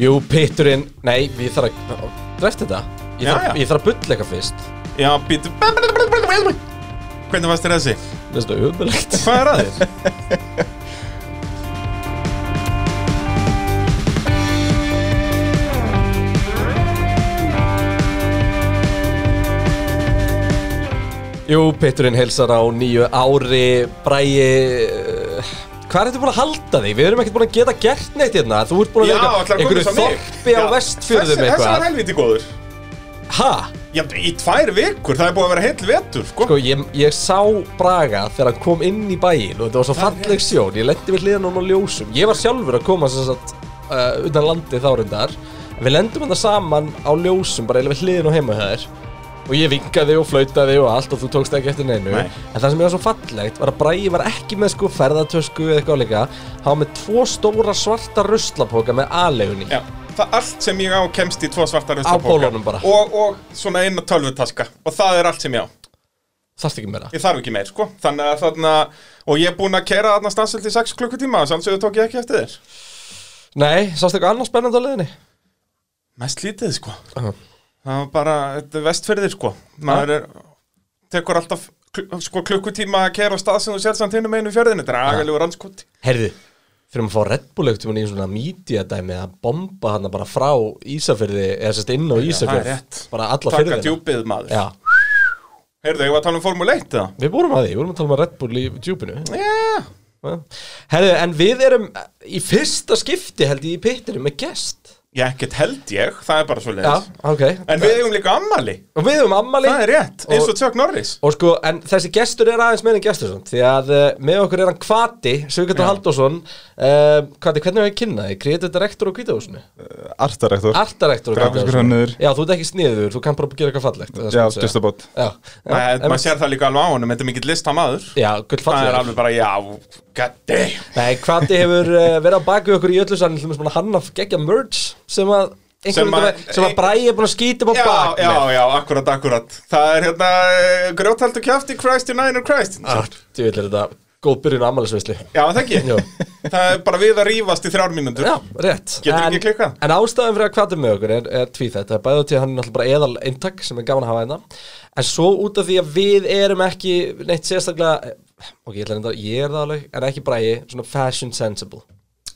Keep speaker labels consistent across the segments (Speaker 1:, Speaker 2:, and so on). Speaker 1: Jú, pitturinn, nei, ég þarf að Dreft þetta Ég þarf,
Speaker 2: Já, já.
Speaker 1: Ég þarf að bullleika fyrst
Speaker 2: Já, býtu Hvernig varst þér þessi?
Speaker 1: Þetta er ömulegt
Speaker 2: Hvað er að þér?
Speaker 1: Jú, pitturinn heilsar á nýju ári Bræi eh, Hvað er þetta búin að halda þig? Við erum ekkert búin að geta gert neitt hérna Þú ert búin að
Speaker 2: Já, ætlar að koma
Speaker 1: einhverju
Speaker 2: þess að mig
Speaker 1: þoppi á
Speaker 2: Já,
Speaker 1: vestfjörðum
Speaker 2: þessi- Þessi var
Speaker 1: eitthvað
Speaker 2: helviti góður
Speaker 1: Ha?
Speaker 2: Já, í tvær vikur, það er búið að vera heill vetur, sko
Speaker 1: Sko, ég, ég sá Braga þegar hann kom inn í bæin og þetta var svo falleg sjón, ég lendi við hliðan hann á ljósum ég var sjálfur að koma sem sagt uh, utan landi þá reyndar við lendum hann saman á ljósum bara eiginlega við hliðin og heima hjá þér og ég vinkaði og flautaði og allt og þú tókst ekki eftir neinu
Speaker 2: Nei.
Speaker 1: en það sem ég var svo fallegt var að Bragi var ekki með sko ferðartösku eða eitthvað líka hann var með tvo stóra svarta ruslapoka með aðlegunni
Speaker 2: Já, það allt sem ég á kemst í tvo svarta ruslapoka.
Speaker 1: bólunum bara.
Speaker 2: og, og svona eina tölvutaska Og það er allt sem ég á
Speaker 1: þarfst ekki meira
Speaker 2: Ég þarf ekki meir, sko Þannig að þarna Og ég er búinn að kera þarna stansilt í 6 klukkutíma Sanns að tók ég ekki eftir þér
Speaker 1: Nei, sástu eitthvað annað spennandi á leiðinni?
Speaker 2: Mest lítið, sko
Speaker 1: Uh.
Speaker 2: Það var bara, þetta er vestfyrðir, sko Maður er, tekur alltaf kl sko, klukkutíma að kera á stað sem þú sér samt hinum einu fjörðinu Dragalegur anskoti
Speaker 1: Herðu, þurfum að fá Red Bull ekkert í svona media dæmi að bomba hana bara frá Ísafyrði eða sérst inn á
Speaker 2: það
Speaker 1: Ísafjörð
Speaker 2: er rétt.
Speaker 1: bara alla
Speaker 2: Takka
Speaker 1: fyrðina
Speaker 2: djúpið, maður
Speaker 1: Já,
Speaker 2: Heyrðu, ég var að tala um Formule 1, eða?
Speaker 1: við vorum að því, við vorum að tala um Red Bull í djúpinu
Speaker 2: Já
Speaker 1: Herðu, en við erum í fyrsta skipti held ég í pittinu með gest
Speaker 2: Ég ekkert held ég, það er bara svo
Speaker 1: Já, ok
Speaker 2: En við eigum líka ammali
Speaker 1: Og við höfum ammali
Speaker 2: Það er rétt, eins og Chuck Norris
Speaker 1: Og sko, en þessi gestur er aðeins meira en gestur svona, því að uh, með okkur er hann Kvati, Sigurður
Speaker 2: Já.
Speaker 1: Halldórsson uh, Kvati, hvernig er hann kynnaði? Kreatur direktor á kvítahúsinu?
Speaker 3: Artarektor
Speaker 1: Artarektur
Speaker 3: Grafískur hönnuður.
Speaker 1: sko. Já, þú ert ekki sniður, þú kann bara gera eitthvað fallegt það er
Speaker 3: Já,
Speaker 1: sem ég
Speaker 3: just
Speaker 1: segja.
Speaker 3: about
Speaker 1: Já, já,
Speaker 2: Nei,
Speaker 1: em-
Speaker 2: Maður sér það líka alveg á honum, þetta er mikill listamaður
Speaker 1: Já, gull
Speaker 2: Það er
Speaker 1: fallegt
Speaker 2: alveg bara, já, god damn
Speaker 1: Nei, Kvati hefur uh, verið á baku okkur í öllu sann Þannig að hann að gegja merch sem að
Speaker 2: Sem
Speaker 1: einhvern
Speaker 2: að- e-
Speaker 1: veginn sem að bræði er búin að skýta upp á
Speaker 2: Já,
Speaker 1: bak
Speaker 2: já, já, akkurat, akkurat Það er hérna, eh, grjóthaldur kjafti, Christ United Christ
Speaker 1: Þú vil er þetta góð byrjun á ammælisveislu
Speaker 2: Já, það ekki
Speaker 1: Jú.
Speaker 2: Það er bara við að rífast í þrjár mínútur
Speaker 1: Já, rétt
Speaker 2: Getur
Speaker 1: En-
Speaker 2: ekki klikkað.
Speaker 1: En ástæðan fyrir að kvata með okkur er, er tvíþætt Það er bæðið til að hann er náttúrulega bara eðal eintak sem er gaman að hafa hérna En svo út af því að við erum ekki neitt sérstaklega Ok, ég, ætla reyndar, ég er það alveg, en ekki bræði Svona fashion sensible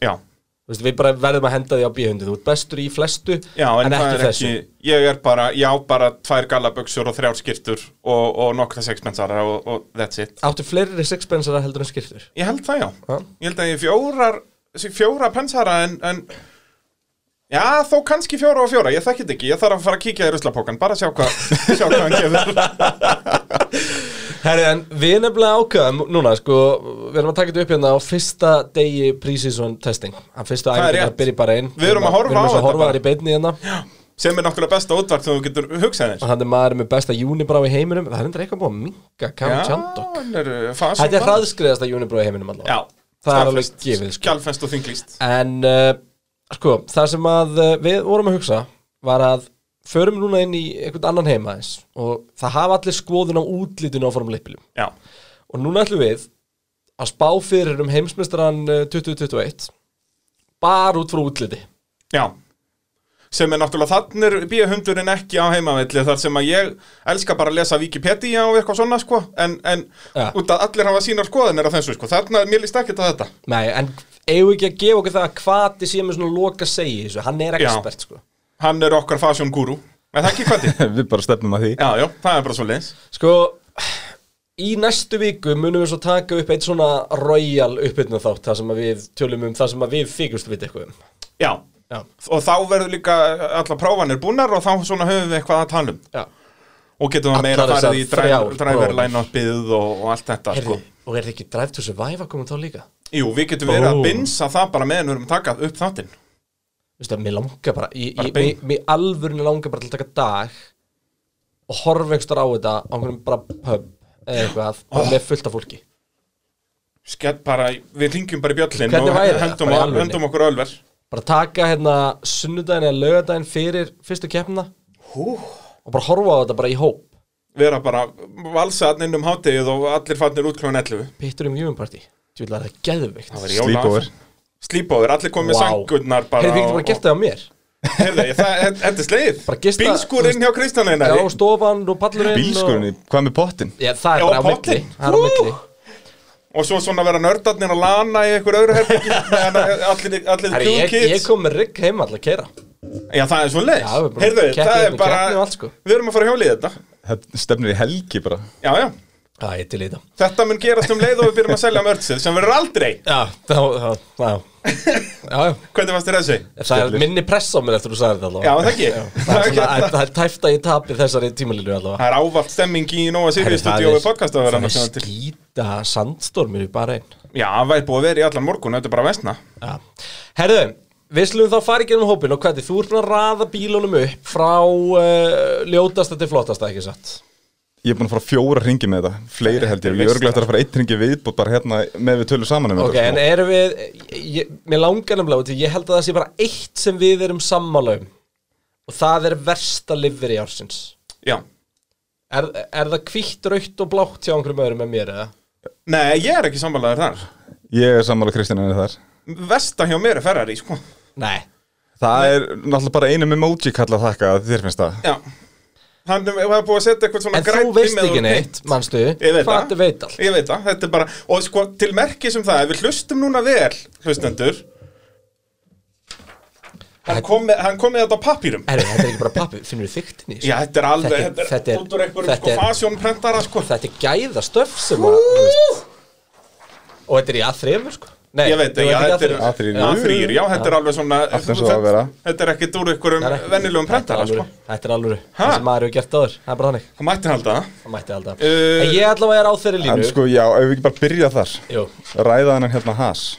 Speaker 2: Já,
Speaker 1: Þú veist, Við bara verðum að henda því á bíhundi Þú ert bestur í flestu,
Speaker 2: já, en,
Speaker 1: en
Speaker 2: það
Speaker 1: ekki
Speaker 2: er
Speaker 1: þessu
Speaker 2: ekki Ég er bara, já, bara tvær gallaböksur og þrjár skirtur og, og nokkra sexpensara og, og that's it
Speaker 1: Áttu fleiri sixpensara heldur en skýrtur
Speaker 2: Ég held það, já
Speaker 1: Ha?
Speaker 2: Ég held að ég fjórar, sé fjóra pensara en, en Já, þó kannski fjóra og fjóra, ég þekki þetta ekki, ég þarf að fara að kíkja í ruslapókan, bara sjá hvað, sjá hvað hann gefur.
Speaker 1: Herri, en við nefnilega ákveðum núna, sko, við erum að taka þetta upp hérna á fyrsta degi pre-season testing Að fyrsta
Speaker 2: Það er
Speaker 1: æfingar
Speaker 2: rétt.
Speaker 1: byrja bara einn
Speaker 2: Við erum að horfa
Speaker 1: Við erum
Speaker 2: á
Speaker 1: eins og
Speaker 2: þetta
Speaker 1: horfa
Speaker 2: bara.
Speaker 1: þar í beinni hérna
Speaker 2: Sem er náttúrulega besta útvart sem þú getur hugsað þér.
Speaker 1: og hann er maður með besta júnibrá í heiminum það er endur eitthvað búið að minga Cam Chandok
Speaker 2: hann er uh, fasum.
Speaker 1: þetta er hraðskriðasta júnibrá í heiminum allavega
Speaker 2: Já,
Speaker 1: það er alveg gefið sko.
Speaker 2: Kjálfenst og þinglýst.
Speaker 1: en uh, sko, það sem að uh, við vorum að hugsa var að förum núna inn í einhvern annan heima eins og það hafa allir skoðun á útlítinu á formleipiljum
Speaker 2: Já,
Speaker 1: og núna ætlum við að spá fyrir um heimsmestran 2021 bara út frá útliti
Speaker 2: já. Sem er náttúrulega þannig er bíahundurinn ekki á heimavelli þar sem að ég elska bara að lesa Wikipedia og eitthvað svona sko, en, en
Speaker 1: Já.
Speaker 2: út að allir hafa sínar skoðanir á þessu sko, þarna mér líst ekki þetta.
Speaker 1: Nei, en eigum við ekki að gefa okkur það að hvati sé með svona loka segi í þessu, hann er
Speaker 2: Já.
Speaker 1: expert sko
Speaker 2: Hann er okkar fashion guru Er það ekki kvöldi?
Speaker 3: Við bara stefnum að því
Speaker 2: já, já, það er bara svo leins
Speaker 1: Sko, í næstu viku munum við svo taka upp eitt svona royal uppbytna þátt þar sem að við tölum um það sem að við þykjumst við eitthvað um.
Speaker 2: Já,
Speaker 1: Já,
Speaker 2: og þá verður líka allar prófanir búnar og þá svona höfum við eitthvað að tala um
Speaker 1: já.
Speaker 2: og getum við meira
Speaker 1: Allar
Speaker 2: farið í
Speaker 1: þessar þrjár
Speaker 2: driver
Speaker 1: prófanir.
Speaker 2: line-upið og, og allt þetta
Speaker 1: Herði,
Speaker 2: sko.
Speaker 1: og er það ekki Drive to Survive að koma þá líka?
Speaker 2: Jú, við getum verið að
Speaker 1: Ó.
Speaker 2: binsa það bara meðan við erum að taka upp þáttinn
Speaker 1: Veistu að mér langar bara, ég,
Speaker 2: Bara
Speaker 1: ég,
Speaker 2: bein.
Speaker 1: mér, mér alvörinu langar bara til að taka dag og horfa einhverstar á þetta á einhverjum bara pub eða eitthvað oh. með fullt af fólki.
Speaker 2: Skett bara, við hringjum bara í bjöllin
Speaker 1: Hvernig væri
Speaker 2: og
Speaker 1: það?
Speaker 2: höndum,
Speaker 1: Bara í
Speaker 2: og,
Speaker 1: alvörunni?
Speaker 2: höndum okkur ölver
Speaker 1: Bara taka hérna sunnudaginn eða laugardaginn fyrir fyrstu keppna
Speaker 2: Hú.
Speaker 1: og bara horfa á þetta bara í hóp,
Speaker 2: vera bara valsaðn inn um hátegið og allir farnir út kljóðan 11
Speaker 1: pittur um júumparti. Þú vil að það geðvikt.
Speaker 2: Það væri jóla-
Speaker 3: Sleepover
Speaker 2: slípáður, allir komið wow. sangurnar bara
Speaker 1: Heyrðu, við getum bara gert það á mér
Speaker 2: Heyrðu, ég- það- þetta þetta er sleið
Speaker 1: Bara gista-
Speaker 2: Bílskúrinn hjá Kristján
Speaker 1: Já,
Speaker 2: Einari
Speaker 1: stofan og pallurinn og-
Speaker 3: Bílskurinn, hvað með pottin?
Speaker 1: uh, Já, það er
Speaker 2: Já,
Speaker 1: bara á
Speaker 2: pollinn.
Speaker 1: milli Það er á milli
Speaker 2: Og svo svona vera nördarnir að lana í einhver öðru herbyggi meðan að Allir, allir
Speaker 1: Herri,
Speaker 2: cool
Speaker 1: ég, ég
Speaker 2: kids
Speaker 1: kom með rigg heim alltaf að keira
Speaker 2: Já, það er svo leið
Speaker 1: Já, við erum bara
Speaker 2: Heyrðu,
Speaker 1: keppni-
Speaker 2: það er
Speaker 1: keppni-
Speaker 2: bara
Speaker 1: keppni og allt, sko.
Speaker 2: Við erum að fara að hjóla í þetta
Speaker 3: Þetta stefnir í helgi bara
Speaker 2: Já, já
Speaker 1: Já, ég til í þetta
Speaker 2: Þetta mun gerast um leið og við byrjum að selja mördsið sem verður aldrei
Speaker 1: Já, þá, þá, þá Já, já
Speaker 2: Hvernig fannst þér þessi?
Speaker 1: Það er minni press á mér eftir þú sagði þetta
Speaker 2: Já,
Speaker 1: allavega
Speaker 2: það ekki
Speaker 1: Það
Speaker 2: Það
Speaker 1: er
Speaker 2: er
Speaker 1: svona-
Speaker 2: hérna-
Speaker 1: það er tæft að ég tapi þessari tímalínu allavega
Speaker 2: það er ávallt stemming í Nóa
Speaker 3: Herri,
Speaker 2: Sirius
Speaker 3: það
Speaker 2: stúdíó
Speaker 3: er-
Speaker 2: við podcast að vera
Speaker 1: Það er skýta sandstormur í bara einn
Speaker 2: Já, það er búið að vera í allan morgun, þetta er bara vesna
Speaker 1: Já. Herðu, við slumum þá fara í gerum hópin og hvernig, þú ert búin að raða bílunum upp frá uh, ljótasta til flottasta, ekki satt?
Speaker 3: Ég er búin að fara fjóra ringi með þetta Fleiri held ég,
Speaker 2: Þetta er
Speaker 3: ég er
Speaker 2: veistla.
Speaker 3: örgulegt að fara einn ringi viðbútt bara hérna með við tölu saman um
Speaker 1: Ok,
Speaker 3: þetta,
Speaker 1: en e-
Speaker 3: sko.
Speaker 1: erum við, ég, mér langar nefnilega út í, ég held að það sé bara eitt sem við erum sammála um og það er versta lifir í ársins.
Speaker 2: Já
Speaker 1: Er, er það hvítt, rautt og blátt hjá einhverjum öðrum með mér eða?
Speaker 2: Nei, ég er ekki sammálaður þar
Speaker 3: Ég er sammála Kristján en þar
Speaker 2: Vesta hjá mér er Ferrari, sko
Speaker 1: Nei,
Speaker 3: Það er náttúrulega bara einum emoji kallað þakka að þér finnst það
Speaker 2: Já Hann er var búið að setja eitthvað svona
Speaker 1: en þú
Speaker 2: grænn
Speaker 1: veist
Speaker 2: með
Speaker 1: ekki
Speaker 2: og-
Speaker 1: neitt, manstu,
Speaker 2: Ég veit
Speaker 1: hvað þið veit allt.
Speaker 2: Ég veit það, þetta er bara Og sko, til merkis um það, ef við hlustum núna vel, hlustendur Hann kom með, hann kom með þetta á pappýrum
Speaker 1: Herru, þetta er ekki bara pappi, finnur þú þyktinni?
Speaker 2: Já, þetta er alveg,
Speaker 1: Þetta er-
Speaker 2: þetta er,
Speaker 1: þetta er-
Speaker 2: út úr einhverjum
Speaker 1: þetta
Speaker 2: sko
Speaker 1: er-
Speaker 2: fasjónprentara, sko
Speaker 1: Þetta er gæðastöf sem að, þú veist, og þetta er í A3, sko. Nei,
Speaker 2: Ég veit,
Speaker 1: jú,
Speaker 2: já, þetta er
Speaker 1: A3.
Speaker 3: A3,
Speaker 2: Já, A3, já, þetta er alveg svona
Speaker 3: Allt eins og það að vera.
Speaker 2: Þetta er ekkit úr einhverjum
Speaker 1: Nei, nei.
Speaker 2: venjulegum prentara,
Speaker 1: Þetta er
Speaker 2: sko
Speaker 1: alvöru. Þetta er alvöru,
Speaker 2: Ha?
Speaker 1: það sem maður hefur gert áður, það er bara þannig.
Speaker 2: Það mætti halda það
Speaker 1: Það mætti alltaf
Speaker 2: Uh,
Speaker 1: En ég allavega er á þeirri línu
Speaker 3: En sko, já, ef við ekki bara byrja þar
Speaker 1: Jú,
Speaker 3: Ræða hennan hérna has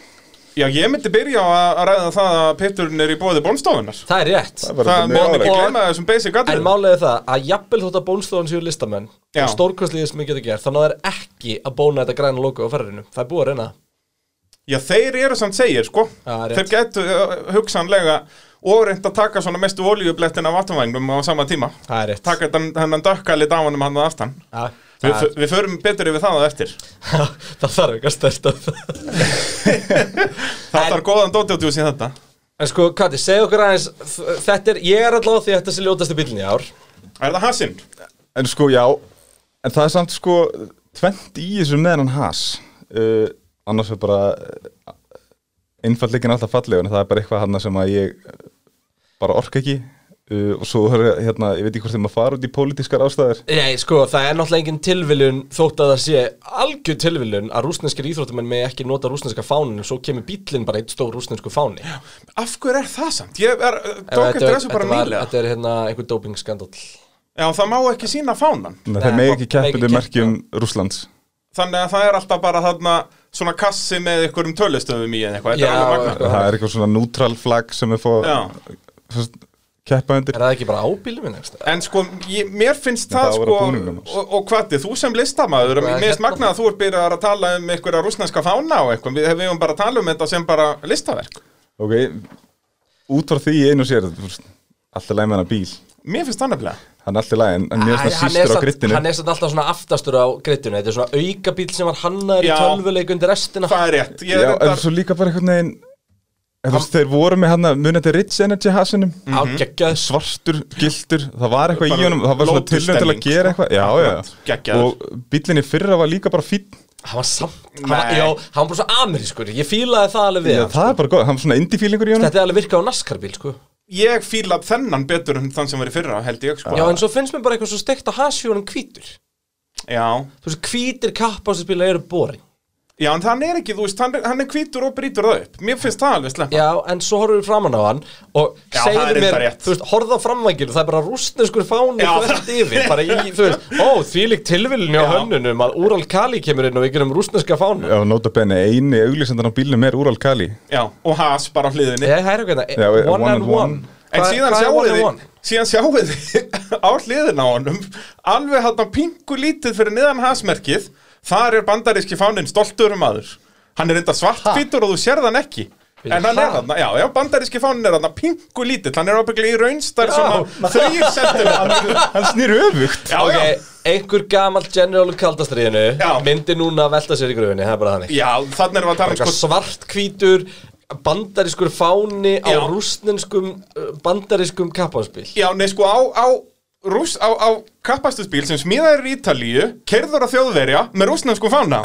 Speaker 2: Já, ég myndi byrja á að að ræða það að pitturinn er í bóði bónstofunar
Speaker 1: það er rétt
Speaker 3: Það er bara
Speaker 2: Það
Speaker 3: mjög
Speaker 2: má ekki
Speaker 3: áleik
Speaker 1: Og-
Speaker 2: gleyma þessum basic
Speaker 1: En
Speaker 2: atriðum
Speaker 1: málega það að jafnvel þótt að bónstofan séu listamenn
Speaker 2: Já.
Speaker 1: og stórkostliðið sem ég getur gert þannig að það er ekki að bóna þetta græna logo á ferðinu Það er búið að reyna það.
Speaker 2: Já, þeir eru samt segir, sko
Speaker 1: Já, rétt.
Speaker 2: Þeir getu uh, hugsanlega og reynd að taka svona mestu oljublettin af vatnvægnum á sama tíma
Speaker 1: Það er rétt
Speaker 2: Taka þennan- þennan dökka lit af honum hann að aftan
Speaker 1: ja,
Speaker 2: Við,
Speaker 1: það,
Speaker 2: fö- við förum betur yfir það á eftir
Speaker 1: það þarf ekki að stölda
Speaker 2: Það
Speaker 1: En-
Speaker 2: þarf góðan dótjóttjús í þetta
Speaker 1: En sko, Kati, segja okkur aðeins þ- Þetta er, ég er allavega á því að þetta sé ljótasti bílinn í ár
Speaker 2: Er það hasinn?
Speaker 3: En sko, já, en það er samt sko tvent í þessu með hennan has uh, annars er bara uh, innfallleikin alltaf fallegur en það er bara eitthvað hann sem að ég uh, bara orka ekki uh, og svo er hérna, ég veit ekki hvort þeim að fara út í pólitískar ástæður
Speaker 1: Nei, sko, það er náttúrulega engin tilviljun þótt að það sé algjör tilviljun að rúsneskir íþróttumenn með ekki nota rúsneska fánin og svo kemur bíllinn bara eitt stór rúsnesku fáni
Speaker 2: Af hverju er það samt? Ég er, eh,
Speaker 1: Ef
Speaker 2: tók eftir
Speaker 1: var-
Speaker 2: þessu bara
Speaker 1: var-
Speaker 2: nýlega
Speaker 1: Þetta er hérna einhver dopingskandal
Speaker 2: Já, það má ekki sína fánan
Speaker 3: Nei,
Speaker 1: Nei,
Speaker 3: þeir
Speaker 1: bara-
Speaker 3: megi ekki
Speaker 1: mega
Speaker 3: keppinu
Speaker 1: ekki
Speaker 3: merkjum Rússlands
Speaker 2: Þannig að það er alltaf bara þarna svona kassi með einhverjum tölustöfum í eða eitthvað Þetta
Speaker 1: Já,
Speaker 2: er alveg magna
Speaker 1: Já.
Speaker 3: það er eitthvað svona neutral flagg sem er fóð
Speaker 2: Já.
Speaker 3: keppa undir
Speaker 1: Er það ekki bara ábílum minn? Ekki?
Speaker 2: En sko, ég, mér finnst
Speaker 3: En
Speaker 2: það
Speaker 3: það voru
Speaker 2: sko
Speaker 3: búningnum hans.
Speaker 2: og, og hvað þið, þú sem
Speaker 1: Hvað
Speaker 2: listamaður
Speaker 1: er
Speaker 2: Mér finnst
Speaker 1: hérna?
Speaker 2: magnað að þú ert byrjar að tala um einhverja rúsneska fána og eitthvað Við við hefum bara að tala um þetta sem bara listaverk
Speaker 3: ok, út frá því einu og sér þú veist, allt er læg með hennar bíl
Speaker 2: Mér finnst það nefnilega
Speaker 3: hann er allt í lagi en en mér
Speaker 1: Æ,
Speaker 3: finnst
Speaker 1: hann er
Speaker 3: það sístur á
Speaker 1: samt-
Speaker 3: grittinu
Speaker 1: Hann er samt alltaf svona aftastur á grittinu Þetta er svona aukabíl sem var hannaður í
Speaker 2: Já.
Speaker 1: tölvuleik undir restina
Speaker 2: Það er rétt Ég,
Speaker 3: Já,
Speaker 2: er
Speaker 3: en
Speaker 2: reyndar,
Speaker 3: svo líka bara einhvern veginn Þú veist, þeir voru með hann að munið til Rich Energy hasinum
Speaker 1: Ágeggjað
Speaker 3: Svartur, giltur, það var eitthvað
Speaker 2: Bara
Speaker 3: í honum Það var svona
Speaker 2: Lotus
Speaker 3: tilnöð til að
Speaker 2: stemning,
Speaker 3: gera
Speaker 2: sko.
Speaker 3: eitthvað Já,
Speaker 2: Akkurat,
Speaker 3: já,
Speaker 2: geggjaður.
Speaker 3: og bílinni fyrra var líka bara fín
Speaker 1: Hann var samt hann var,
Speaker 2: Nei.
Speaker 1: Jó, hann var bara svo amerískur Ég fílaði það alveg við
Speaker 3: Já,
Speaker 1: hann,
Speaker 3: það er bara góð, hann var svona indie feelingur í honum
Speaker 1: Þetta er alveg virkað á naskarbíl sko.
Speaker 2: ég fíla þennan betur en þann sem var í fyrra, held ég sko
Speaker 1: Já, en svo finnst mér bara eitthvað svo steikt á hasjónum hvítur
Speaker 2: Já.
Speaker 1: Þú veist, hvítir kappástaspíla eru boring
Speaker 2: Já, en hann er ekki, þú veist, hann er, hann er hvítur og brýtur það upp Mér finnst það alveg slemmt
Speaker 1: Já, en svo horfum við framan á hann Og
Speaker 2: Já, það er
Speaker 1: segir
Speaker 2: reyndar
Speaker 1: mér,
Speaker 2: rétt.
Speaker 1: þú veist, horfða framvænginu Það er bara rústneskur fáni
Speaker 2: Já.
Speaker 1: þvert yfir Bara í, þú veist, ó, þvílík tilvilin á
Speaker 2: Já.
Speaker 1: hönnunum Að Úral Kali kemur inn og við gerum rústneska fáni
Speaker 3: Já, nota benni, eini auglýsendan á bílnum er Úral Kali
Speaker 2: Já, og has bara á hliðinni
Speaker 1: Ég hæra okkur
Speaker 3: Já,
Speaker 1: þetta, hérna. one
Speaker 3: one
Speaker 1: and
Speaker 3: and
Speaker 1: one
Speaker 3: one.
Speaker 2: En
Speaker 1: Hvað-
Speaker 2: síðan
Speaker 1: hvað er one
Speaker 2: sjáu
Speaker 1: and
Speaker 2: þið
Speaker 1: one?
Speaker 2: síðan sjáu þið á hliðin á honum alveg hann pingu lítið fyrir niðan hasmerkið þar er bandaríski fáninn stoltur um aður hann er enda svartfítur og þú sér þann ekki
Speaker 1: Fyrir
Speaker 2: en hann er
Speaker 1: það?
Speaker 2: hann, já, já, bandaríski fáninn er hann pingu lítið, hann er ábygglega í raunstar
Speaker 1: Já.
Speaker 2: svona þrýr sentum
Speaker 3: Hann snýr öfugt
Speaker 2: já,
Speaker 1: Ok,
Speaker 2: já,
Speaker 1: einhver gamall general kaldastriðinu
Speaker 2: Já.
Speaker 1: Myndi núna að velta sér í gröfinni, það er bara þannig
Speaker 2: já, þannig erum við að tala um
Speaker 1: Eitthvað
Speaker 2: sko
Speaker 1: svart hvítur bandarískur fáni á
Speaker 2: Já.
Speaker 1: rústnenskum bandarískum kappanspil
Speaker 2: Já, nei, sko, á, á, rúss, á, á kappastusbíl sem smíðaður í Ítalíu, kerður að þjóðverja með rúsnensku fána.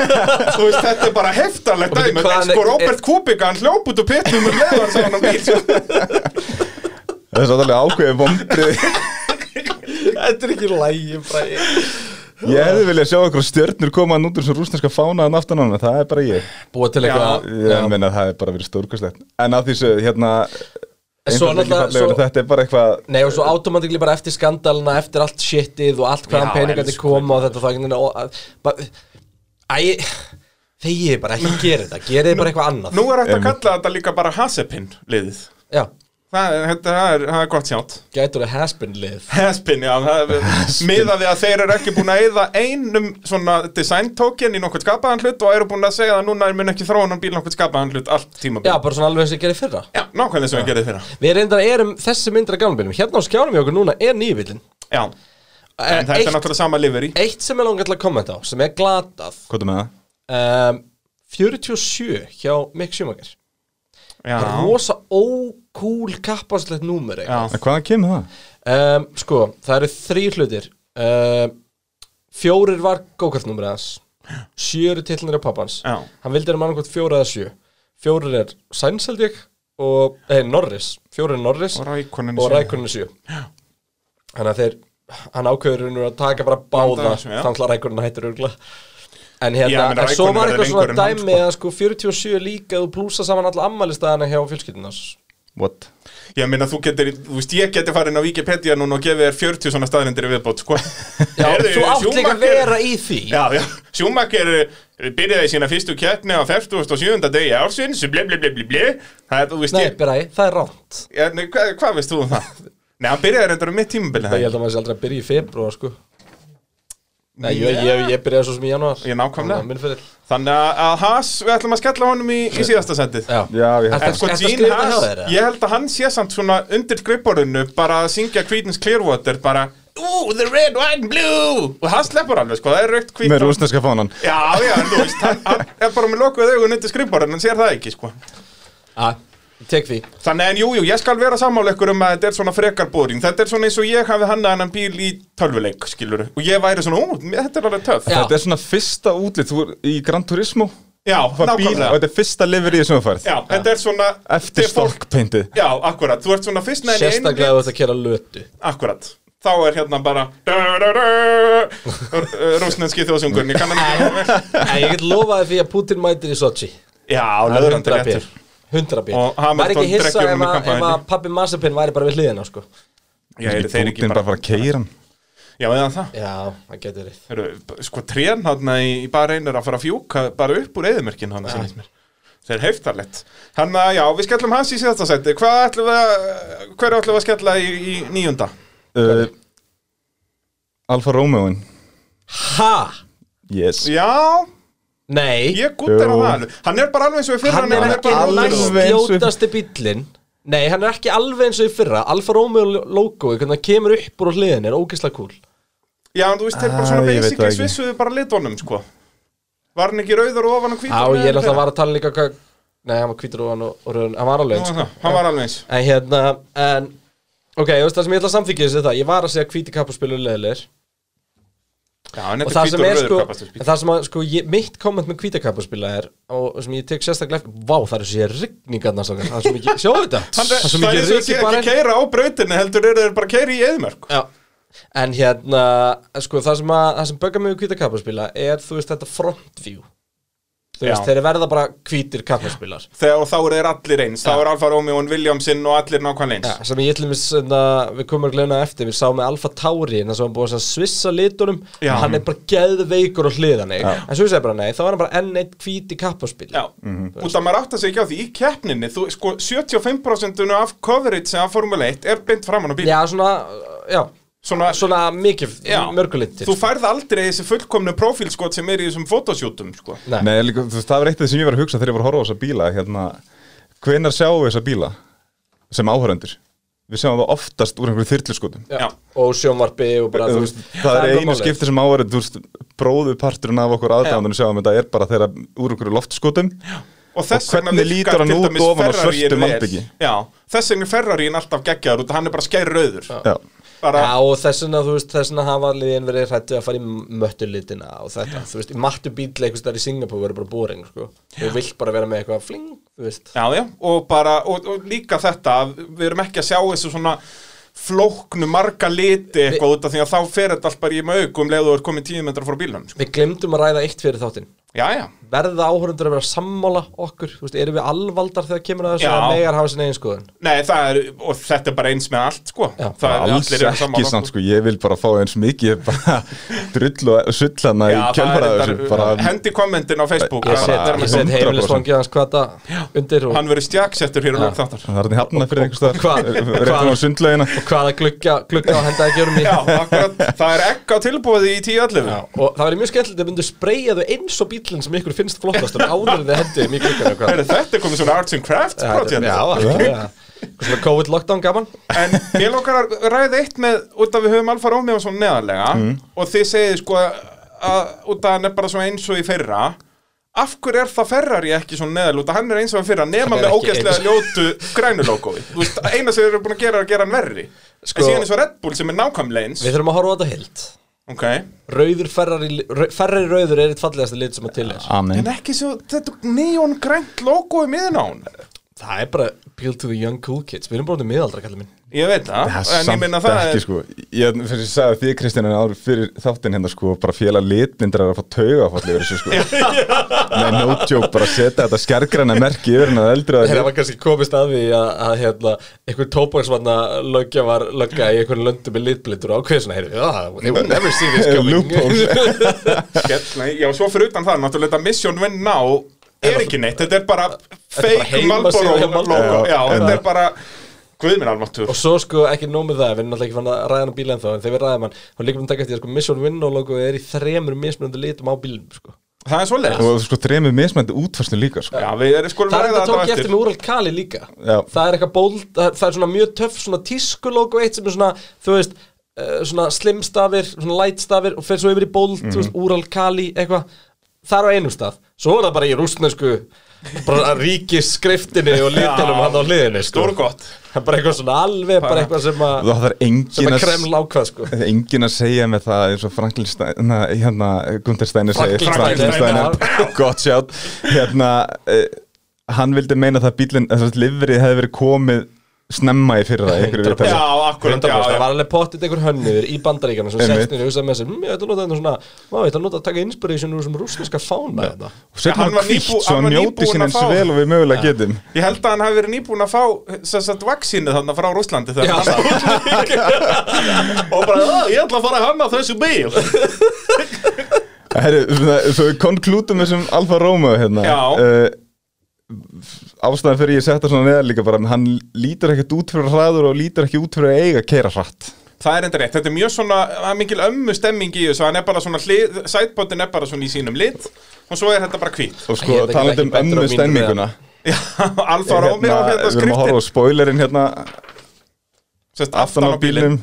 Speaker 2: Þú veist, þetta er bara heftalegt
Speaker 1: Og veitir
Speaker 2: dæmi.
Speaker 1: hvað
Speaker 2: En
Speaker 1: hann-
Speaker 2: sko,
Speaker 1: er-
Speaker 2: Robert Kubica, hann hljóp út úr um pitnum með leðan sem hann á bíl. sko.
Speaker 3: Það er svo alveg ákveðið vombrið
Speaker 1: Þetta er ekki lægi
Speaker 3: Ég hefði viljað sjá eitthvað stjörnur koma hann út úr svo rúsneska fánaðan aftan á hann Það er bara ég
Speaker 1: Búa til eitthvað
Speaker 3: Ég meina að það hefði bara verið stórkastlegt En að því sem, hérna
Speaker 1: En svo
Speaker 3: einfaldleiki
Speaker 1: náttúrulega-
Speaker 3: fallegur,
Speaker 1: svo-
Speaker 3: Þetta er bara eitthvað
Speaker 1: Nei og svo automatikli bara eftir skandalina Eftir allt shitið og allt hvaðan
Speaker 2: Já,
Speaker 1: peningandi
Speaker 2: elsku
Speaker 1: koma Og þetta og það einhvern veginn og að- bara- Æ, þegið bara ekki gera þetta Gerið bara eitthvað annað
Speaker 2: Nú er hægt að
Speaker 3: Einmitt.
Speaker 2: kalla þetta líka bara Hasepin liðið.
Speaker 1: Já,
Speaker 2: Það er, þetta, það er, það er gott sjátt.
Speaker 1: gætur það haspin lið
Speaker 2: Haspin, já, það er miðaði að þeir eru ekki búin að eyða einum svona design token í nokkuð skapaðan hlut og eru búin að segja að núna er mun ekki þróunan bíl nokkuð skapaðan hlut allt tímabil.
Speaker 1: Já, bara svona alveg eins og ég gerði fyrra
Speaker 2: já nákvæmlega sem við gerðum þeirra.
Speaker 1: Við reyndar erum þessi myndir af gamlbílum Hérna á skjánum hjá okkur núna er nývillin
Speaker 2: Já, en þetta
Speaker 1: Eh,
Speaker 2: er
Speaker 1: eitt,
Speaker 2: náttúrulega sama livery.
Speaker 1: eitt sem er langar til að kommenta á Sem er glatað
Speaker 3: Hvað er með það?
Speaker 1: um, 47 hjá Mick Schumacher
Speaker 2: Já,
Speaker 1: rosa ókúl kappaslegt númer
Speaker 2: já,
Speaker 3: En Hvaðan kemur það?
Speaker 1: um, sko, það eru þrýr hlutir um, fjórir var gókartnúmer hans sjö eru tillnir á pappans
Speaker 2: já,
Speaker 1: hann vildi hann annað hvort fjóra eða sjö fjórir er Sainz held ég og, eh, Norris, fjórir er Norris
Speaker 2: og rækonin
Speaker 1: og Rækonin er sjö þannig að þeir hann ákveður hann að taka bara báða
Speaker 2: Blanda þessu, já.
Speaker 1: þannig að Rækonin hættur örgla en
Speaker 2: Já,
Speaker 1: hérna,
Speaker 2: menn
Speaker 1: en svo
Speaker 2: Raikkonen
Speaker 1: var
Speaker 2: verður
Speaker 1: eitthvað svona
Speaker 2: lengur en hann,
Speaker 1: dæmi að sko 47 líka þú plúsa saman alla ammælistæðana hjá fjölskyldunars
Speaker 3: What?
Speaker 2: Ég meina, þú getur, þú veist, ég geti farin á Wikipedia núna og gefið þér 40 svona staðrindir í viðbót, sko.
Speaker 1: Já,
Speaker 2: Heyrðu,
Speaker 1: þú átt líka
Speaker 2: Schumacher-
Speaker 1: að vera í því
Speaker 2: Já, já, Schumacher eh, byrjaði sína fyrstu keppni á 47. degi ársins, ble, ble, ble, ble, ble. Það er, þú veist,
Speaker 1: Nei,
Speaker 2: ég,
Speaker 1: byrja, það er ránt
Speaker 2: ja, nei, hvað, hvað veist þú um það? Nei, hann byrjaði reyndar um mitt tímabili
Speaker 1: Ég
Speaker 2: það.
Speaker 1: held að maður sé aldrei að byrja í februar sko Nei, ég, ég, ég byrjaði svo sem í januar
Speaker 2: Ég nákvæmlega.
Speaker 1: Minn fyrir
Speaker 2: Þannig að- að Haas, við ætlum að skella honum í, í síðasta sendið.
Speaker 1: Já,
Speaker 3: Já, ég held
Speaker 1: Ertu-
Speaker 2: En sko,
Speaker 1: ertu að
Speaker 2: Gene
Speaker 1: skrifa hjá
Speaker 2: Haas,
Speaker 1: þér, eða?
Speaker 2: ég held að hann sé samt svona undir skripporinu bara að syngja Creedence Clearwater bara Ooh, the red, white and blue og hann sleppur alveg, sko, það er raukt hvít
Speaker 3: Með
Speaker 2: og-
Speaker 3: rúsneska fánan
Speaker 2: Já, já, en þú veist, hann, hann er bara með lokuð augun undir skripporinu, hann sér það ekki, sko
Speaker 1: Já, ég tek því
Speaker 2: Þannig en jú, jú, ég skal vera sammála ykkur um að þetta er svona frekar bóring Þetta er svona eins og ég hafi hannað annan bíl í tölvuleik, skilur Og ég væri svona, ú, þetta er alveg töff
Speaker 1: Já.
Speaker 3: Þetta er svona fyrsta útlit Þú er í Gran Turismo
Speaker 2: já
Speaker 3: Þú fær bíl Og
Speaker 2: nákvæmlega
Speaker 3: þetta er fyrsta lifur í þessum færð
Speaker 2: Já, þetta er svona
Speaker 3: Eftir
Speaker 2: þegar fólk-
Speaker 3: stokkpeintið
Speaker 2: Já, akkurat, þú ert svona fyrst neðan í einum bíl
Speaker 1: Sérstaklega ef þú ert að kera lötu
Speaker 2: Akkurat Þá er hérna bara Rúsnenski þjóðsungurinn Ég kann hann ekki nógu vel.
Speaker 1: En ég get lofaði því að Putin mætir í Sochi
Speaker 2: Já,
Speaker 1: Það er 100
Speaker 2: löðrandi réttur
Speaker 1: bíl 100 bíl
Speaker 2: Og Hamilton
Speaker 1: Væri ekki hissa
Speaker 2: drekkur honum
Speaker 1: ef
Speaker 2: í
Speaker 1: að- ef að
Speaker 2: kampavíni.
Speaker 1: pabbi Masapin væri bara við hliðina sko
Speaker 2: Já, eru þeir ekki
Speaker 3: Bútin bara að
Speaker 2: bara
Speaker 3: fara að keira hann
Speaker 2: Já, eða það
Speaker 1: Já, það getur verið
Speaker 2: Heru, Sko trén hann í bara einur að fara að fjúka bara upp úr eðumörkin hann sem mér Þeir heftarlegt Hann að, já, við skellum hans í síðasta seti Hvað ætlum við að, hverju ætlum við að skella í, í nýjunda?
Speaker 3: uh, Alfa Romeoin
Speaker 1: Ha?
Speaker 3: Yes
Speaker 2: Já,
Speaker 1: Nei
Speaker 2: ég gúttir á
Speaker 3: Jú.
Speaker 2: það alveg. Hann er bara alveg eins og í fyrra
Speaker 1: hann er
Speaker 2: nema
Speaker 1: ekki
Speaker 2: bara
Speaker 3: alveg-
Speaker 2: rólegur.
Speaker 3: alveg eins og-
Speaker 1: næstjótasti bíllinn Nei, hann er ekki alveg eins og í fyrra Alfa Romeo logoið, hvernig það kemur upp úr á hliðin er ógeðslega cool
Speaker 2: Já, en þú veist, þeir bara
Speaker 3: Æ,
Speaker 2: svona
Speaker 3: ég veit
Speaker 2: basically
Speaker 3: það ekki.
Speaker 2: svissuðu bara litunum, sko Var hann ekki rauður og ofan og hvítur
Speaker 1: Á, ég er náttúrulega
Speaker 2: var
Speaker 1: var að tala líka hvað Nei, hann var hvítur ofan og, og rauðan, hann var alveg eins,
Speaker 2: Nú,
Speaker 1: sko.
Speaker 2: það, Hann var alveg eins
Speaker 1: En hérna, en Ok, þú veist það sem ég ætla að samþykja þessu er það Ég var að segja hvíti kappaspilu leðilegir
Speaker 2: Já, en
Speaker 1: Og
Speaker 2: þetta
Speaker 1: það
Speaker 2: er
Speaker 1: sem
Speaker 2: hvítur og
Speaker 1: er
Speaker 2: rauður
Speaker 1: sko
Speaker 2: kapastur
Speaker 1: en Það sem að, sko, ég, mitt komment með hvíta kappaspila er Og sem ég tek sérstaklega eftir Vá, það eru sér rigningarna svo Það er svo mikið, sjáu þetta
Speaker 2: Það er
Speaker 1: svo mikið
Speaker 2: það er svo að
Speaker 1: ryki
Speaker 2: sé
Speaker 1: bara
Speaker 2: ekki keira á brautinu heldur eru þeir bara keira í eðmörk
Speaker 1: Já En hérna, sko, það sem, að, það sem böggar mig við hvíta kappaspila er, þú veist, þetta front view Þú
Speaker 2: Já.
Speaker 1: veist, þeir verða bara hvítir kappaspilar
Speaker 2: Þegar og þá eru þeir allir eins Þá er Alfa Romeo og Williamson og allir nákvæmlega
Speaker 1: Já, sem ég ætlum að við komum að gleyna eftir Við sáum með Alfa Tauri, en það sem var búið að svissa litunum
Speaker 2: Já.
Speaker 1: Hann er bara geðveikur og hliðan En svo ég segi bara, nei, þá er hann bara enn eitt hvíti kappaspil
Speaker 2: eins Já,
Speaker 1: Mhm.
Speaker 2: út að maður átt að segja ekki á því í keppninni þú, sko, 75% af coverage af Formule 1 er beint framan á bíl
Speaker 1: Já, svona, já,
Speaker 2: Svona,
Speaker 1: svona mikið,
Speaker 2: Já.
Speaker 1: mörgulitir
Speaker 2: þú færð aldrei þessi fullkomnu profílskot sem er í þessum fotosjútum sko.
Speaker 1: Nei,
Speaker 3: Nei, líka, þú veist, það var eitt af því sem ég var að hugsa þegar ég var að horfa á þessa bíla hérna, Hvenar sjáum við þessa bíla sem áhörendur? Við sjáum það oftast úr einhverju þyrluskotum
Speaker 1: já.
Speaker 2: Já.
Speaker 1: Og sjónvarpi og bara,
Speaker 3: Þú
Speaker 1: þú
Speaker 3: veist, Það er
Speaker 1: bara
Speaker 3: einu
Speaker 1: málið.
Speaker 3: skipti sem áhörendur Bróðu parturinn af okkur aðdæðanum sjáum þetta er bara þeirra úr einhverju loftskotum Já.
Speaker 2: og þess
Speaker 3: Og hvernig
Speaker 2: vegna
Speaker 3: lítur
Speaker 2: virkar
Speaker 3: hann
Speaker 2: til
Speaker 3: út
Speaker 2: dæmis
Speaker 3: ofan á
Speaker 2: Ferrarin
Speaker 3: svörtu
Speaker 2: vel.
Speaker 3: malbiki?
Speaker 2: já, þess vegna er Ferrarín alltaf geggjaður út hann er bara skær rauður
Speaker 3: Já.
Speaker 2: bara,
Speaker 1: Já og þess vegna, þú veist, þess vegna hafa liðin verið hrættu að fara í möttulitina og þetta, þú veist, í mattu bíl eitthvað stær í Singapur verið bara boring, sko þú vilt bara vera með eitthvað fling, þú veist
Speaker 2: já, já, og bara og, og líka þetta, að við erum ekki að sjá þessu svona flóknu marga liti eitthvað út af því að þá fer þetta allt bara í maugum leið og þú er komið tíu metra frá bílunum sko.
Speaker 1: Við glemdum að ræða eitt fyrir þáttinn
Speaker 2: já, já,
Speaker 1: Verða áhörundur að vera sammála okkur, þú veist, erum við alvaldar þegar kemur að þessu
Speaker 2: Já.
Speaker 1: að megar hafa sinni einskoðun
Speaker 2: nei það er og þetta er bara eins með allt sko
Speaker 1: Já.
Speaker 2: það er
Speaker 3: Alls
Speaker 2: allir eru
Speaker 3: ekki
Speaker 2: sammála,
Speaker 3: samt
Speaker 2: sko.
Speaker 3: sko, ég vil bara fá eins mikið bara drull og sullana í
Speaker 2: Já, það er
Speaker 3: kjölfara
Speaker 2: reyndar-
Speaker 3: þessu bara,
Speaker 2: hendi kommentin á Facebook
Speaker 1: Ég
Speaker 2: að-
Speaker 1: set,
Speaker 2: að vera
Speaker 1: ég
Speaker 2: með
Speaker 1: set
Speaker 2: dóm.
Speaker 3: 100%.
Speaker 1: heimilisfangið hans hvata undir og
Speaker 2: hann verður stjaksettur hér og lók þáttar
Speaker 3: Það er hann í hafna fyrir
Speaker 1: Hvað?
Speaker 3: einhverstaðar
Speaker 1: Hvað?
Speaker 3: Réttan á sundlaugina
Speaker 1: hvaða glugga, glugga á henda ekki um mig
Speaker 2: Já, akkurat, það er ekk á tilbúið í tíu allir
Speaker 1: og það verið mjög skemmtilegt að myndu spreyja þau eins og bílinn sem ykkur finnst flottast en áður en þið hendið um í gluggan og hvað
Speaker 2: Þetta er komið svona arts and crafts project
Speaker 1: Já, algjörlega. Eitthvað svona COVID lockdown gaman
Speaker 2: En mér lókar að ræða eitt með út af við höfum Alfa Romeo svona neðarlega
Speaker 1: Mm.
Speaker 2: og þið segið sko að út af hann er bara svona eins og í fyrra Af hverju er það Ferrari ekki svona neðal út af hann er eins og í fyrra nema
Speaker 1: Hann er
Speaker 2: með
Speaker 1: ekki
Speaker 2: ógeðslega
Speaker 1: eins.
Speaker 2: ljótu grænu logoi Þú veist, eina sem þeir eru búin að gera er að gera hann verri
Speaker 1: Sko-
Speaker 2: En síðan er svo Red Bull sem er nákvæmlega eins
Speaker 1: Við þurfum að horfa á þetta heilt
Speaker 2: Ok
Speaker 1: Rauður Ferrari, rau- Ferrari rauður er eitt fallegasta lit sem að til er
Speaker 3: Amen
Speaker 2: En ekki svo, þetta er neon grænt logoi miðan á hann
Speaker 1: Það er bara appeal to the young cool kids Við erum bara um miðaldra kallum minn
Speaker 2: Ég veit það,
Speaker 3: Já,
Speaker 2: en ég
Speaker 3: samt
Speaker 2: minna það er,
Speaker 3: ekki sko Ég fyrir að sagði því Kristján en áður fyrir þáttinn hérna sko bara félag litblindrar er að fá tauga fallið yfir þessu sko Nei, no joke, bara setja þetta skærgræna merki yfir hennar eldri að
Speaker 1: Það var kannski komist að því að, að hérna, einhver tóbaksvanna lögja var lögga í einhverjum löndum með litblindur og ákveðsuna heyrðu, ah, they would never see this coming
Speaker 3: Loophole.
Speaker 2: Hérna, já, svo fyrir utan það, náttúrulega þetta Mission Win Now er ekki neitt, þetta er bara
Speaker 1: bara
Speaker 2: fake
Speaker 1: heimasíða
Speaker 2: Malboro
Speaker 1: hjá Marlboro.
Speaker 2: logo, já,
Speaker 3: Já,
Speaker 2: þetta
Speaker 3: já.
Speaker 2: er bara Guðminn almáttur
Speaker 1: Og svo sko ekki nóg með það, við erum náttúrulega ekki fann að ræða hann á bíl ennþá En þegar við ræðum hann, þá líkum við að taka eftir að sko, Mission Winnow logo er í þremur mismunandi litum á bílum sko.
Speaker 2: Það er svoleiðis
Speaker 3: Og sko þremur mismænti útfærslu líka sko
Speaker 2: Já, við erum skulum
Speaker 1: Það er
Speaker 2: ræða
Speaker 1: þetta tók
Speaker 2: þetta
Speaker 1: ég
Speaker 2: á
Speaker 1: eftir
Speaker 2: eftir
Speaker 1: með Ural Kali líka
Speaker 3: Já.
Speaker 1: Það er eitthvað bold, það er, það er svona mjög töff svona tísku logo eitt sem er svona, þú veist uh, svona slimstafir, svona lightstafir og fer svo yfir í bold, þú veist, Ural Kali eitthvað, það er á einum stað Svo er það bara í rústnesku bara ríkis skriftinni og litunum
Speaker 2: Já.
Speaker 1: hann á liðinni sko.
Speaker 2: Stórgott
Speaker 1: Það er bara eitthvað svona alveg, bara eitthvað sem
Speaker 3: Og
Speaker 1: að
Speaker 3: það er
Speaker 1: sem
Speaker 3: engin
Speaker 1: að
Speaker 3: að
Speaker 1: kreml ákvað sko
Speaker 3: Það er enginn að segja með það eins og Franklin na, hérna, Gunther Steiner segir
Speaker 1: Franklin Steiner.
Speaker 3: Steiner, gott sjátt hérna, eh, hann vildi meina það að bílinn, þess að livrið hefði verið komið snemma í fyrra í einhverju
Speaker 1: 100%.
Speaker 3: viðtali.
Speaker 2: Já, akkurat,
Speaker 1: 100%,
Speaker 2: já,
Speaker 1: það
Speaker 2: já
Speaker 1: var alveg pottit einhver hönniður í bandaríkjana sem
Speaker 3: Einmitt.
Speaker 1: sextinir hugsaði með sér, "Mm, ég ætla að nota þetta svona má, ég ætla að nota að taka inspiration úr þessum rúsneska fána hérna." þetta
Speaker 3: og setja
Speaker 2: Hann
Speaker 3: hann
Speaker 2: var
Speaker 3: kvítt
Speaker 2: nýbú-
Speaker 3: svo
Speaker 2: hann
Speaker 3: hann
Speaker 2: var
Speaker 3: njóti
Speaker 2: nýbúinn
Speaker 3: sín
Speaker 2: að
Speaker 3: eins
Speaker 2: fá-
Speaker 3: vel og við mögulega getum
Speaker 2: Ég held að hann hafi verið nýbúin að fá sem sagt vaksinu þarna frá Rússlandi
Speaker 1: Já,
Speaker 2: þegar hann og bara, "Ah, ég ætla að fara að hanna þessu bíl
Speaker 3: Herru, svona, svo við konklútum þessum Alfa Romeo hérna
Speaker 2: Já.
Speaker 3: Eh, ástæðan fyrir ég setja svona neðar líka bara hann lítur ekkert út fyrir hraður og lítur ekki út fyrir að eiga að keira hratt
Speaker 2: Það er enda rétt, þetta er mjög svona, það er mikil ömmu stemming í þessu, hann er bara svona, hlið, sætbótin er bara svona í sínum lit og svo er þetta bara hvít.
Speaker 3: og
Speaker 1: Ég
Speaker 3: sko
Speaker 1: veit ekki
Speaker 3: talandi um
Speaker 1: betur á mínu
Speaker 3: ömmu
Speaker 1: við
Speaker 3: stemminguna
Speaker 2: Já, Alfa
Speaker 3: hérna,
Speaker 2: Romeo hérna
Speaker 3: við erum að
Speaker 2: skriftin,
Speaker 3: horfa á spoilerinn hérna
Speaker 2: sérst
Speaker 3: aftan á bílum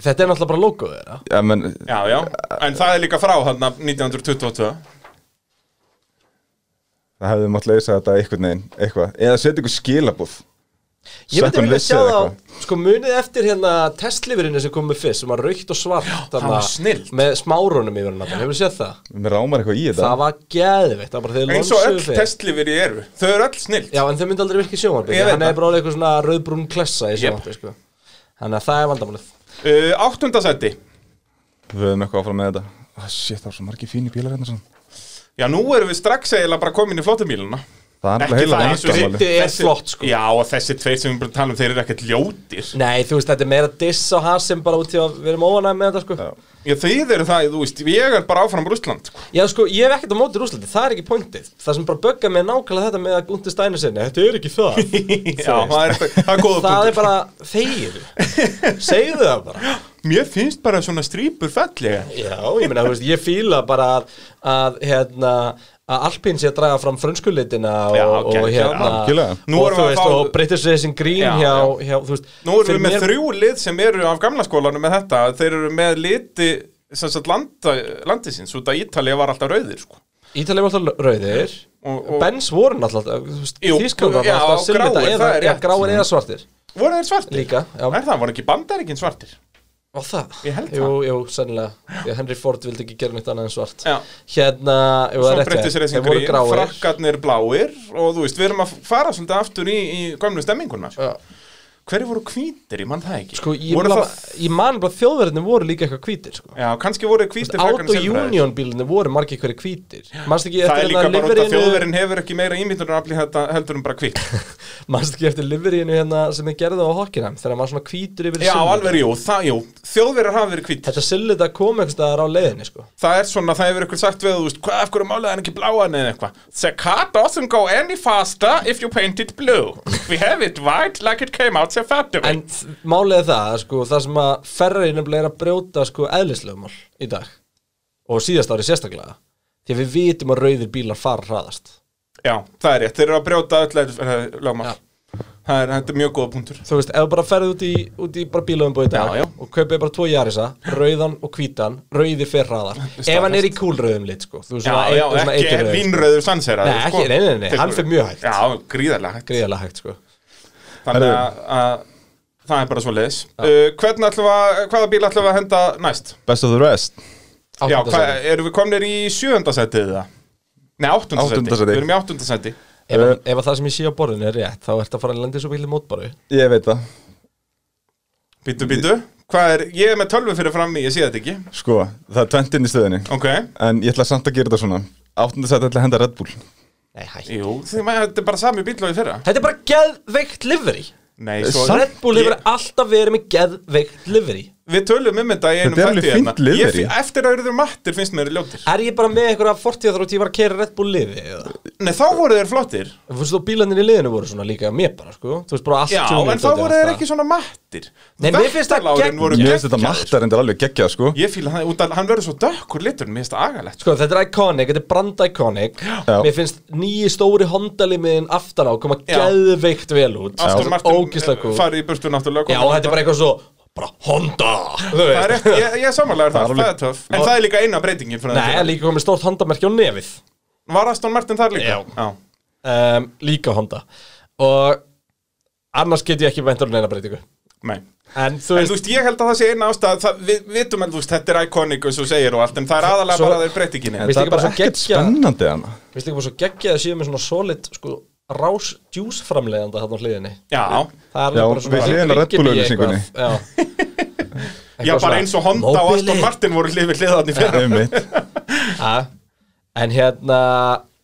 Speaker 1: Þetta er náttúrulega bara logo þeirra
Speaker 3: já, menn,
Speaker 2: Já, já, en það er líka frá hann 1922.
Speaker 3: það hefði mátt leysa þetta einhvern veginn eitthvað, eða setja ykkur skilabúð
Speaker 1: Ég myndi
Speaker 3: Second
Speaker 1: vilja
Speaker 3: list
Speaker 1: sjá
Speaker 3: eða
Speaker 1: það á,
Speaker 3: eitthvað.
Speaker 1: sko munið eftir hérna testlifurinn sem kom með fyrst sem var raukt og svart Já,
Speaker 2: var snillt.
Speaker 1: Með smárunum yfir hann Hefur séð það?
Speaker 3: mér rámar eitthvað í þetta
Speaker 1: Það var geðveikt, það var bara þegar
Speaker 2: Eins og
Speaker 1: lonsuðu
Speaker 2: öll
Speaker 1: fyrr.
Speaker 2: testlifir í eru, þau eru öll snill.
Speaker 1: Já, en þau myndi aldrei virka í sjónvarpi
Speaker 2: Ég veit
Speaker 1: Hann
Speaker 2: það.
Speaker 1: er bara alveg eitthvað svona rauðbrún klessa í
Speaker 2: Jep.
Speaker 1: sjónvarpi sko. Þannig að það er vandamálið
Speaker 2: Uh, áttundasætti,
Speaker 3: við höfum eitthvað áfram með þetta Ah, shit, það var svo margir fínir bílar hérna svona.
Speaker 2: já nú erum við strax eiginlega bara komin í flottumíluna.
Speaker 3: það er
Speaker 2: Ekki
Speaker 3: alltaf heila
Speaker 2: það,
Speaker 3: vangamáli.
Speaker 2: þessi-
Speaker 1: Þetta er flott, sko.
Speaker 2: Já, og þessi tveir sem við erum bara að tala um, þeir eru ekkert ljótir.
Speaker 1: Nei, þú veist, þetta er meira diss á has sem bara út í að við erum óanæg með þetta sko.
Speaker 3: Já.
Speaker 2: Já, þeir eru það, þú veist, ég er bara áfram Rússland, sko.
Speaker 1: Já, sko, ég hef ekkert á móti rúslandi, það er ekki pointið Það sem bara bögga mig er nákvæmlega þetta með að Gunther Steiner sinni Þetta er ekki það
Speaker 2: Já, það er, það er góða
Speaker 1: Það er bara þegir Segðu það bara
Speaker 2: Mér finnst bara svona strípur fallega
Speaker 1: Já, ég meina, þú veist, ég fíla bara að, að hérna að Alpín sé að draga fram frönskulitina og,
Speaker 2: Já,
Speaker 1: og
Speaker 2: geggjað,
Speaker 1: hérna
Speaker 3: algjörlega.
Speaker 2: Nú
Speaker 1: og,
Speaker 2: erum
Speaker 1: þú
Speaker 2: við að
Speaker 1: veist,
Speaker 2: fá-
Speaker 1: og British Racing Green
Speaker 2: Já,
Speaker 1: hjá,
Speaker 2: já.
Speaker 1: hjá, þú veist
Speaker 2: Nú erum
Speaker 1: fyrir
Speaker 2: við með
Speaker 1: mér-
Speaker 2: þrjú lið sem eru af gamla skólanum með þetta Þeir eru með liti sem sagt landa, landisins út að Ítalja var alltaf rauðir sko.
Speaker 1: Ítalið var alltaf rauðir
Speaker 2: Og- og-
Speaker 1: Benz voru náttúrulega
Speaker 2: Jú,
Speaker 1: Þískanum
Speaker 2: já,
Speaker 1: alltaf silvita
Speaker 2: gráir,
Speaker 1: eða,
Speaker 2: það er
Speaker 1: ja,
Speaker 2: rétt.
Speaker 1: gráir eða svartir
Speaker 2: Voru þeir svartir?
Speaker 1: Líka, já.
Speaker 2: Er það, voru ekki bandaríkin svartir?
Speaker 1: Var það?
Speaker 2: Ég held
Speaker 1: jú, Jú, sennilega já, Henry Ford vildi ekki gera neitt annað en svart
Speaker 2: Já.
Speaker 1: Hérna, ef það
Speaker 2: Svo
Speaker 1: er rétt hjá
Speaker 2: breytti
Speaker 1: þér,
Speaker 2: sér þessi
Speaker 1: þeir voru
Speaker 2: grín,
Speaker 1: gráir
Speaker 2: frakkarnir bláir og þú veist, við erum að fara svolítið aftur í, í gömlu stemminguna.
Speaker 1: Já.
Speaker 2: Hverju voru hvítir, ég mann það ekki.
Speaker 1: Sko, ég,
Speaker 2: voru
Speaker 1: man,
Speaker 2: það...
Speaker 1: ég man bara þjóðverðinu voru líka eitthvað hvítir sko.
Speaker 2: Já, kannski voru hvítir frekar en
Speaker 1: Auto
Speaker 2: silfraðir.
Speaker 1: Union bílinu voru margir hverju hvítir Manst ekki
Speaker 2: Það
Speaker 1: eftir
Speaker 2: er líka
Speaker 1: hérna
Speaker 2: bara út að
Speaker 1: liveryinu
Speaker 2: þjóðverðin hefur ekki meira ímyndunarafli þetta heldur um bara hvitt.
Speaker 1: Manst ekki eftir liveryinu hérna sem þið gerðu á Hockenheim Þegar maður svona hvítur yfir
Speaker 2: Já,
Speaker 1: silfur.
Speaker 2: alveg, jú, það, jú, þjóðverðir hafa verið hvítir.
Speaker 1: Þetta sillit að koma einhvers staðar á leiðinni sko.
Speaker 2: Það er svona, það hefur ykkur sagt við, þú veist, hvað, af hverju málaði hann ekki bláan eða eitthvað? The car doesn't go any faster if you paint it blue. We have it white like it came out the factory.
Speaker 1: En málið er það, sko, það sem að Ferrari nefnilega er að brjóta sko, eðlislögumál í dag og síðast ári sérstaklega því að við vitum að rauðir bílar fara hraðast
Speaker 2: Já, það er rétt, þeir eru að brjóta öll eðl- lögmál.
Speaker 1: Já.
Speaker 2: Það er, þetta er mjög góða punktur.
Speaker 1: Þú veist, ef þú bara ferði út í, út í bara bílöfumbúð í dag
Speaker 2: Já, já.
Speaker 1: og kaupið bara tvo jarisa, rauðan og hvítan rauði fer hraðar, ef hann er í kúlrauðum lit sko, þú veist,
Speaker 2: Já,
Speaker 1: svona,
Speaker 2: já,
Speaker 1: eit- svona
Speaker 2: ekki
Speaker 1: eiturrauður.
Speaker 2: vinnröður sansera. sko.
Speaker 1: Nei, ekki- nei, nei, nei, hann fer mjög hægt.
Speaker 2: Já, gríðarlega hægt.
Speaker 1: gríðarlega hægt sko
Speaker 2: Þannig að, að það er bara svo leiðis. Uh, hvernig ætlum við að, hvaða bíl ætlum við að henda næst?
Speaker 3: Best of the rest
Speaker 2: Já,
Speaker 1: Áttunda
Speaker 2: hvað,
Speaker 1: sæti.
Speaker 2: erum við komnir í sjöundasætið eða? Nei, áttundasætið.
Speaker 3: Áttunda
Speaker 2: Við
Speaker 3: sæti.
Speaker 2: erum í áttundasætið.
Speaker 1: ef, ef að það sem ég sé á borðinu er rétt þá ertu að fara að lenda í svo bíli mótbaru
Speaker 3: Ég veit það
Speaker 2: Býtu, býtu. Hvað er, ég er með tölvu fyrir fram í, ég sé þetta ekki.
Speaker 3: Sko, það er 20 inn í stöðinni
Speaker 2: Ok.
Speaker 3: En ég ætla samt að gera þetta svona Áttundasætt ætla að henda Red Bull
Speaker 1: Nei, hæ
Speaker 2: Jú, því maður, þetta er bara sami bíl og í fyrra.
Speaker 1: Þetta er bara geðveikt livery
Speaker 2: Nei,
Speaker 3: Eh,
Speaker 2: svo,
Speaker 1: Red Bull hefur
Speaker 2: Ég-
Speaker 1: alltaf verið með geðveikt livery
Speaker 2: Við tölum um þetta í einum
Speaker 3: Þetta er alveg
Speaker 2: þætti
Speaker 3: fínt
Speaker 2: hérna. Ég
Speaker 3: liður
Speaker 2: fi-
Speaker 3: í.
Speaker 2: Eftir að eruður mattir finnst mér ljótir.
Speaker 1: Er ég bara með einhverja fortíða þrótt ég var að keira Red Bull liði eða?
Speaker 2: Nei, þá voru þeir flottir.
Speaker 1: Þú veist þú, bílanir í liðinu voru svona líka mér bara, sko Þú veist bara allt
Speaker 2: Já,
Speaker 1: tjúnið
Speaker 2: en þá
Speaker 1: dótið
Speaker 2: voru
Speaker 1: allt
Speaker 2: þeir
Speaker 1: það.
Speaker 2: ekki svona mattir.
Speaker 1: Nei, mér finnst það
Speaker 2: Vettalárin
Speaker 1: gegn-
Speaker 2: voru
Speaker 3: Ég veist þetta
Speaker 2: geggjaðir.
Speaker 3: mattar en þetta er alveg geggjað sko
Speaker 2: Ég fíla það, út að hann verður svo dökkur litur Mér finnst það agalegt
Speaker 1: Sko, þetta er iconic, þetta er brand iconic Mér finnst nýji stóri hondalimiðin aftan á koma
Speaker 2: Já.
Speaker 1: geðveikt vel út
Speaker 2: Aston
Speaker 1: Ógislega
Speaker 2: Martin eh,
Speaker 1: kúl
Speaker 2: farið í burtu náttúrulega
Speaker 1: Já, og þetta er bara eitthvað svo bara Honda Þú
Speaker 2: Það
Speaker 1: veist
Speaker 2: er rétt, ég, ég samanlega
Speaker 3: Það
Speaker 2: það, það
Speaker 3: er alveg-
Speaker 2: er töff En það er líka eina breytingin frá
Speaker 1: Nei, það
Speaker 2: þessu.
Speaker 1: er líka komið stórt hondamerkja á nefið
Speaker 2: Var Aston Martin þar líka?
Speaker 1: Já. um, Líka Honda Og annars get ég ekki ventur neina breytingu
Speaker 2: Nei
Speaker 1: En þú
Speaker 2: En
Speaker 1: veist
Speaker 2: þú veist, ég held að það sé eina ástæð það, Við vitum en þú veist, þetta er iconic eins og þú segir og allt En það er aðalega
Speaker 1: Svo-
Speaker 2: bara að þeir breytingin
Speaker 1: Mér finnst
Speaker 3: Það
Speaker 1: líka bara
Speaker 3: er bara
Speaker 1: svo
Speaker 3: ekkert
Speaker 1: geggjað-
Speaker 3: spennandi hana
Speaker 1: Mér finnst ekki bara svo geggja að séu með svona solid sko, rás juice framleiðanda þarna á hliðinni
Speaker 2: Já,
Speaker 1: Það er
Speaker 3: Já,
Speaker 1: alveg bara svona
Speaker 3: við hliðina á Red Bull auglýsingunni.
Speaker 1: Já
Speaker 2: já bara eins og Honda og Aston Martin voru hlið við hliðan í fyrir
Speaker 3: Einmitt.
Speaker 1: Martin En hérna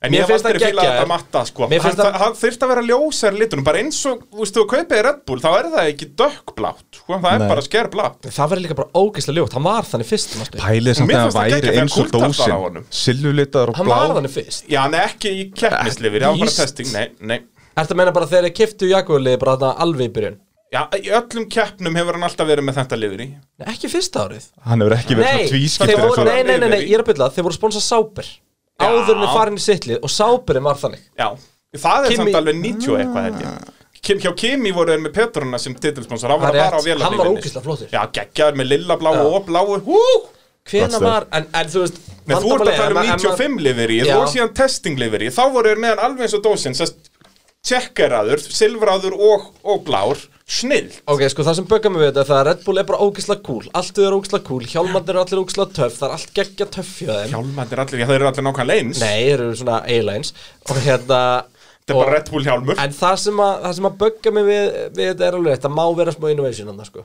Speaker 2: En
Speaker 1: mér
Speaker 2: ég hef
Speaker 1: finnst
Speaker 2: aldrei
Speaker 1: það
Speaker 2: fílað
Speaker 1: geggjað.
Speaker 2: þetta matta sko
Speaker 1: Mér
Speaker 2: Hann
Speaker 1: finnst það
Speaker 2: það þurft að vera ljósar litunum Bara eins og, þú veist, þú kaupið Red Bull Þá er það ekki dökkblátt sko. Það er
Speaker 3: Nei.
Speaker 2: bara skerblátt
Speaker 1: Það verður líka bara ógeðslega ljótt, hann var þannig fyrst manstu.
Speaker 3: Pælið samt
Speaker 2: Mér
Speaker 3: að hann
Speaker 2: fannst það geggjað
Speaker 3: væri
Speaker 2: þegar
Speaker 3: eins og
Speaker 2: kúltar var á honum.
Speaker 3: dósin Silvulitaður og
Speaker 1: Hann var
Speaker 3: blá
Speaker 1: þannig fyrst
Speaker 2: Já, nei, ekki í keppnislifir, já, bara
Speaker 1: Víst.
Speaker 2: testing, nei, nei
Speaker 1: Ertu að meina bara þegar þeir kiftu Jaguarlið bara þarna alveg í byrjun
Speaker 2: Já, í öllum keppnum hefur hann alltaf verið með þetta lifir í
Speaker 1: Nei, Ekki fyrsta árið
Speaker 3: Hann hefur ekki verið
Speaker 1: Nei,
Speaker 3: svona
Speaker 1: þeir
Speaker 3: tvískiptir
Speaker 1: voru,
Speaker 3: eins og-
Speaker 1: nei, nei, nei, nei, ég er að byrja Þeir voru sponsað Sáber Áðurinn er farin í sittlið og Sáberinn var þannig
Speaker 2: Já, það er
Speaker 1: Kimi-
Speaker 2: samt alveg 90 og eitthvað held ég Kim, Hjá Kimi voru þeir með Petrona sem titilsponsor, hann
Speaker 1: Það
Speaker 2: var
Speaker 1: er
Speaker 2: bara á
Speaker 1: rétt,
Speaker 2: vélarlífinni
Speaker 1: hann var ógeðslega flottur.
Speaker 2: Já, geggjaður með lilla bláu og bláu, hú
Speaker 1: Hvena
Speaker 3: Gott stöð.
Speaker 1: var, en, en þú veist
Speaker 2: Nei, þú ert
Speaker 1: vandamálið
Speaker 2: að
Speaker 1: er
Speaker 2: tala um
Speaker 1: ma- en ma-
Speaker 2: 95 lifir í
Speaker 1: Já.
Speaker 2: og síðan testing lifir í Þá voru þeir með hann alveg eins og dósin, sérst Tjekkeraður, silfraður og, og blár, snill
Speaker 1: Ok, sko það sem böggar mig við þetta er það að Red Bull er bara ógislega cool Allt er ógislega cool, hjálmarnir eru allir ógislega töff Það er allt geggja töff hjá þeim
Speaker 2: Hjálmandir allir, já, þeir eru allir nákvæmlega eins
Speaker 1: Nei, þeir eru svona A-lines Og hérna
Speaker 2: Þetta er bara
Speaker 1: og,
Speaker 2: Red Bull hjálmur
Speaker 1: En það sem að, það sem að böggar mig við, við þetta er alveg rétt Það má vera smá innovation annars sko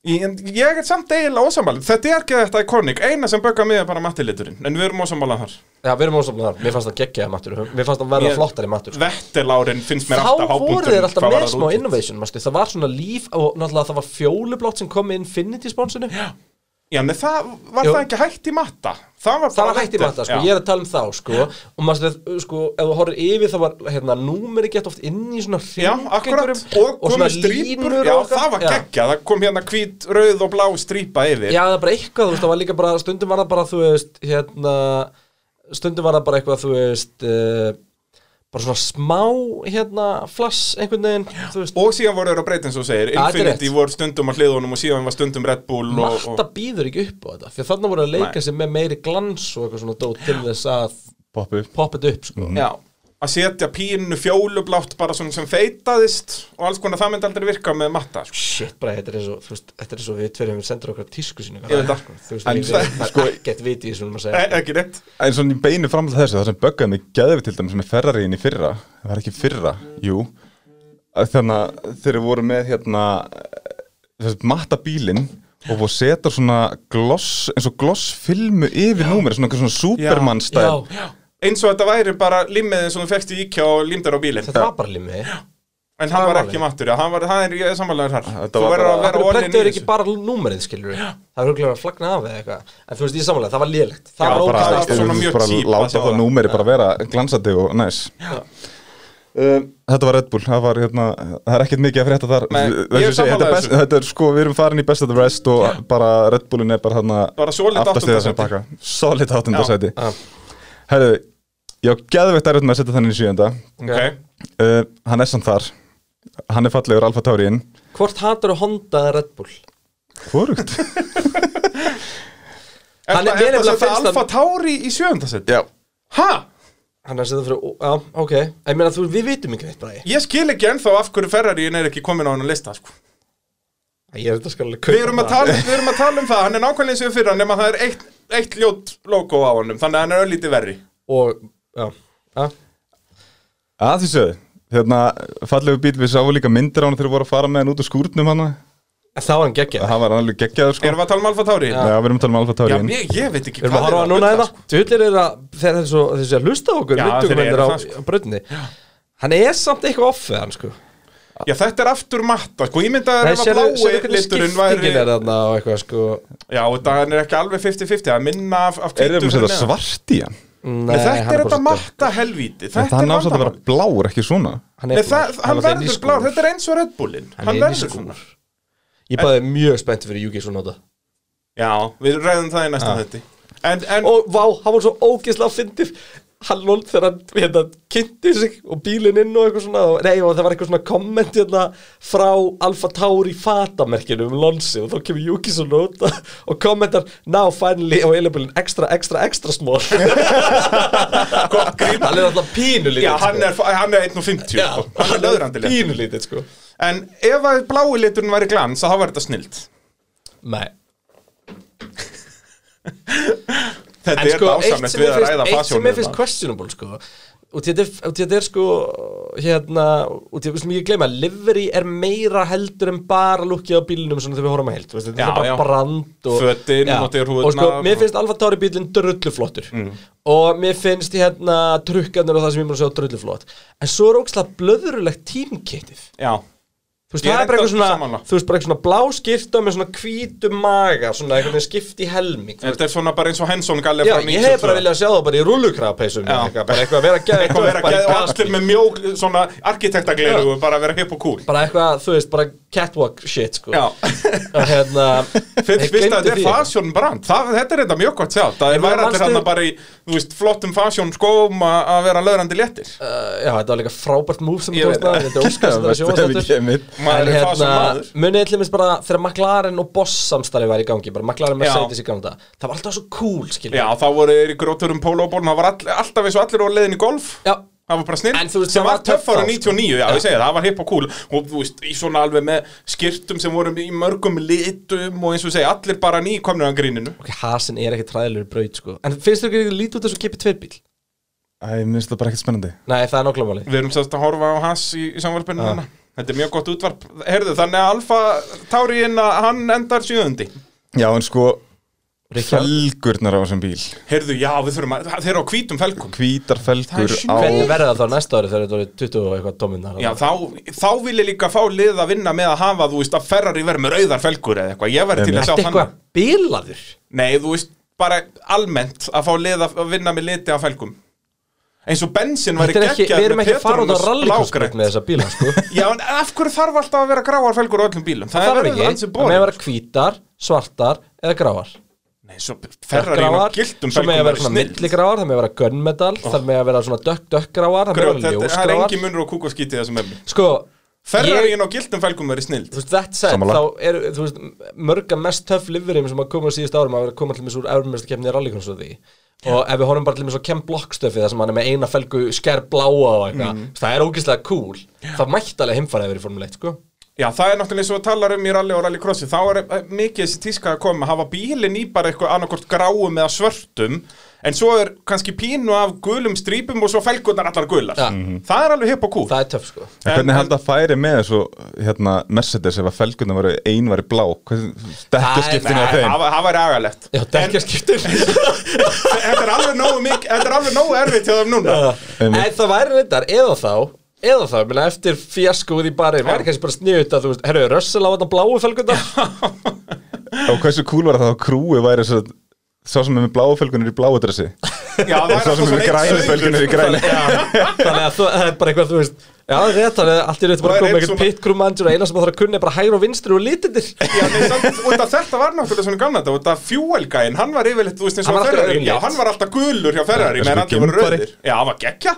Speaker 2: Ég, en ég er samt eiginlega ósammála Þetta er ekki þetta ikonik Eina sem böggar mig er bara mattiliturinn En við erum ósammála þar
Speaker 1: Já, við erum ósamlega þar, mér fannst það geggjaði mattur Mér fannst það verða
Speaker 2: Ég-
Speaker 1: flottari mattur sko.
Speaker 2: Vettelárin finnst mér
Speaker 1: Þá
Speaker 2: alltaf
Speaker 1: voru
Speaker 2: hápunkturinn
Speaker 1: þeir alltaf
Speaker 2: hvað
Speaker 1: með
Speaker 2: varðar
Speaker 1: smá
Speaker 2: útlit.
Speaker 1: innovation manstu. Það var svona líf og náttúrulega það var fjólublátt sem kom með Infinity sponsinu
Speaker 2: Já, en það var
Speaker 1: Jú.
Speaker 2: það ekki hægt í matta Það var,
Speaker 1: Það var hægt í matta, sko, ég er að tala um þá, sko Og maður veist, sko, ef þú horfir yfir þá var, hérna, númeri gett oft inn í svona hring
Speaker 2: Já, akkurat
Speaker 1: um- og,
Speaker 2: Og komið
Speaker 1: svona
Speaker 2: strípur
Speaker 1: línur
Speaker 2: Já,
Speaker 1: og
Speaker 2: það var geggja Það kom hérna hvít, rauð og blá strípa
Speaker 1: Já,
Speaker 2: yfir
Speaker 1: já, það var bara eitthvað, þú veist, það var líka bara Stundum var það bara, þú veist, hérna Stundum var það bara eitthvað, þú veist uh, Bara svona smá, hérna, flass einhvern veginn Þú veist,
Speaker 2: Og síðan voru þeir að breyta eins og þú segir
Speaker 1: þetta er
Speaker 2: Infinity
Speaker 1: rétt.
Speaker 2: voru stundum að hliðunum og síðan var stundum Red Bull og, og...
Speaker 1: Marta býður ekki upp á þetta Því að þarna voru að leika
Speaker 2: Nei.
Speaker 1: sér með meiri glans og eitthvað svona dót til þess að
Speaker 3: poppu
Speaker 1: poppa þetta upp sko.
Speaker 3: Mm.
Speaker 2: Já, að setja pínu fjólublátt bara svona sem feitaðist og alls konar það myndi aldrei virka með matta sko.
Speaker 1: shit bara, þetta er eins og, þú veist, þetta er eins og við tverjum við sendur okkar tísku sínu
Speaker 2: Ég veit það.
Speaker 1: þú veist,
Speaker 3: En
Speaker 1: við-
Speaker 3: það-
Speaker 1: það
Speaker 3: sko-
Speaker 1: er ekkert vit í þessu um að
Speaker 2: e
Speaker 1: segja
Speaker 2: ekki neitt
Speaker 3: En svona í beinu framhald af þessu, það sem böggaði mig geðið til dæmis með Ferrariin í fyrra, það var ekki fyrra, jú, að þannig að þeir voru með hérna, þessi matta bílinn og voru að setja svona gloss, eins og glossfilmu yfir númerið, svona einhver svona supermannstæl.
Speaker 1: já,
Speaker 2: eins og þetta væri bara limmiðin sem þú fekst í IKEA og limdar á bílinn
Speaker 1: þetta var bara limmi
Speaker 2: en hann
Speaker 1: það
Speaker 2: var
Speaker 1: var
Speaker 2: ekki mattur, já, hann var, það er ég er sammálaður þar
Speaker 3: Þetta
Speaker 2: þú
Speaker 3: var
Speaker 2: verður
Speaker 3: bara-
Speaker 2: að vera
Speaker 1: Akkur
Speaker 2: orðin í
Speaker 1: prentuður ekki
Speaker 2: þessu
Speaker 1: bara númerið, skilur við Það er huglega að flagna af eða eitthvað En þú veist, ég samanlega, það var lélegt Það
Speaker 2: Já,
Speaker 1: var
Speaker 3: bara,
Speaker 2: það
Speaker 1: ógæst
Speaker 2: var svona mjög cheap
Speaker 3: bara
Speaker 2: að sjá
Speaker 3: láta
Speaker 2: það.
Speaker 3: það númerið bara vera glansandi og næs. Um, þetta var Red Bull, það var hérna, það er ekkert mikið að frétta þar
Speaker 2: Nei,
Speaker 3: Þessu
Speaker 2: ég er
Speaker 3: segi, þetta,
Speaker 2: sammála
Speaker 3: er best,
Speaker 2: þessu.
Speaker 3: þetta er sko, við erum farin í best of the rest og bara Red Bullin er bara hann
Speaker 2: Bara solid áttunda sæti.
Speaker 3: solid áttundasæti
Speaker 1: Já.
Speaker 3: Herðu, ég á geðveitt erfitt með að setja þannig í sjönda
Speaker 2: okay.
Speaker 3: uh, Hann er samt þar, hann er fallegur Alfa Tauriinn
Speaker 1: Hvort hattur Honda eða Red Bull?
Speaker 3: Hvorugt?
Speaker 2: Er
Speaker 1: Hann er-
Speaker 2: það-
Speaker 1: mér
Speaker 2: er það
Speaker 1: nefnilega
Speaker 2: að setja
Speaker 1: finnst hann-
Speaker 2: Alfa Tauri í sjöndarsett?
Speaker 3: Já
Speaker 2: Ha?
Speaker 1: Hann er að setja fyrir, já, ok En ég meina, þú, við vitum ekki neitt, bræði
Speaker 2: Ég skil ekki ennþá af hverju Ferrariin er ekki komin á hann að lista sko.
Speaker 1: Ég er þetta skal alveg
Speaker 2: við, erum að tala, við erum að tala um það, hann er nákvæmlega eins og fyrir hann nema það er eitt, eitt ljót logo á honum þannig að hann er öllítið verri
Speaker 1: Og, já, já
Speaker 3: Að því sögðu, hérna, fallegu bíl við sáum líka myndir á hann þegar við vorum að fara með hann út úr skúrnum hann
Speaker 1: En Það var hann geggjað
Speaker 3: Það var alveg geggjaður sko
Speaker 2: Erum við að tala um Alfa Tauri?
Speaker 3: Já, við erum að tala um Alfa
Speaker 2: Já,
Speaker 3: Tauriinn
Speaker 2: ég, ég veit ekki
Speaker 1: Við erum að horfa
Speaker 2: er
Speaker 1: á núna hérna?
Speaker 2: bulla, sko.
Speaker 1: eða Tullir er að, þegar þessu, þessu að hlusta á okkur
Speaker 2: Já,
Speaker 1: Myndugum
Speaker 2: þeir eru
Speaker 1: hendur á,
Speaker 2: það, sko.
Speaker 1: á bröndinni Hann er samt eitthvað off við hann, sko
Speaker 2: sko. Já, þetta er aftur matta Sko, ég myndi að
Speaker 1: Nei,
Speaker 2: ef að
Speaker 1: sérðu sérðu
Speaker 2: blái
Speaker 1: hvernig
Speaker 2: liturinn
Speaker 1: skiptingin
Speaker 2: væri
Speaker 1: er þarna og eitthvað, sko
Speaker 2: Já, þetta hann er ekki alveg 50-50 Það er minna af, af
Speaker 3: Erum við
Speaker 2: hvítu fyrir
Speaker 3: að setja
Speaker 2: neðan.
Speaker 3: svart í hann?
Speaker 1: Nei,
Speaker 2: Nei, þetta
Speaker 1: hann
Speaker 2: er
Speaker 1: bara
Speaker 2: þetta
Speaker 1: svo dökkur.
Speaker 2: matta helvíti Þetta er
Speaker 3: hann ásætt að vera
Speaker 2: vandamál
Speaker 3: bláur, ekki svona
Speaker 1: Hann
Speaker 2: Nei,
Speaker 1: er
Speaker 2: það-
Speaker 1: blár.
Speaker 2: Hann
Speaker 1: var inni í
Speaker 2: verður
Speaker 1: skúr.
Speaker 2: blár, þetta er eins og Red Bullin
Speaker 1: Hann
Speaker 2: Hann
Speaker 1: er inni í
Speaker 2: verður
Speaker 1: skúr
Speaker 2: svona
Speaker 1: Ég bæði mjög spennt fyrir Yugi svo nota
Speaker 2: Já, við ræðum það í næsta þetta En, en
Speaker 1: Og vá, hann var svo ógeðslega fyndið Hann lóld þegar hann hérna, kynnti sig og bílinn inn og eitthvað svona og, Nei, og það var eitthvað svona komment hérna frá Alfa Tauri fatamerkinu um Lonsi og þá kemur Yugi svo nota og kommentar Now finally available in extra, extra, extra small
Speaker 2: gott grín
Speaker 1: Hann er alltaf pínulítið
Speaker 2: Já, hann er, hann er 1.50
Speaker 1: Já,
Speaker 2: sko. Hann er löðrandileg
Speaker 1: Pínulítið, sko
Speaker 2: En ef að blái liturinn væri glans þá var þetta snilt
Speaker 1: Nei
Speaker 2: Þetta
Speaker 1: En
Speaker 2: er
Speaker 1: sko,
Speaker 2: sko,
Speaker 1: eitt
Speaker 2: dásamlegt
Speaker 1: sem
Speaker 2: við
Speaker 1: ég
Speaker 2: að
Speaker 1: finnst,
Speaker 2: ræða hérna.
Speaker 1: eitt sem
Speaker 2: pasjónum
Speaker 1: ég finnst questionable sko og þetta er, og þetta er sko hérna, og þetta sem ég gleyma livery er meira heldur en bara lukkið á bílinum svona þegar við horfum að heilt veist, þetta
Speaker 2: Já,
Speaker 1: er bara
Speaker 2: já.
Speaker 1: brand og,
Speaker 2: Fötin,
Speaker 1: Já.
Speaker 2: notir hrúðurnar
Speaker 1: og sko,
Speaker 2: og- Mm.
Speaker 1: mér finnst Alfa Tauri bílinn drulluflottur og mér finnst hérna trukkanur og það sem ég mér að segja drulluflott en svo er ógslag blöðurulegt tímkittið
Speaker 2: Já,
Speaker 1: Þú veist,
Speaker 2: Ég
Speaker 1: það
Speaker 2: er
Speaker 1: er bara
Speaker 2: enda
Speaker 1: eitthvað svona,
Speaker 2: sammála.
Speaker 1: þú veist, bara eitthvað svona blá skipta með svona hvítum maga, svona eitthvað með skipti helming. þú
Speaker 2: þetta er svona bara eins og Henson gallið
Speaker 1: Já, ég hef bara viljað sjá það bara í rullukraðapeysum
Speaker 2: Já.
Speaker 1: eða eitthvað, bara eitthvað að vera geðið
Speaker 2: Eitthvað vera
Speaker 1: bara, í
Speaker 2: geð
Speaker 1: gasbíl.
Speaker 2: allir með mjók, svona arkitektagleru og bara vera hipp og cool
Speaker 1: bara eitthvað, þú veist, bara catwalk shit sko.
Speaker 2: Já.
Speaker 1: og hérna ég
Speaker 2: Fyrst fyrst að
Speaker 1: gleymdi
Speaker 2: þetta er
Speaker 1: því.
Speaker 2: fashion brand það, Þetta er þetta mjög gott sjá
Speaker 1: Ég
Speaker 2: Það
Speaker 1: meina,
Speaker 2: væri allir
Speaker 1: manstu-
Speaker 2: hann bara í, þú veist, flottum fashion skóm a- að vera löðrandi léttir
Speaker 1: Uh, Já, þetta var líka frábært move sem
Speaker 2: Ég
Speaker 1: þú veist
Speaker 2: veit
Speaker 1: að þetta er óskast að sjóa þetta
Speaker 2: Maður
Speaker 1: En
Speaker 2: er fashion
Speaker 1: hérna,
Speaker 2: maður.
Speaker 1: munið allir minnst bara þegar McLaren og Boss samstarfi var í gangi bara McLaren
Speaker 2: Já.
Speaker 1: Mercedes í ganga það var alltaf svo cool, skilja
Speaker 2: Já, þá voru þeir í gróturum pólóbólum Það var all, alltaf eins og allir voru leiðin í golf
Speaker 1: Já,
Speaker 2: Það var bara snill,
Speaker 1: En þú veist,
Speaker 2: sem
Speaker 1: það
Speaker 2: var
Speaker 1: var
Speaker 2: töff
Speaker 1: töff
Speaker 2: ára
Speaker 1: þá,
Speaker 2: 99, já, ég segi það, það var hipp og cool og þú veist, í svona alveg með skirtum sem voru í mörgum litum og eins og segja, allir bara nýkomnir að gríninu
Speaker 1: ok, Hasin er ekki træðilegur braut sko En finnst þér ekki lítið út þessu kipi tverbíl?
Speaker 3: Æ, mér finnst það bara ekkert spennandi
Speaker 1: Nei, það er nokkla máli
Speaker 2: Við erum sérst að horfa á hans í, í samvarpinu
Speaker 1: Ah.
Speaker 2: hérna Þetta er mjög gott útvarp Herðu, þannig að Alfa Tauriinn að hann endar sjöðundi
Speaker 3: Já, en sko,
Speaker 1: Ríkja,
Speaker 3: felgurnar á þessum bíl
Speaker 2: Herðu, já, við þurfum að, þeir eru á hvítum felgum
Speaker 3: Hvítar
Speaker 2: Það
Speaker 3: felgur
Speaker 2: er
Speaker 3: á
Speaker 1: hvernig verða það þá næsta ári þegar þetta voru 20 og eitthvað tóminnar?
Speaker 2: Já, þá, þá vil ég líka fá lið að vinna með að hafa, þú veist, að Ferrari verð með rauðar felgur eða eitthvað, ég verð til að sjá
Speaker 1: Þetta er
Speaker 2: þannig
Speaker 1: eitthvað bilaður
Speaker 2: Nei, þú veist, bara almennt að fá lið að að vinna með liti af felgum eins og bensin væri
Speaker 1: Þetta er ekki,
Speaker 2: geggjað
Speaker 1: Við erum
Speaker 2: með
Speaker 1: ekki að fara út á
Speaker 2: Petronas
Speaker 1: rallykursbreyt
Speaker 2: blágrænt.
Speaker 1: með þessa bíla sko.
Speaker 2: Já, en af hverju þarf alltaf að vera gráar felgur á öllum bílum?
Speaker 1: Það þarf ekki,
Speaker 2: ansi
Speaker 1: það með að
Speaker 2: bóð
Speaker 1: vera hvítar, svartar eða gráar
Speaker 2: Nei, svo Ferrari og gildum
Speaker 1: svo með að
Speaker 2: felgum
Speaker 1: vera svona milligráar, það með að vera gunmetal Það með að vera svona dökk dökkgráar, það með að
Speaker 2: Oh. Grjót,
Speaker 1: vera
Speaker 2: þetta- það er
Speaker 1: ljósgráar
Speaker 2: engin munur á kúk og skítið þessum efni
Speaker 1: Sko,
Speaker 2: Ferrari inn á gildum fælgum verið snild
Speaker 1: Þú veist, that said,
Speaker 3: Sammála.
Speaker 1: þá eru, þú veist, mörga mest töff liverim sem að koma á síðust árum að vera að koma til mér úr erfumestakefni í rallycross og því og ef við horfum bara til mér svo Ken Blockstöfi þar sem hann er með eina felgu skær bláa og eitthvað það er ógeðslega cool, það mætti alveg heimfæra yfir í Formule 1, sko
Speaker 2: Já, það er náttúrulega eins og við talar um í rally og rallycrossi þá er eh, mikið þessi tíska að koma að hafa bílinn í bara eitthvað annarkort gráum eða svörtum en svo er kannski pínu af gulum strípum og svo felgurnar allar gular Mhm.
Speaker 1: Ja. Mhm.
Speaker 2: Það er alveg hipp og kúl
Speaker 1: það er töff, sko
Speaker 3: En hvernig held að færi með þessu hérna, Mercedes ef að felgurnar voru ein var í blá Dekkaskiptinu á
Speaker 2: Nei,
Speaker 3: þeim
Speaker 2: það var- það væri agalegt
Speaker 1: Já, dekkjaskiptir
Speaker 2: Þetta er alveg nógu mikið, þetta er alveg nógu erfitt hjá þeim núna
Speaker 1: En það væri reyndar, eða þá eða þá, minna eftir fjaskúð í barinn væri kannski bara sniðut að þú veist, herru, Russell á þetta bláu felgundar
Speaker 3: Og hversu cool var það að krúi væri svo, sá sem er með bláu felgunar í bláu dressi
Speaker 2: Já, það
Speaker 3: Sá sem er með grænu felgunar í græni
Speaker 1: þannig að þú- það er bara eitthvað, þú veist já, rétt, þannig að allt í rétt bara
Speaker 2: Og það
Speaker 1: að koma
Speaker 2: er eins og
Speaker 1: eitthvað
Speaker 2: ma-
Speaker 1: pit crew manager og eina sem það þarf að kunna er bara hægri og vinstri og lítindir
Speaker 2: Já, nei, samt, út af þetta var náttúrulega svona gamla þetta, út af fjúelgæin, hann var yfirleitt, þú veist, eins
Speaker 1: Hann
Speaker 2: og
Speaker 1: var
Speaker 2: á
Speaker 1: alltaf
Speaker 2: Ferrari,
Speaker 1: rauðleitt.
Speaker 2: já, hann var alltaf gulur hjá Ferrari,
Speaker 3: Já,
Speaker 2: menn
Speaker 3: sko,
Speaker 2: allir voru
Speaker 3: gimbari.
Speaker 2: rauðir. Já, hann var geggja,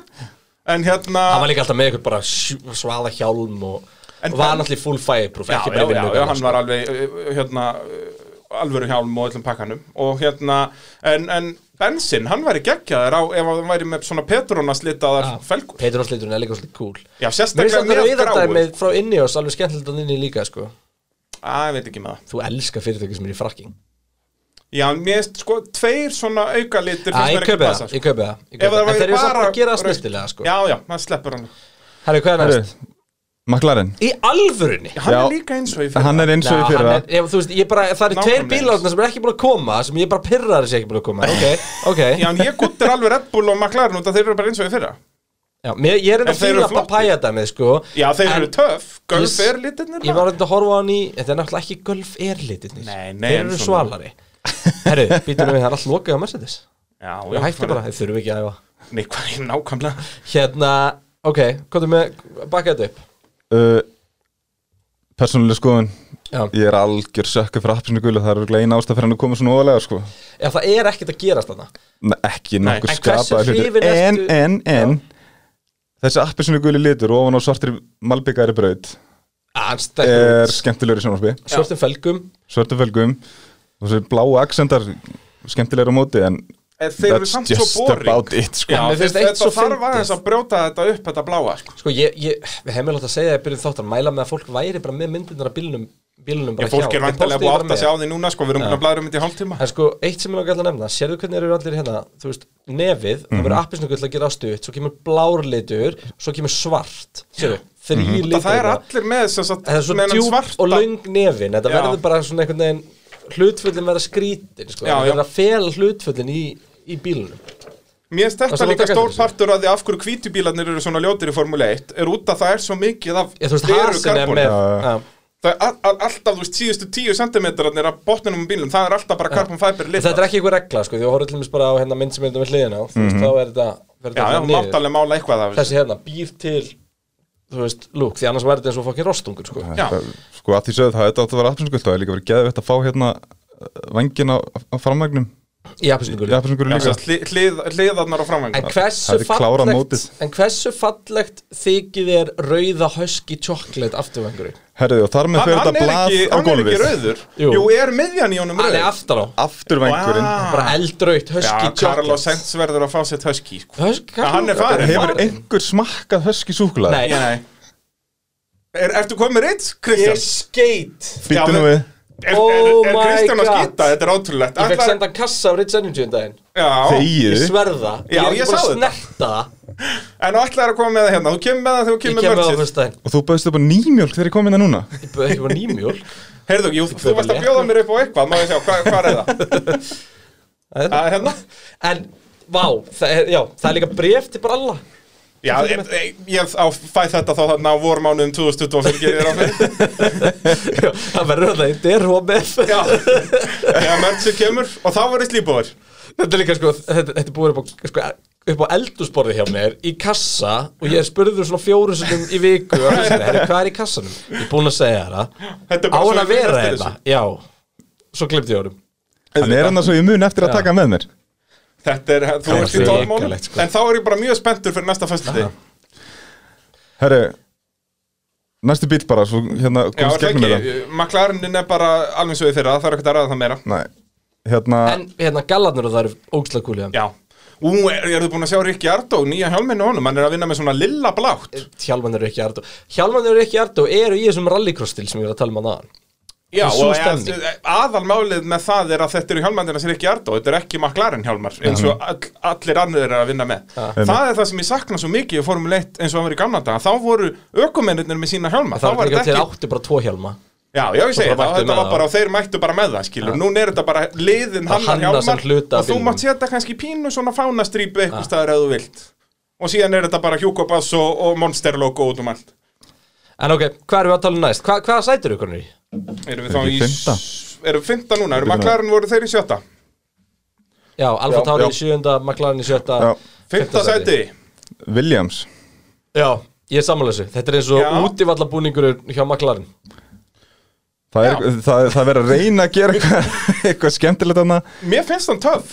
Speaker 2: en hérna,
Speaker 1: hann var líka alltaf með eitthvað bara sjú- svaða hjálm og,
Speaker 2: En
Speaker 1: og var
Speaker 2: hann-
Speaker 1: náttúrulega í full fireproof
Speaker 2: já,
Speaker 1: ekki
Speaker 2: já,
Speaker 1: bara yfir
Speaker 2: já,
Speaker 1: nöglana,
Speaker 2: já, hann
Speaker 1: sko.
Speaker 2: var alveg, uh, hérna, uh, alvöru hjálm og öllum pakkanum, og hérna, en, en Bensin, hann væri geggjaður á, ef hann væri með svona Petrona slitaðar felgur.
Speaker 1: Petur Ásleiturinn er líka svolítið cool
Speaker 2: Já,
Speaker 1: Mér finnst
Speaker 2: sérstaklega
Speaker 1: þetta
Speaker 2: með gráu.
Speaker 1: viðardæmið frá inni og alveg skemmtilegt að inni líka sko.
Speaker 2: Æ, ég veit ekki með það.
Speaker 1: Þú elskar fyrirtöki sem er í frakking
Speaker 2: Já, mér finnst, sko, tveir svona auka litir
Speaker 1: Já, ég kaupi það, ég kaupi það ég kaupi
Speaker 2: Ef
Speaker 1: það.
Speaker 2: það
Speaker 1: En
Speaker 2: væri
Speaker 1: þeir eru samt
Speaker 2: bara
Speaker 1: að gera það
Speaker 2: rautt.
Speaker 1: snirtilega sko.
Speaker 2: sko. Já, já, maður sleppur hann.
Speaker 1: Herri, hvað er
Speaker 3: Herru,
Speaker 1: næst?
Speaker 3: McLaren
Speaker 1: Í alvörunni?
Speaker 2: Hann
Speaker 3: Já.
Speaker 2: er líka eins og í fyrir.
Speaker 3: Hann er eins og
Speaker 1: Já,
Speaker 3: í fyrra
Speaker 1: hann er- ef, þú veist, ég bara, það eru tveir
Speaker 2: Nákvæmlega.
Speaker 1: bílarna sem er ekki búin að koma sem ég bara pirrar þessi ekki búin að koma ok, ok
Speaker 2: Já, en ég guttir alveg Red Bull og McLaren út að þeir eru bara eins og í fyrra
Speaker 1: Já, mér, ég er enda
Speaker 2: En þeir eru
Speaker 1: að fýla
Speaker 2: flottir.
Speaker 1: papæjadæmið sko
Speaker 2: Já, þeir
Speaker 1: en
Speaker 2: eru töff, Gulf
Speaker 1: Yes.
Speaker 2: er litirnir
Speaker 1: Ég var enda að horfa á hann í Þetta er náttúrulega ekki golf er litirnir
Speaker 2: Nei, nei,
Speaker 1: Þeir
Speaker 2: en
Speaker 1: eru
Speaker 2: svona-
Speaker 1: svalari Herru, býtum við, það er allt lokað á Mercedes
Speaker 2: Já,
Speaker 1: Við hættum bara, þeir þurfum ekki að hefa
Speaker 2: Nei, hvað er nákvæmlega
Speaker 1: Hérna, ok, hvað er með Bakka þetta upp
Speaker 3: uh, Persónuleg skoðun
Speaker 1: Já.
Speaker 3: Ég er algjör sökkur fyrir appsinu gulu Það er örugglega eina ástæð fyrir hann að koma svona óvalega sko.
Speaker 1: Ef það er ekkert að gerast þarna
Speaker 3: Nei, Ekki
Speaker 2: Nei.
Speaker 3: nokkur
Speaker 1: En hversu
Speaker 3: skapaði
Speaker 1: hrifinn
Speaker 3: hlutur En,
Speaker 1: ertu-
Speaker 3: en, en Þessi appsinu gulu litur ofan á svartir malbyggari braut er
Speaker 1: Anstækkur,
Speaker 3: skemmtilegur í sjónvarpi
Speaker 1: svörtum felgum
Speaker 3: Svörtu fölgum og þessi bláu accentar skemmtilegur á móti en
Speaker 2: En þeir eru samt svo
Speaker 3: just
Speaker 2: boring.
Speaker 3: about it sko.
Speaker 2: Já,
Speaker 1: mér finnst
Speaker 2: þetta
Speaker 1: eitt svo
Speaker 2: þarf
Speaker 1: fyndið.
Speaker 2: aðeins að brjóta þetta upp, þetta bláa sko.
Speaker 1: Sko, ég, ég, við hefum alveg að segja að ég byrjuð þáttar mæla með að fólk væri bara með myndirnar af bílunum, bílunum
Speaker 2: Já,
Speaker 1: bara
Speaker 2: fólk
Speaker 1: hjá.
Speaker 2: er
Speaker 1: Ég
Speaker 2: vantilega
Speaker 1: postaði
Speaker 2: búið
Speaker 1: bara
Speaker 2: átt að sjá
Speaker 1: með.
Speaker 2: því núna sko, við erum búin að blæðra um þetta í hálftíma
Speaker 1: En sko, eitt sem ég langar að nefna, sérðu hvernig eru allir hérna, þú veist, nefið, það
Speaker 2: Mhm.
Speaker 1: verður appisnugull að gera á stutt, svo kemur blár litur, svo kemur svart, sérðu, þrý mm litur.
Speaker 2: Mhm. Það er
Speaker 1: hérna.
Speaker 2: allir með þess að
Speaker 1: En það er svo djúb og löng nefin, þetta
Speaker 2: Já.
Speaker 1: verður bara svona einhvern veginn, hlutfullin verða skrítin, sko,
Speaker 2: Já,
Speaker 1: það
Speaker 2: já.
Speaker 1: verður að fela hlutfullin í, í bílunum.
Speaker 2: Mér finnst
Speaker 1: Það er svo
Speaker 2: þetta líka
Speaker 1: langt að
Speaker 2: stór
Speaker 1: þessu.
Speaker 2: partur að því af hverju hvítubílarnir eru svona ljótir í Formule 1 er út að það er svo mikið af
Speaker 1: Ég, þú veist,
Speaker 2: gleru
Speaker 1: hasin er
Speaker 2: karbóni.
Speaker 1: með,
Speaker 3: Já, já.
Speaker 1: já.
Speaker 2: Það er all- all- alltaf, þú veist, síðustu 10 centimetrarnir af botninum á bílum, það er alltaf bara carbon fiber
Speaker 1: En
Speaker 2: lit
Speaker 1: Þetta er ekki eitthvað regla, sko, því að horfum til dæmis bara á hérna mynd sem er þetta með hliðina, á, þú veist, þá er þetta, verður
Speaker 2: Mhm. Já,
Speaker 1: þetta
Speaker 2: já,
Speaker 1: niður.
Speaker 2: mátt alveg mála eitthvað af þessu
Speaker 1: þessi hérna býr til þú veist, lúk, því annars verður þetta eins og fokkin rostungur sko.
Speaker 2: Já.
Speaker 3: Það- sko að því sögðu það þetta átt að vera appsinu gult það er líka verið geðvett að fá hérna vengina á framvægnum
Speaker 1: í appisningur
Speaker 3: í appsinu gulu
Speaker 2: Já,
Speaker 3: líka
Speaker 2: sérst, hli- hlið- Hliðarnar á framvæng
Speaker 1: en hversu
Speaker 3: Það er klárað
Speaker 1: fallegt
Speaker 3: mótið.
Speaker 1: en hversu fallegt þykir þér rauða höski tjóklet afturvengurinn
Speaker 3: herriðu og þar með fyrir þetta blað á
Speaker 2: hann er ekki
Speaker 3: gólfið
Speaker 2: rauður
Speaker 1: Jú.
Speaker 2: Jú, er miðjan í honum Ah.
Speaker 1: hann
Speaker 2: rauð
Speaker 1: er aftan á,
Speaker 3: afturvængurinn
Speaker 2: Vá.
Speaker 1: bara eldraut
Speaker 2: Já,
Speaker 1: höski tjóklet
Speaker 2: Carlos Sainz verður að fá sér sko. töski
Speaker 1: höski,
Speaker 2: Já, hann er farinn.
Speaker 3: hefur einhver smakkað höski súkulega
Speaker 1: nei,
Speaker 2: Nei Er, ertu komið reitt,
Speaker 1: ég
Speaker 2: Kristján?
Speaker 1: skeit
Speaker 3: býttu
Speaker 2: Já,
Speaker 3: nú
Speaker 2: men-
Speaker 3: við
Speaker 2: Er, er,
Speaker 1: Oh
Speaker 2: er
Speaker 1: my
Speaker 2: Kristján að
Speaker 1: God.
Speaker 2: skýta? Þetta er ótrúlegt
Speaker 1: ég fekk
Speaker 2: Ætlar-
Speaker 1: senda kassa af Rich Energy um daginn
Speaker 2: Já,
Speaker 1: ég
Speaker 3: þegiðu
Speaker 1: sverða,
Speaker 2: Já,
Speaker 1: ég er
Speaker 2: ég
Speaker 1: ekki bara
Speaker 2: sá
Speaker 1: að
Speaker 2: þetta.
Speaker 1: snerta það.
Speaker 2: en allar er að koma með það hérna Þú kemur með það þegar þú
Speaker 1: ég
Speaker 2: kemur
Speaker 1: kem með
Speaker 2: með
Speaker 1: á
Speaker 2: mörgsið
Speaker 1: fyrstæðin
Speaker 3: og þú bauðst upp á nýmjölk þegar ég kom inn að núna
Speaker 1: ég bauð ekki bara nýmjól
Speaker 2: Heyrðu, jú, þú
Speaker 1: bauð
Speaker 2: varst
Speaker 1: bara
Speaker 2: að bjóða mér upp á eitthvað Má ég sjá, hvað, hvað er það?
Speaker 1: Það
Speaker 2: Það er hérna
Speaker 1: en, vá, það er, já, það er líka bref til bralla
Speaker 2: Já, ég, ég, ég á, fæ þetta þá þarna á vormánuðum 2025 gerir á fyrir
Speaker 1: Já, það verður það í derhómið
Speaker 2: Já, þegar mörgsið kemur og þá verður slípóður
Speaker 1: Þetta er líka sko, þetta, þetta er búið upp á, sko, upp á eldúsborði hjá mér í kassa og ég spurður svona fjóru sinum í viku og hann sagði, "Herri, hvað er í kassanum? Ég er búin að segja þér það Á
Speaker 2: Þetta er bara
Speaker 1: hann
Speaker 2: svo
Speaker 1: að vera
Speaker 2: fyrir
Speaker 1: þetta, já Svo glemdi ég honum
Speaker 3: hann er hann svo ég mun eftir að taka hann með mér
Speaker 2: Þetta er, þú
Speaker 1: Það
Speaker 2: ert í
Speaker 1: var
Speaker 2: tólmónum
Speaker 1: hrikalegt, sko.
Speaker 2: En þá er ég bara mjög spenntur fyrir næsta föstudegi
Speaker 3: herru næsti bíl bara, svo hérna
Speaker 2: Já,
Speaker 3: komst
Speaker 2: er það
Speaker 3: gegnum með það
Speaker 2: ekki, McLarenin er bara alveg svo í fyrra, það er ekkert að ræða það meira
Speaker 3: Nei, hérna
Speaker 1: En hérna gallarnir og það eru ógslag kúlið
Speaker 2: Já, ú, er, er þið búin að sjá Rikki Ardó, nýja hjálminu honum, hann er að vinna með svona lilla blátt
Speaker 1: Hjálman eru ekki Ardó Hjálman eru ekki Ardó eru í þessum rallycross stil sem ég var að tala um að aðan
Speaker 2: Já,
Speaker 1: Sú
Speaker 2: og
Speaker 1: stemning.
Speaker 2: að- aðalmálið með það er að þetta eru hjálmandina sem Rikki Ardó, þetta er ekki McLaren hjálmar eins
Speaker 1: Mhm.
Speaker 2: og all, allir annir er að vinna með Það er það sem ég sakna svo mikið í Formule 1 eins og það var í gamla daga, þá voru ökumennir með sína hjálma,
Speaker 1: Það var ekki að þeir
Speaker 2: ekki
Speaker 1: áttu bara tvo hjálma
Speaker 2: Já, já, ég segi
Speaker 1: bara
Speaker 2: það,
Speaker 1: mættu
Speaker 2: þetta
Speaker 1: með
Speaker 2: var
Speaker 1: það.
Speaker 2: bara, þeir mættu bara með það, skilur, núna er þetta bara liðin
Speaker 1: Það
Speaker 2: hannar
Speaker 1: hanna sem
Speaker 2: hjálmar
Speaker 1: hluta af
Speaker 2: og þú
Speaker 1: bílnum.
Speaker 2: mátt setja kannski pínu svona fánastrýpu eitthvað staðar eða þú vilt og síðan er þetta bara Hugo Bass og, og Monster logo út um allt
Speaker 1: En ok, hvað erum við að tala um næst? Hva, hvaða sætur ykkur niður?
Speaker 2: Erum
Speaker 3: Er
Speaker 2: við þá
Speaker 3: ekki
Speaker 2: í,
Speaker 3: fimmta?
Speaker 2: erum við fynda núna, erum
Speaker 3: Byrjum að-
Speaker 2: maklarinn voru þeir í sjötta
Speaker 1: Já, Alfa
Speaker 3: Já,
Speaker 1: Tauri
Speaker 3: já.
Speaker 1: í sjöunda, McLaren í sjötta
Speaker 3: Já.
Speaker 2: Fynda
Speaker 1: fimmta
Speaker 2: sæti,
Speaker 3: Williams
Speaker 1: Já, ég er sammála þessu Þetta er eins
Speaker 2: Já.
Speaker 1: og útivallabúningur hjá McLaren
Speaker 3: Það, er,
Speaker 2: Já.
Speaker 3: það, það verður að reyna að gera eitthvað, eitthvað skemmtilegt hann
Speaker 2: mér finnst hann töf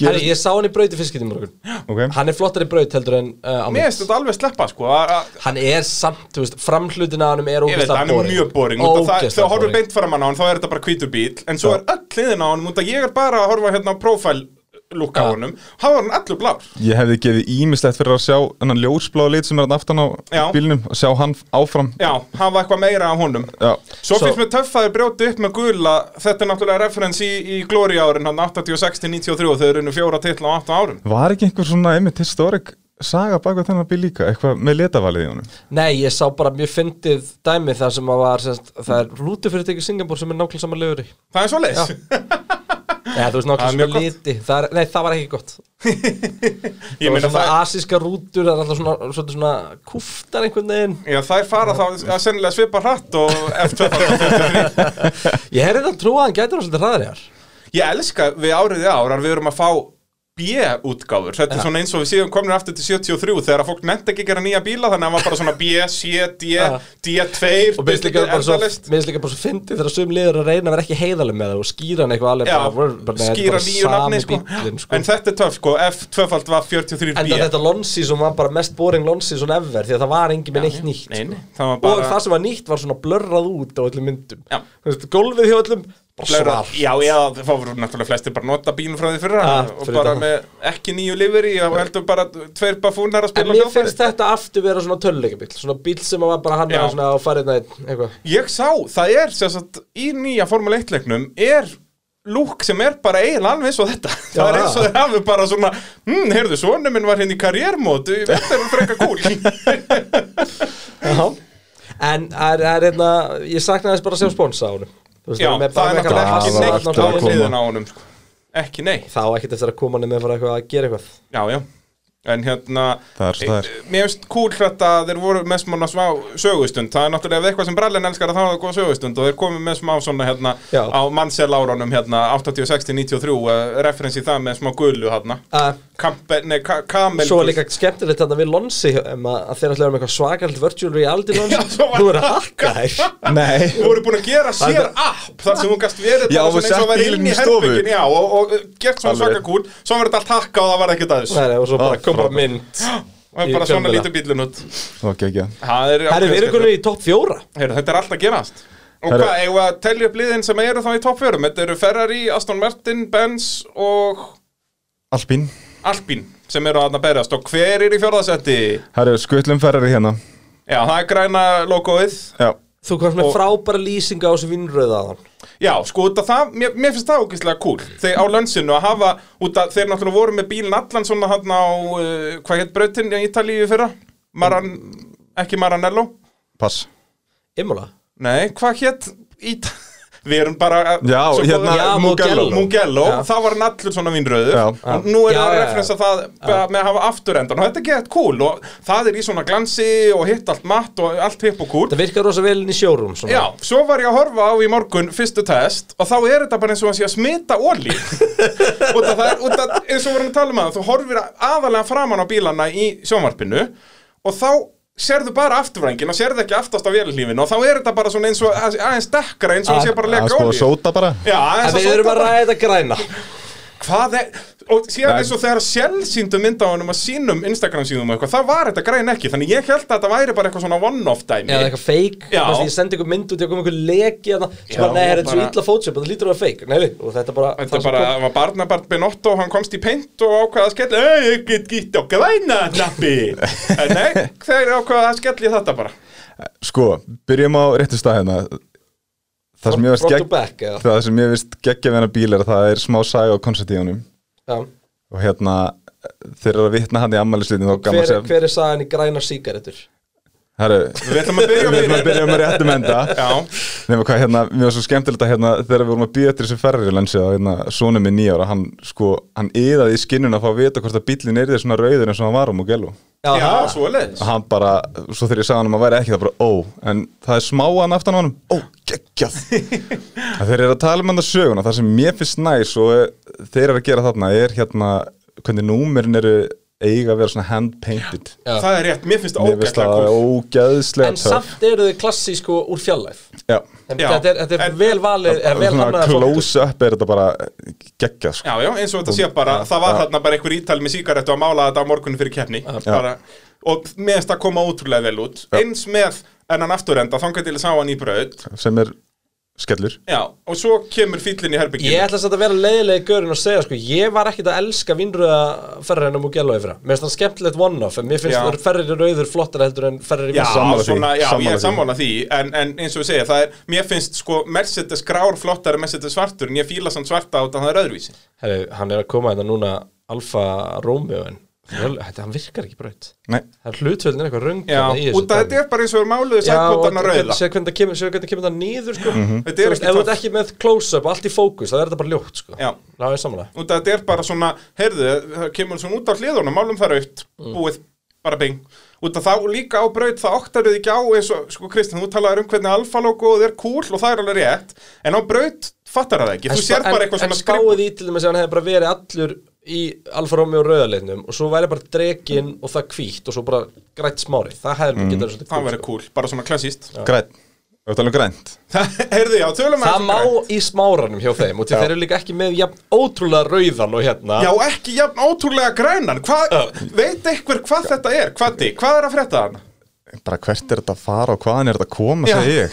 Speaker 1: Herri, ég sá hann í braut í fiskit í morgun
Speaker 3: okay.
Speaker 1: Hann er flottari braut heldur en uh, á
Speaker 2: Mér
Speaker 1: mig
Speaker 2: finnst þetta alveg sleppa, sko að- að-
Speaker 1: Hann er samt, þú veist, framhlutin að hannum er
Speaker 2: Ég veit
Speaker 1: ógeðslega
Speaker 2: að hann er
Speaker 1: boring
Speaker 2: mjög boring út af það-
Speaker 1: Ógeðslega
Speaker 2: Þegar horfum
Speaker 1: boring.
Speaker 2: beint fram hann á hann, þá er þetta bara hvítur bíl En svo er öll hliðin á hann, út að ég er bara að horfa hérna á profile look á
Speaker 1: Já.
Speaker 2: honum Há var hann allur blár
Speaker 3: Ég hefði gefið ímislegt fyrir að sjá hennan ljósblá lit sem er hann aftan á
Speaker 2: Já.
Speaker 3: bílnum að sjá hann áfram
Speaker 2: Já, hann var eitthvað meira af honum
Speaker 3: Já.
Speaker 1: Svo-
Speaker 2: Svo finnst mér töff að þeir brjóti upp með gula Þetta er náttúrulega referens í, í glóri árin hann 86 til 93 þegar þeir unnu fjóra titla á 8 árum
Speaker 3: Var ekki einhver svona einmitt historik saga baka þennan bíl líka, eitthvað með litavalið í honum
Speaker 1: Nei, ég sá bara mjög fyndið dæmi þar sem að var, semst, það er rútu fyrir tekið Singapur sem er nákvæmlega saman lögur í
Speaker 2: Það er svo leis
Speaker 1: Nei, þú veist
Speaker 2: Það er
Speaker 1: nákvæmlega
Speaker 2: mjög
Speaker 1: svona liti það er, Nei, það var ekki gott
Speaker 2: Ég
Speaker 1: Það var
Speaker 2: meina
Speaker 1: svona
Speaker 2: það
Speaker 1: asíska rútur, það er alltaf svona, svona, svona kúftar einhvern veginn
Speaker 2: Já, þær fara þá að sennilega svipa hratt og F2
Speaker 1: Ég hefði þetta trúa að hann gæti hann svolítið hraðar í ár
Speaker 2: Ég elska við árið í ár að við erum að fá B-útgáfur Þetta er svona eins og við séum komin aftur til 73 þegar að fólk nefndi ekki að gera nýja bíla þannig að hann var bara svona B, C, D,
Speaker 1: Já.
Speaker 2: D2
Speaker 1: Og minnst líka bara svo,
Speaker 2: endalaust.
Speaker 1: minnst líka bara svo fyndið þegar sum liður að reyna að vera ekki heiðaleg með það og skýra hann eitthvað alveg
Speaker 2: Já,
Speaker 1: bara, bara, bara, þetta er
Speaker 2: skýra
Speaker 1: bara
Speaker 2: nýju
Speaker 1: sami
Speaker 2: nafni sko.
Speaker 1: bíllinn, sko.
Speaker 2: En þetta er töf sko, F2 var 43B
Speaker 1: En yeah. þetta Lonsi sem var bara mest boring Lonsi svona ever því að það var engin með neitt nýtt
Speaker 2: Nei,
Speaker 1: sko.
Speaker 2: nei, það var bara
Speaker 1: Og það sem var nýtt var svona blörrað út á öllum myndum
Speaker 2: Já.
Speaker 1: Þú veist, Gólfið hjá öllum bara
Speaker 2: blöra,
Speaker 1: svart
Speaker 2: Já, já, það voru náttúrulega flestir bara að nota bílum frá því fyrra
Speaker 1: Ah,
Speaker 2: og
Speaker 1: fyrir
Speaker 2: bara
Speaker 1: það.
Speaker 2: með ekki nýju lifur í og heldur bara tveir bafúnar að
Speaker 1: En
Speaker 2: spila
Speaker 1: mér
Speaker 2: hljóðfæri.
Speaker 1: finnst þetta aftur vera svona töluleikabíl Svona bíl sem var bara hann
Speaker 2: Já.
Speaker 1: að svona á farið nætt eitthvað
Speaker 2: Ég sá, það er sem sagt í nýja Formule 1 leiknum er lúk sem er bara eiginlega alveg eins og þetta það er eins og þeir hafi bara svona hm, heyrðu, sonu minn var hérna í karriérmót þetta er frekka kúl
Speaker 1: Já En er, er hérna, ég saknaði þess bara að sjá sponsa á honum Þú veist,
Speaker 2: Já,
Speaker 1: með
Speaker 2: það
Speaker 1: bara með
Speaker 2: er
Speaker 1: eitthvað rasa,
Speaker 2: náttúrulega ekki
Speaker 3: það var
Speaker 2: neitt
Speaker 3: alltaf
Speaker 2: á
Speaker 3: að
Speaker 1: allan
Speaker 3: koma.
Speaker 2: hliðin á honum sko. ekki neitt,
Speaker 1: þá ekkert eftir að koma hann með fyrir eitthvað að gera eitthvað
Speaker 2: já, já en hérna,
Speaker 3: Það er svo það er.
Speaker 2: eh, mér finnst kúl þetta að þeir voru með smá smá sögustund það er náttúrulega ef eitthvað sem brallin elskar að það er það góð sögustund og þeir komið með smá svona hérna
Speaker 1: Já.
Speaker 2: á mannsélárunum hérna 86-93 referensi eh, það með smá gullu hérna
Speaker 1: uh,
Speaker 2: Kampe, nei, ka kamel
Speaker 1: Svo er líka skemmtilegt þarna við Lonsi um að, að þeir ætla að vera með eitthvað svakalt virtual reality
Speaker 2: Já,
Speaker 1: Lonsi
Speaker 2: svo var-
Speaker 1: Þú er að hakka þær
Speaker 3: Nei,
Speaker 2: Þú voru búin að gera sér
Speaker 1: Það-
Speaker 2: app þar sem hún gast verið
Speaker 3: Já,
Speaker 2: bara
Speaker 3: og
Speaker 2: svona eins
Speaker 3: sett
Speaker 2: og væri
Speaker 3: bílinn
Speaker 2: inn
Speaker 3: í
Speaker 2: í
Speaker 3: stofu.
Speaker 2: herbyggin Já, og, og gert svona
Speaker 3: Alveg.
Speaker 2: svaka kúl Svo verður þetta allt hakka og það var ekkert aðeins
Speaker 1: Nei, og svo bara
Speaker 3: Ah,
Speaker 1: kom bara mynd
Speaker 2: Og
Speaker 1: Í
Speaker 2: bara svona
Speaker 1: fjölmiðla.
Speaker 2: lítið bílun út
Speaker 3: ok, ekki
Speaker 2: Það er
Speaker 1: Herri, við erum
Speaker 2: ákveðið
Speaker 1: konur í topp fjóra
Speaker 2: skemmtilegt. Heyrðu, Þetta er allt að gerast Og
Speaker 3: Herru.
Speaker 2: hvað, eigum við að telja upp liðin sem eru þá í toppfjörum Þetta eru Ferrari, Aston Martin, Benz og
Speaker 3: Alpín,
Speaker 2: Alpine sem eru að berjast Og hver er í fjórðasetti?
Speaker 3: það eru skuttlumferðari hérna
Speaker 2: Já, það er græna logoið
Speaker 3: Já,
Speaker 1: Þú komst með
Speaker 2: Og-
Speaker 1: frábæra lýsinga á þessu vinnröða á hann
Speaker 2: Já, sko, út af það, mér, mér finnst það ógeðslega cool Þeir á lönsinu að hafa, út af þeir náttúrulega voru með bílinn allan svona hann á, uh, hvað hétt brautin í Ítalíu í fyrra? Maran, ekki Maranello?
Speaker 3: pass
Speaker 1: Imola
Speaker 2: Nei, hvað hétt Ít... Við erum bara... að-
Speaker 3: Já,
Speaker 2: svo
Speaker 3: hérna,
Speaker 1: Já,
Speaker 3: Mugello
Speaker 1: Mugello.
Speaker 2: Mugello,
Speaker 1: Já.
Speaker 2: það var hann allur svona vinnröður
Speaker 3: Já.
Speaker 2: og nú er
Speaker 1: Já,
Speaker 2: það að
Speaker 1: já, já.
Speaker 2: referensa það bara með að hafa afturendan og þetta er gett cool og það er í svona glansi og hitt allt matt og allt hipp og cool
Speaker 1: Það virkar rosa vel inn í sjórum svona.
Speaker 2: Já, svo var ég að horfa á í morgun fyrstu test og þá er þetta bara eins og hann sé að smita ólí út af það er, út af, eins og við vorum að tala um að þú horfir aðalega framan á bílana í sjónvarpinu og þá sérðu bara afturvængin og sérðu ekki aftast á vélhlífin og þá er þetta bara svona eins og aðeins dekkra eins og hann sé bara að
Speaker 3: Það
Speaker 2: leka
Speaker 3: sko
Speaker 2: ólí
Speaker 3: að sóta bara
Speaker 2: Já,
Speaker 1: En
Speaker 2: aðeins
Speaker 1: við erum að
Speaker 2: bara-
Speaker 1: ræða græna
Speaker 2: Hvað er, og síðan eins og þegar sjálfsýndu mynda á hennum að sínum Instagram síðum og eitthvað, það var þetta grein ekki, þannig ég held að þetta væri bara eitthvað svona one-off dæmi.
Speaker 1: eða eitthvað fake,
Speaker 2: Já.
Speaker 1: Þú veist, ég sendi ykkur mynd út, ég kom ykkur leki þarna, sem
Speaker 2: Já,
Speaker 1: bara, nei, þetta er svo
Speaker 2: bara-
Speaker 1: illa Photoshop, þetta lítur að vera fake, nei, nei, og þetta er bara
Speaker 2: Þetta
Speaker 1: það
Speaker 2: er
Speaker 1: sem
Speaker 2: bara,
Speaker 1: kom.
Speaker 2: það var barnabart Benotto, hann komst í peint og ákvaða að skella, ei, ég get gitt á græna, nappi. En nei, þeir ákvaða að skella í þetta bara.
Speaker 3: Sko, byrjum á réttu stað hérna Það sem ég veist
Speaker 1: Front
Speaker 3: gegg
Speaker 1: to back, eða?
Speaker 3: Það sem ég veist geggja við hennar bíl er að það er smá saga á koncertíunum
Speaker 1: Já.
Speaker 3: og hérna þeir eru að vitna hann í ammælislitin og gaman
Speaker 1: hver,
Speaker 3: sem
Speaker 1: hver er sagan í grænar sígarettur?
Speaker 3: Herru,
Speaker 2: Við ætlum að byrja
Speaker 3: við erum
Speaker 2: með
Speaker 3: að byrja með réttum enda
Speaker 2: Já,
Speaker 3: Nefnum hvað, hérna, mér var svo skemmtilegt að hérna, þegar við vorum að býja eftir þessu ferrilensi að hérna, sonum minn nýjára, hann sko, hann yðaði í skinnun að fá að vita hvort að bíllinn er svona rauður eins og hann var á Mugello.
Speaker 2: já,
Speaker 1: það.
Speaker 2: svo leðis.
Speaker 3: Og hann bara, svo þegar ég sagði hann að væri ekki, það bara, ó, en það er smáan aftan á hann, ó, geggjað. En þeir eru að tala um hann það söguna, það sem mér finnst næs og eh, þeir eru að gera þarna er hérna, hvernig númerin eru eiga að vera svona hand-painted.
Speaker 1: Já.
Speaker 2: Það er rétt, mér finnst
Speaker 3: Mér finnst
Speaker 2: ógætlega
Speaker 3: það
Speaker 2: kúl.
Speaker 3: ógeðslega
Speaker 1: En samt eru þau klassísku úr fjallæð
Speaker 3: Já.
Speaker 1: En
Speaker 2: Já.
Speaker 1: Þetta er, þetta er
Speaker 2: En-
Speaker 1: vel valið, er vel
Speaker 3: Svona
Speaker 1: hannaðar fókus.
Speaker 3: close-up er þetta bara geggjað, sko.
Speaker 2: Já, já, eins og þetta sé bara, það var þarna bara einhver ítal með sígarettu að mála þetta á morgunum fyrir keppni bara, og meðast að koma ótrúlega vel út eins með ennan afturenda þangar til að sá hann í braut
Speaker 3: sem er skellur
Speaker 2: já, og svo kemur fýllin í herbygginu
Speaker 1: Ég ætla samt að vera leiðilegi gaurinn og segja sko, ég var ekkit að elska um vinnröða ferrarinn á Mugello yfir það. Mér finnst það skemmtilegt one-off, en mér finnst
Speaker 2: Já.
Speaker 1: það ferrarinn rauður flottar heldur en ferrarinn
Speaker 2: Já,
Speaker 3: Sammála því,
Speaker 2: svona, já, ég
Speaker 3: sammála
Speaker 2: er
Speaker 3: því.
Speaker 2: sammála því en, en eins og ég segja, það er, mér finnst sko Mercedes grár flottari en Mercedes svartur en ég fíla samt svarta á þetta, það er öðruvísi
Speaker 1: Herri, hann er að koma þetta núna Alfa Romeo en þetta, hann virkar ekki braut.
Speaker 3: Nei,
Speaker 1: Það er hlutvöldin eitthvað röng
Speaker 2: Já, út af
Speaker 1: um.
Speaker 2: þetta er bara eins og er máluðu sækvotana rauða Mhm.
Speaker 1: Sér hvernig það kemur, sér hvernig kemur það niður sko. mm -hmm.
Speaker 2: Þetta er ekki
Speaker 1: Ef þú ert
Speaker 2: töff.
Speaker 1: ekki með close-up, allt í fókus, það er þetta bara ljótt sko.
Speaker 2: Já.
Speaker 1: Ná, ég samanlega
Speaker 2: út af þetta er bara svona, heyrðu, það kemur svona út af hliðunum, málum það raukt,
Speaker 1: Mm.
Speaker 2: búið, bara bing. Út af þá líka á braut, það óttaruð ekki á eins og, sko Kristján, þú talaður um hvernig alfa-logoð er cool og það er alveg rétt, en á braut fattar það ekki,
Speaker 1: En
Speaker 2: þú sér
Speaker 1: spa-
Speaker 2: bara eitthvað
Speaker 1: en,
Speaker 2: svona
Speaker 1: en spáið í til þess að hann hefði bara verið allur í Alfa Romeo rauðarleitnum og svo væri bara drekinn og það hvítt og svo bara grætt smári, það hefði mm. getað svolítið
Speaker 2: Mhm.
Speaker 1: kúl,
Speaker 2: það verður cool, bara svona klassíst.
Speaker 3: grænt Við talum um grænt
Speaker 2: heyrðu, já, tölum um
Speaker 1: Það má
Speaker 2: grænt.
Speaker 1: í smáranum hjá þeim og til
Speaker 3: Já.
Speaker 1: þeir eru líka ekki með jafn ótrúlega rauðan og hérna
Speaker 2: Já, ekki jafn ótrúlega grænan, hvað, veit einhver hvað þetta er, hvati, hvað er að frétta hann?
Speaker 3: Bara hvert er þetta að fara og hvaðan er þetta að koma, segi ég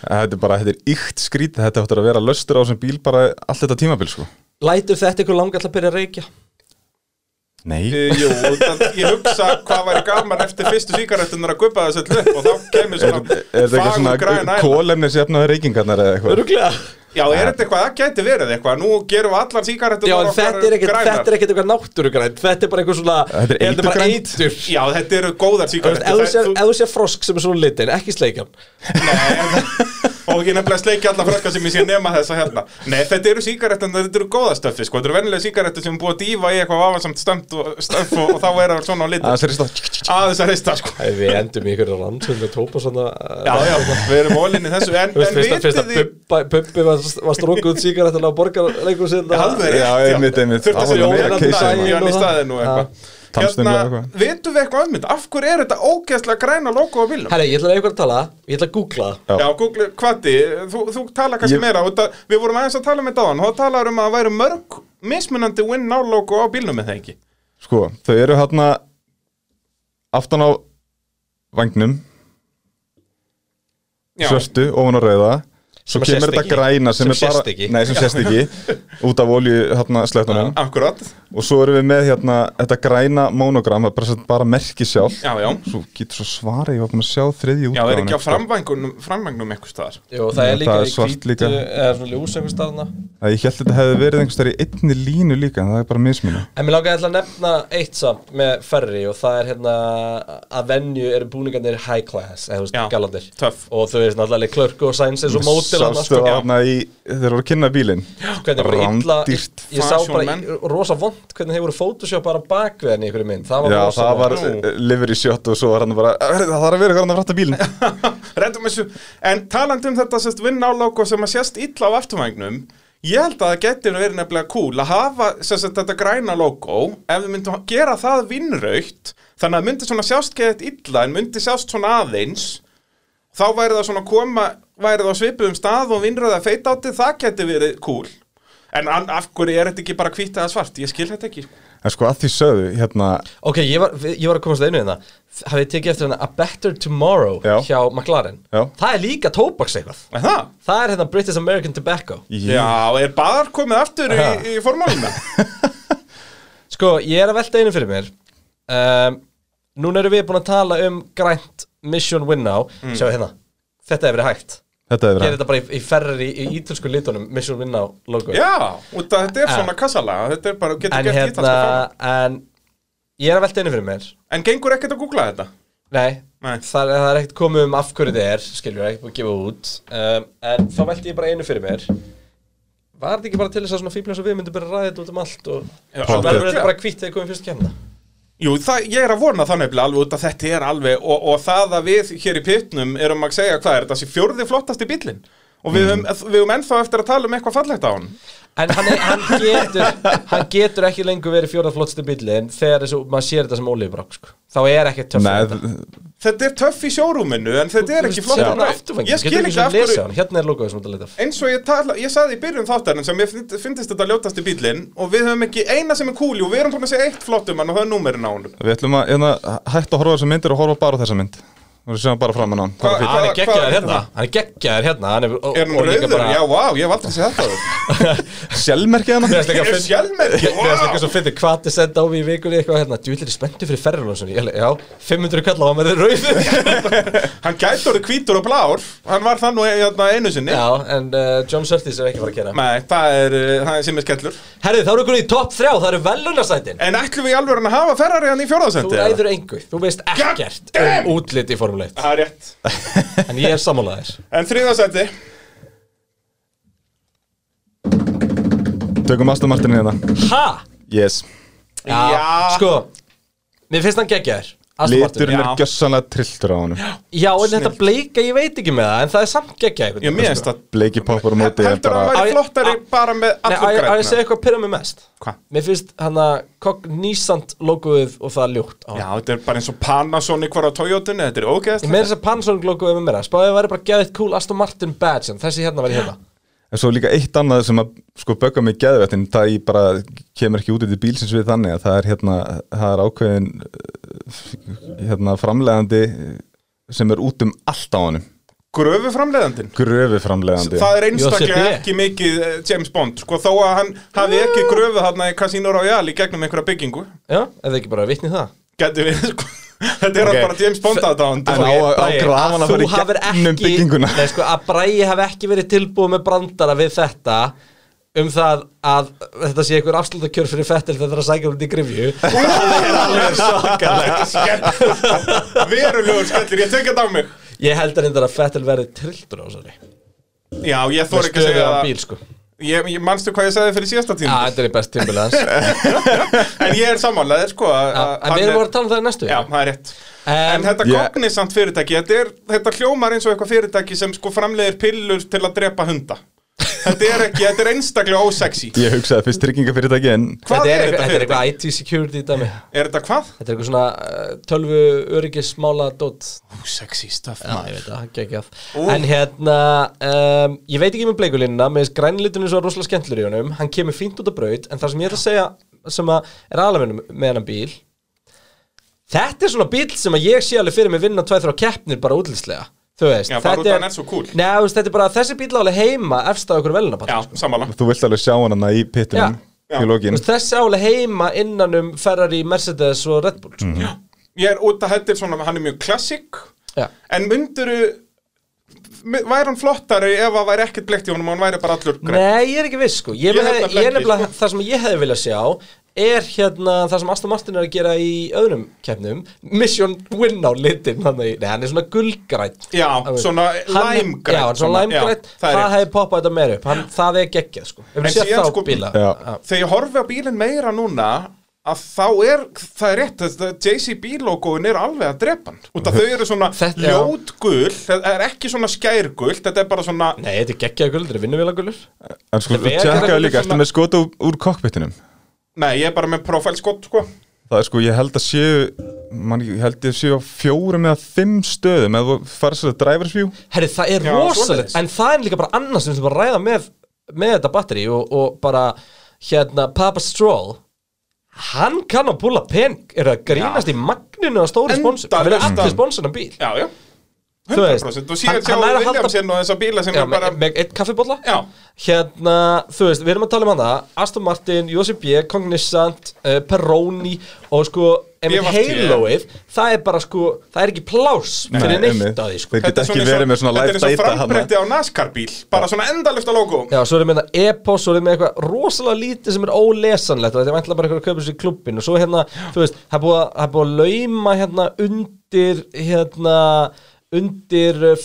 Speaker 3: Þetta er bara, þetta er ykt skrítið Þetta áttur að vera löstur á sem bíl bara allt þetta tímabil, sko
Speaker 1: Lætur þetta ykkur langa alltaf að byrja að reykja
Speaker 3: Nei,
Speaker 2: Jú, það, ég hugsa hvað væri gaman eftir fyrstu síkarettunar að guppa þessu öll upp og þá kemur
Speaker 3: er,
Speaker 2: svona
Speaker 3: er þetta eitthvað
Speaker 2: græn
Speaker 3: svona
Speaker 2: æla.
Speaker 3: kólemnis jafnaði reykingarnar eða eitthvað
Speaker 1: Öruglega
Speaker 2: Já, er þetta eitthvað, það gæti verið eitthvað Nú gerum við allar síkaretum
Speaker 1: Já, en þetta er ekkert þetta er ekkert eitthvað náttúrugrænt Þetta er bara eitthvað svona
Speaker 3: Þetta er
Speaker 1: bara
Speaker 3: eiturgrænt.
Speaker 1: eitur
Speaker 2: Já, þetta eru góðar
Speaker 1: Þú veist, Ef þú sér-
Speaker 2: síkaretum
Speaker 1: ef þú sér frosk sem er svona litin, ekki sleikan
Speaker 2: Og ég nefnilega sleiki allar frökka sem ég sé nema þessa hérna Nei, þetta eru síkaretum, þetta eru góða stöfi sko. Þetta eru vennilega síkaretum sem er búið að dýfa í eitthvað afansamt stönd og, stöf og, og þá er það svona á litin
Speaker 3: Það er þetta
Speaker 2: Aðeins að reista, sko
Speaker 1: Æ, Við endum í ykkur rannsönd og tópa svona
Speaker 2: Já, já, við erum ólinni þessu En,
Speaker 1: Þú veist,
Speaker 2: en
Speaker 1: fyrst að, fyrst
Speaker 2: vitið
Speaker 1: að
Speaker 2: þið
Speaker 1: Bubba- Bubbi var, var strókuð út síkarettuna á hérna. borgarleikur sinna
Speaker 2: Alveg
Speaker 3: Já, einmitt, einmitt.
Speaker 2: Þurft að
Speaker 3: Það var
Speaker 2: segja
Speaker 3: meira
Speaker 2: meira
Speaker 3: case
Speaker 2: daginn
Speaker 1: hérna.
Speaker 2: í staðinu og
Speaker 1: Já.
Speaker 2: eitthvað
Speaker 3: Tannstöngur og
Speaker 2: Hérna,
Speaker 3: eitthvað.
Speaker 2: vitum við eitthvað um þetta? Af hverju er þetta ógeðslega græna logo á bílum?
Speaker 1: Herri, ég ætla að eitthvað að tala, ég ætla að googla það.
Speaker 3: Já.
Speaker 2: Já, Google, hvati, þú, þú tala kannski
Speaker 3: Ég-
Speaker 2: meira út að, Við vorum aðeins að tala með dáðan og þá talaður um að það væri mörg mismunandi win now logo á bílnum með það ekki
Speaker 3: Sko, þau eru hérna aftan á vangnum
Speaker 2: Já,
Speaker 3: svörtu, ofan á rauða Svo
Speaker 1: Sem að
Speaker 3: kemur
Speaker 1: sést
Speaker 3: þetta
Speaker 1: ekki.
Speaker 3: græna sem,
Speaker 1: Sem
Speaker 3: er bara
Speaker 1: sést ekki.
Speaker 3: Nei, sem sést ekki Út af olju, hérna, slettunum
Speaker 2: akkurat
Speaker 3: Og svo erum við með hérna þetta græna monogram, það er bara, sem sagt bara merki sjálf.
Speaker 2: Já, já,
Speaker 3: Svo getur svo svarið, ég var búin að sjá þriðji
Speaker 2: já,
Speaker 3: útgáðan.
Speaker 2: það er ekki á framvængnum, framvængnum eitthvað staðar
Speaker 1: Jú, það
Speaker 3: Já,
Speaker 1: er líka
Speaker 3: það er
Speaker 1: í
Speaker 3: svart
Speaker 1: hvítu,
Speaker 3: líka.
Speaker 1: eða svona ljús einhvers staðna.
Speaker 3: Það ég held að þetta hefði verið einhvers þar í einni línu líka, en það er bara mismunum.
Speaker 1: En mér langaði alltaf að nefna eitt samt með ferri og það er hérna að venju eru búningarnir high class, eða þú veist,
Speaker 2: Já.
Speaker 1: galandir.
Speaker 2: Töff.
Speaker 1: Og þau eru svona allavega klörku og sæns eins og mótil hann,
Speaker 3: Sástu
Speaker 1: sko.
Speaker 3: það þarna í, þeir voru að kynna bílinn.
Speaker 1: Hvernig bara illa, ég,
Speaker 3: Rándýrt.
Speaker 1: ég sá bara
Speaker 2: Fashion
Speaker 1: í- rosa vond hvernig þeir voru photoshop bara bakvið henni í einhverju mynd. Það var
Speaker 3: Já,
Speaker 1: rosa
Speaker 3: það
Speaker 1: vont.
Speaker 3: var
Speaker 2: Nú.
Speaker 3: eh, liver í shot og svo var hann bara, "Herri, það þarf að vera hvernig að frætta bílinn.
Speaker 2: Rendum þessu, en talandi um þetta sérst win now logo sem að sést illa á afturvængnum Ég held að það getur verið nefnilega cool að hafa sérst þetta græna logo ef við myndum að gera það vinnraukt þannig að myndi svona sjást geðið illa en myndi sjást svona aðeins þá væri það svona koma, væri það á svipuðum stað og vinnröða feit átti, það geti verið cool En an, af hverju er þetta ekki bara hvítt eða svart? Ég skil þetta ekki
Speaker 3: En sko að því sögðu, hérna,
Speaker 1: Ok, ég var, við- ég var að komast að einu hérna Hafið þið tekið eftir hérna A Better Tomorrow
Speaker 3: Já.
Speaker 1: hjá McLaren
Speaker 3: Já.
Speaker 1: Það er líka tóbaks eitthvað
Speaker 2: Er það?
Speaker 1: Það er hérna British American Tobacco
Speaker 3: ég,
Speaker 2: Já, er baðar komið aftur í, í formálina?
Speaker 1: Sko, ég er að velta einu fyrir mér um, Núna erum við búin að tala um grænt Mission Win Now
Speaker 2: Mm.
Speaker 1: Sjá hérna, þetta hefur verið hægt
Speaker 3: þetta er
Speaker 1: Gerir
Speaker 3: verið.
Speaker 1: þetta bara í, í ferri í, í ítölsku litunum Mission Win Now logo
Speaker 2: Já, út að þetta er
Speaker 1: Ja.
Speaker 2: svona kassalaga Þetta er bara, getur
Speaker 1: Ah. En
Speaker 2: gert hérna,
Speaker 1: hérna, en ég er að velta einu fyrir mér
Speaker 2: En gengur ekkert að googla þetta?
Speaker 1: Nei,
Speaker 2: Nei.
Speaker 1: Það, það er ekkert komið um af hverju þið er, skiljum við ekki búið að gefa út um, En þá velti ég bara einu fyrir mér Var þetta ekki bara til þess að svona fíblir eins og við myndum bara ræða þetta út um allt og
Speaker 2: Já,
Speaker 1: svo verður
Speaker 2: alveg.
Speaker 1: þetta bara hvítt þegar komið fyrst kemna
Speaker 2: Jú, það, ég er að vona það nefnilega alveg út að þetta er alveg og, og það að við hér í pittnum erum að segja hvað er þetta sé fjórði flottasti bíllinn og við
Speaker 1: Mm.
Speaker 2: höfum við höfum ennþá eftir að tala um eitthvað fallegt á hann
Speaker 1: En hann, er, hann, getur, hann getur ekki lengur verið fjóra flottstu bíli en þegar þessu, maður sér þetta sem olíubrák sko. þá er ekki töff
Speaker 3: Nei,
Speaker 1: þetta.
Speaker 3: þ-
Speaker 2: Þetta er töff í sjórúminu en þetta er ekki flott
Speaker 1: Sérðu hann
Speaker 2: bræð.
Speaker 1: afturvænginn?
Speaker 2: Ég skil
Speaker 1: Getur
Speaker 2: ekki
Speaker 1: svona
Speaker 2: af hverju-
Speaker 1: lesið hann? Hérna er logoðið sem þetta leita af.
Speaker 2: eins og ég, tala, ég saði í byrjun þáttarinn sem ég fynd- fyndist þetta ljótasti bílinn og við höfum ekki eina sem er kúli og við erum búin að segja eitt flott um hann og það er númerin á hann
Speaker 3: við ætlum að, hérna, hættu að horfa á þessar myndir og horfa bara á þessa mynd. Og við sjáum bara fram að ná.
Speaker 2: Hvað-
Speaker 3: Hvað er fínt?
Speaker 1: Hann er
Speaker 2: hvað-
Speaker 1: geggjaður
Speaker 2: hvað-
Speaker 1: hérna Hann er geggjaður hérna Hann er, og,
Speaker 2: Er hann
Speaker 1: og líka
Speaker 2: rauður?
Speaker 1: bara-
Speaker 2: Já, vá, ég hef aldrei séð þetta áður.
Speaker 3: Sjálfmerkið hérna.
Speaker 1: Mér
Speaker 3: hana?
Speaker 1: finnst líka
Speaker 2: Ég er
Speaker 1: fyndið-
Speaker 2: sjálfmerki,
Speaker 1: Mér finnst líka
Speaker 2: vá
Speaker 1: svo fyrir hvað þið senda á mig í vikunni eitthvað hérna, djúlir er spenntu fyrir ferralónsunni Já, 500 kall á hann með þeir rauð
Speaker 2: Hann gæti orðið hvítur og blár Hann var það nú hérna, einu sinni
Speaker 1: Já, en uh, John Surtees er ekki fara að gera
Speaker 2: Nei, það er, uh, það er sem er skellur
Speaker 1: Herði, þá eru ykkur í topp 3, það eru velunarsætin
Speaker 2: En ætlum við í alveg að hafa Ferrari hann í
Speaker 1: Þú
Speaker 2: fjórðasendi?
Speaker 1: ræður engu, þú veist ekkert
Speaker 2: damn!
Speaker 1: um útlit í Formule 1
Speaker 2: Það er rétt
Speaker 1: En ég er sammálaðir
Speaker 2: En þriðasendi
Speaker 3: Tökum Aston Martin hérna.
Speaker 1: Ha?
Speaker 3: Yes.
Speaker 2: Já.
Speaker 1: Sko, mér finnst hann geggjaður Aston Martin.
Speaker 3: Liturinn er
Speaker 2: Já.
Speaker 3: gjössanlega trilltur á honum.
Speaker 1: Já, en þetta bleika, ég veit ekki með það En það er samt geggjað einhvern
Speaker 2: Ég
Speaker 1: veginn,
Speaker 2: minnst
Speaker 1: sko.
Speaker 2: að
Speaker 3: Bleiki poppar á móti er
Speaker 2: Heldur að hann
Speaker 3: bara...
Speaker 1: Á
Speaker 2: væri
Speaker 1: ég-
Speaker 2: flottari
Speaker 1: á-
Speaker 2: bara
Speaker 1: Nei,
Speaker 2: með allur
Speaker 1: að ég- að ég segja
Speaker 2: græna
Speaker 1: eitthvað pyrra mig mest
Speaker 2: Hvað?
Speaker 1: Mér finnst hann að Cognizant logoðið og það ljótt á
Speaker 2: Já, þetta er bara eins og Panasonic var á Toyotinu Þetta er ógeðast
Speaker 1: Ég meira þess að Panasonic logoið með meira Spáðið væri bara geðið cool Aston Martin badge en þessi hérna væri hérna
Speaker 3: En svo líka eitt annað sem að sko bögga mig geðvettin, það ég bara kemur ekki út í bílsins við þannig að það er hérna, það er ákveðin eh, hérna framlegandi sem er út um allt á honum
Speaker 2: Gröfu framleiðandinn
Speaker 3: gröfi framlegandi
Speaker 2: Það er
Speaker 1: Joseph
Speaker 2: einstaklega
Speaker 1: B.
Speaker 2: ekki mikið eh, James Bond Sko þó að hann hafi ekki gröfu þarna í Casino Royale í gegnum einhverja byggingu
Speaker 1: Já, eða ekki bara vitni í það
Speaker 2: Gæti við, sko Þetta er
Speaker 3: Ok.
Speaker 2: bara James Bond sko. aðdáðandi
Speaker 3: En á að- á
Speaker 1: Bragi,
Speaker 3: grafan að
Speaker 1: þú
Speaker 3: fara í
Speaker 1: hafir
Speaker 3: gegnum
Speaker 1: ekki-
Speaker 3: bygginguna
Speaker 1: Nei, sko, að Bræi hafi ekki verið tilbúið með brandara við þetta um það að þetta sé einhver afslutakjör fyrir Fettil þegar það er að sækja um þetta í grifju Það er alveg sjokkar
Speaker 2: sko. Verulegur skellir, ég tek þetta á mig
Speaker 1: Ég held að reyndar að Fettil verði trilltur á þessari
Speaker 2: Já, ég
Speaker 1: Með
Speaker 2: þor ekki að segja
Speaker 1: stöðuðan
Speaker 2: það
Speaker 1: bíl sko
Speaker 2: Ég, ég manstu hvað ég sagði fyrir síðasta
Speaker 1: Já,
Speaker 2: tíma
Speaker 1: þetta er í best tímbil hans Já,
Speaker 2: En ég er sammálaðið sko að- að
Speaker 1: En
Speaker 2: hann
Speaker 1: við
Speaker 2: er-
Speaker 1: erum bara að tala um það í næstu
Speaker 2: Já, það er rétt En
Speaker 1: En
Speaker 2: þetta
Speaker 3: ég-
Speaker 2: Cognizant fyrirtæki, þetta, er, þetta hljómar eins og eitthvað fyrirtæki sem sko framleiðir pillur til að drepa hunda Þetta er ekki, þetta er einstaklega ósexy
Speaker 3: Ég hugsaði fyrst tryggingafyrirtæki en
Speaker 1: þetta
Speaker 2: Hvað er
Speaker 1: er eitthvað-
Speaker 2: þetta
Speaker 1: þetta er eitthvað
Speaker 2: fyrirtæki?
Speaker 1: IT security dæmi
Speaker 2: Er þetta hvað?
Speaker 1: Þetta er eitthvað svona eh, uh, tölvu öryggismála dót
Speaker 2: Ósexy stuff
Speaker 1: Já, ég veit það, ekki ekki að
Speaker 2: Ú.
Speaker 1: En hérna, um, ég veit ekki með bleikulínuna með grænlitinu svo rosalega skemmtlur í honum hann kemur fínt út af braut, en það sem ég ætla að segja sem að er alveg með hennan bíl Þetta er svona bíl sem að ég sé alveg fyrir mig vinna tveið þrjá keppnir bara útlýslega Þú veist,
Speaker 2: Já, bara út af hann er svo cool.
Speaker 1: Nei, þú veist, þetta er bara, þessi bíl er alveg heima efst á ykkur
Speaker 2: Já,
Speaker 1: velunapall
Speaker 2: samanlega
Speaker 3: þú vilt alveg sjá hana í pittinum
Speaker 2: Já.
Speaker 3: í lokin
Speaker 1: Þessi er alveg heima innan um Ferrari, Mercedes og Red Bull mm -hmm.
Speaker 2: Ég er út að þetta er svona, hann er mjög klassik
Speaker 1: Já,
Speaker 2: En mynduru Væri hann flottari ef að væri ekkert blekt í honum og hann væri bara allur greið
Speaker 1: Nei, ég er ekki viss sko Ég, ég,
Speaker 2: Ég nefnilega
Speaker 1: ég
Speaker 2: ekki,
Speaker 1: nefnilega,
Speaker 2: sko.
Speaker 1: það sem ég hefði viljað sjá er hérna það sem Aston Martin er að gera í öðrum keppnum Mission Win á litin hann, nei, hann er svona gulgrætt
Speaker 2: Já, svona læmgrænn,
Speaker 1: Já, hann er svona
Speaker 2: svona-
Speaker 1: læmgrætt
Speaker 2: já,
Speaker 1: Það,
Speaker 2: það er rétt.
Speaker 1: hefði poppað þetta meir upp hann, Það er geggjað sko Ef
Speaker 2: En
Speaker 1: við séð
Speaker 2: síðan,
Speaker 1: þá
Speaker 2: sko-
Speaker 1: bíla
Speaker 3: Já.
Speaker 2: Þegar ég horfi á bílinn meira núna að þá er, það er rétt þetta JCB logoin er alveg að drepa hann út að þau eru svona
Speaker 1: Þetta- já.
Speaker 2: ljótgul það er ekki svona skærgul þetta er bara svona,
Speaker 1: Nei, þetta er geggjað gulur, þetta er vinnuvélagulur
Speaker 3: En sko,
Speaker 1: Þetta er
Speaker 3: tjekkaðu
Speaker 1: vegagerðin
Speaker 3: líka,
Speaker 1: svona-
Speaker 3: ertu með skota úr- úr kokpitinum
Speaker 2: nei ég er bara með profilskott sko,
Speaker 3: Það er sko, ég held að séu man, ég held ég séu á fjórum eða fimm stöðum eða þú farið sér að driversview
Speaker 1: Herri, það er
Speaker 2: Já,
Speaker 1: rosalegt
Speaker 2: svoleiðis.
Speaker 1: En það er líka bara annars sem við bara að ræða með með þetta batteri og, og bara hérna Papa Stroll hann kann að púla pening er það grínast í magninu að stóri sponsor það verður
Speaker 2: Endalaust.
Speaker 1: allir sponsorna bíl
Speaker 2: Já, já
Speaker 1: Þú veist,
Speaker 2: 100% og
Speaker 1: hann-
Speaker 2: síðan sjá
Speaker 1: hann er að halda-
Speaker 2: Williamsinn og þessa bíla sem
Speaker 1: Já,
Speaker 2: er
Speaker 1: með,
Speaker 2: bara
Speaker 1: með eitt kaffibólla
Speaker 2: Já.
Speaker 1: Hérna, þú veist, við erum að tala um hann það Aston Martin, Josip B, Cognizant uh, Peroni og sko einmitt
Speaker 2: BFT.
Speaker 1: Haloið það er bara sko, það er ekki pláss fyrir
Speaker 3: einmitt.
Speaker 1: neitt að því sko
Speaker 3: Þeir geta
Speaker 2: er
Speaker 3: ekki
Speaker 2: eins og-
Speaker 3: verið með svona
Speaker 2: þetta er
Speaker 3: live
Speaker 2: eins og
Speaker 3: data hana.
Speaker 2: frambreytti á NASCAR bíl Bara svona endalust á logo
Speaker 1: Já, svo erum við með þetta e-post, svo erum við með eitthvað rosalega lítið sem er ólesanlegt og þetta er vantlega bara eitthvað að kaupa sér í klubbin og svo hérna, þú veist, það er búið að, það er búið að lauma hérna undir hérna undir uh,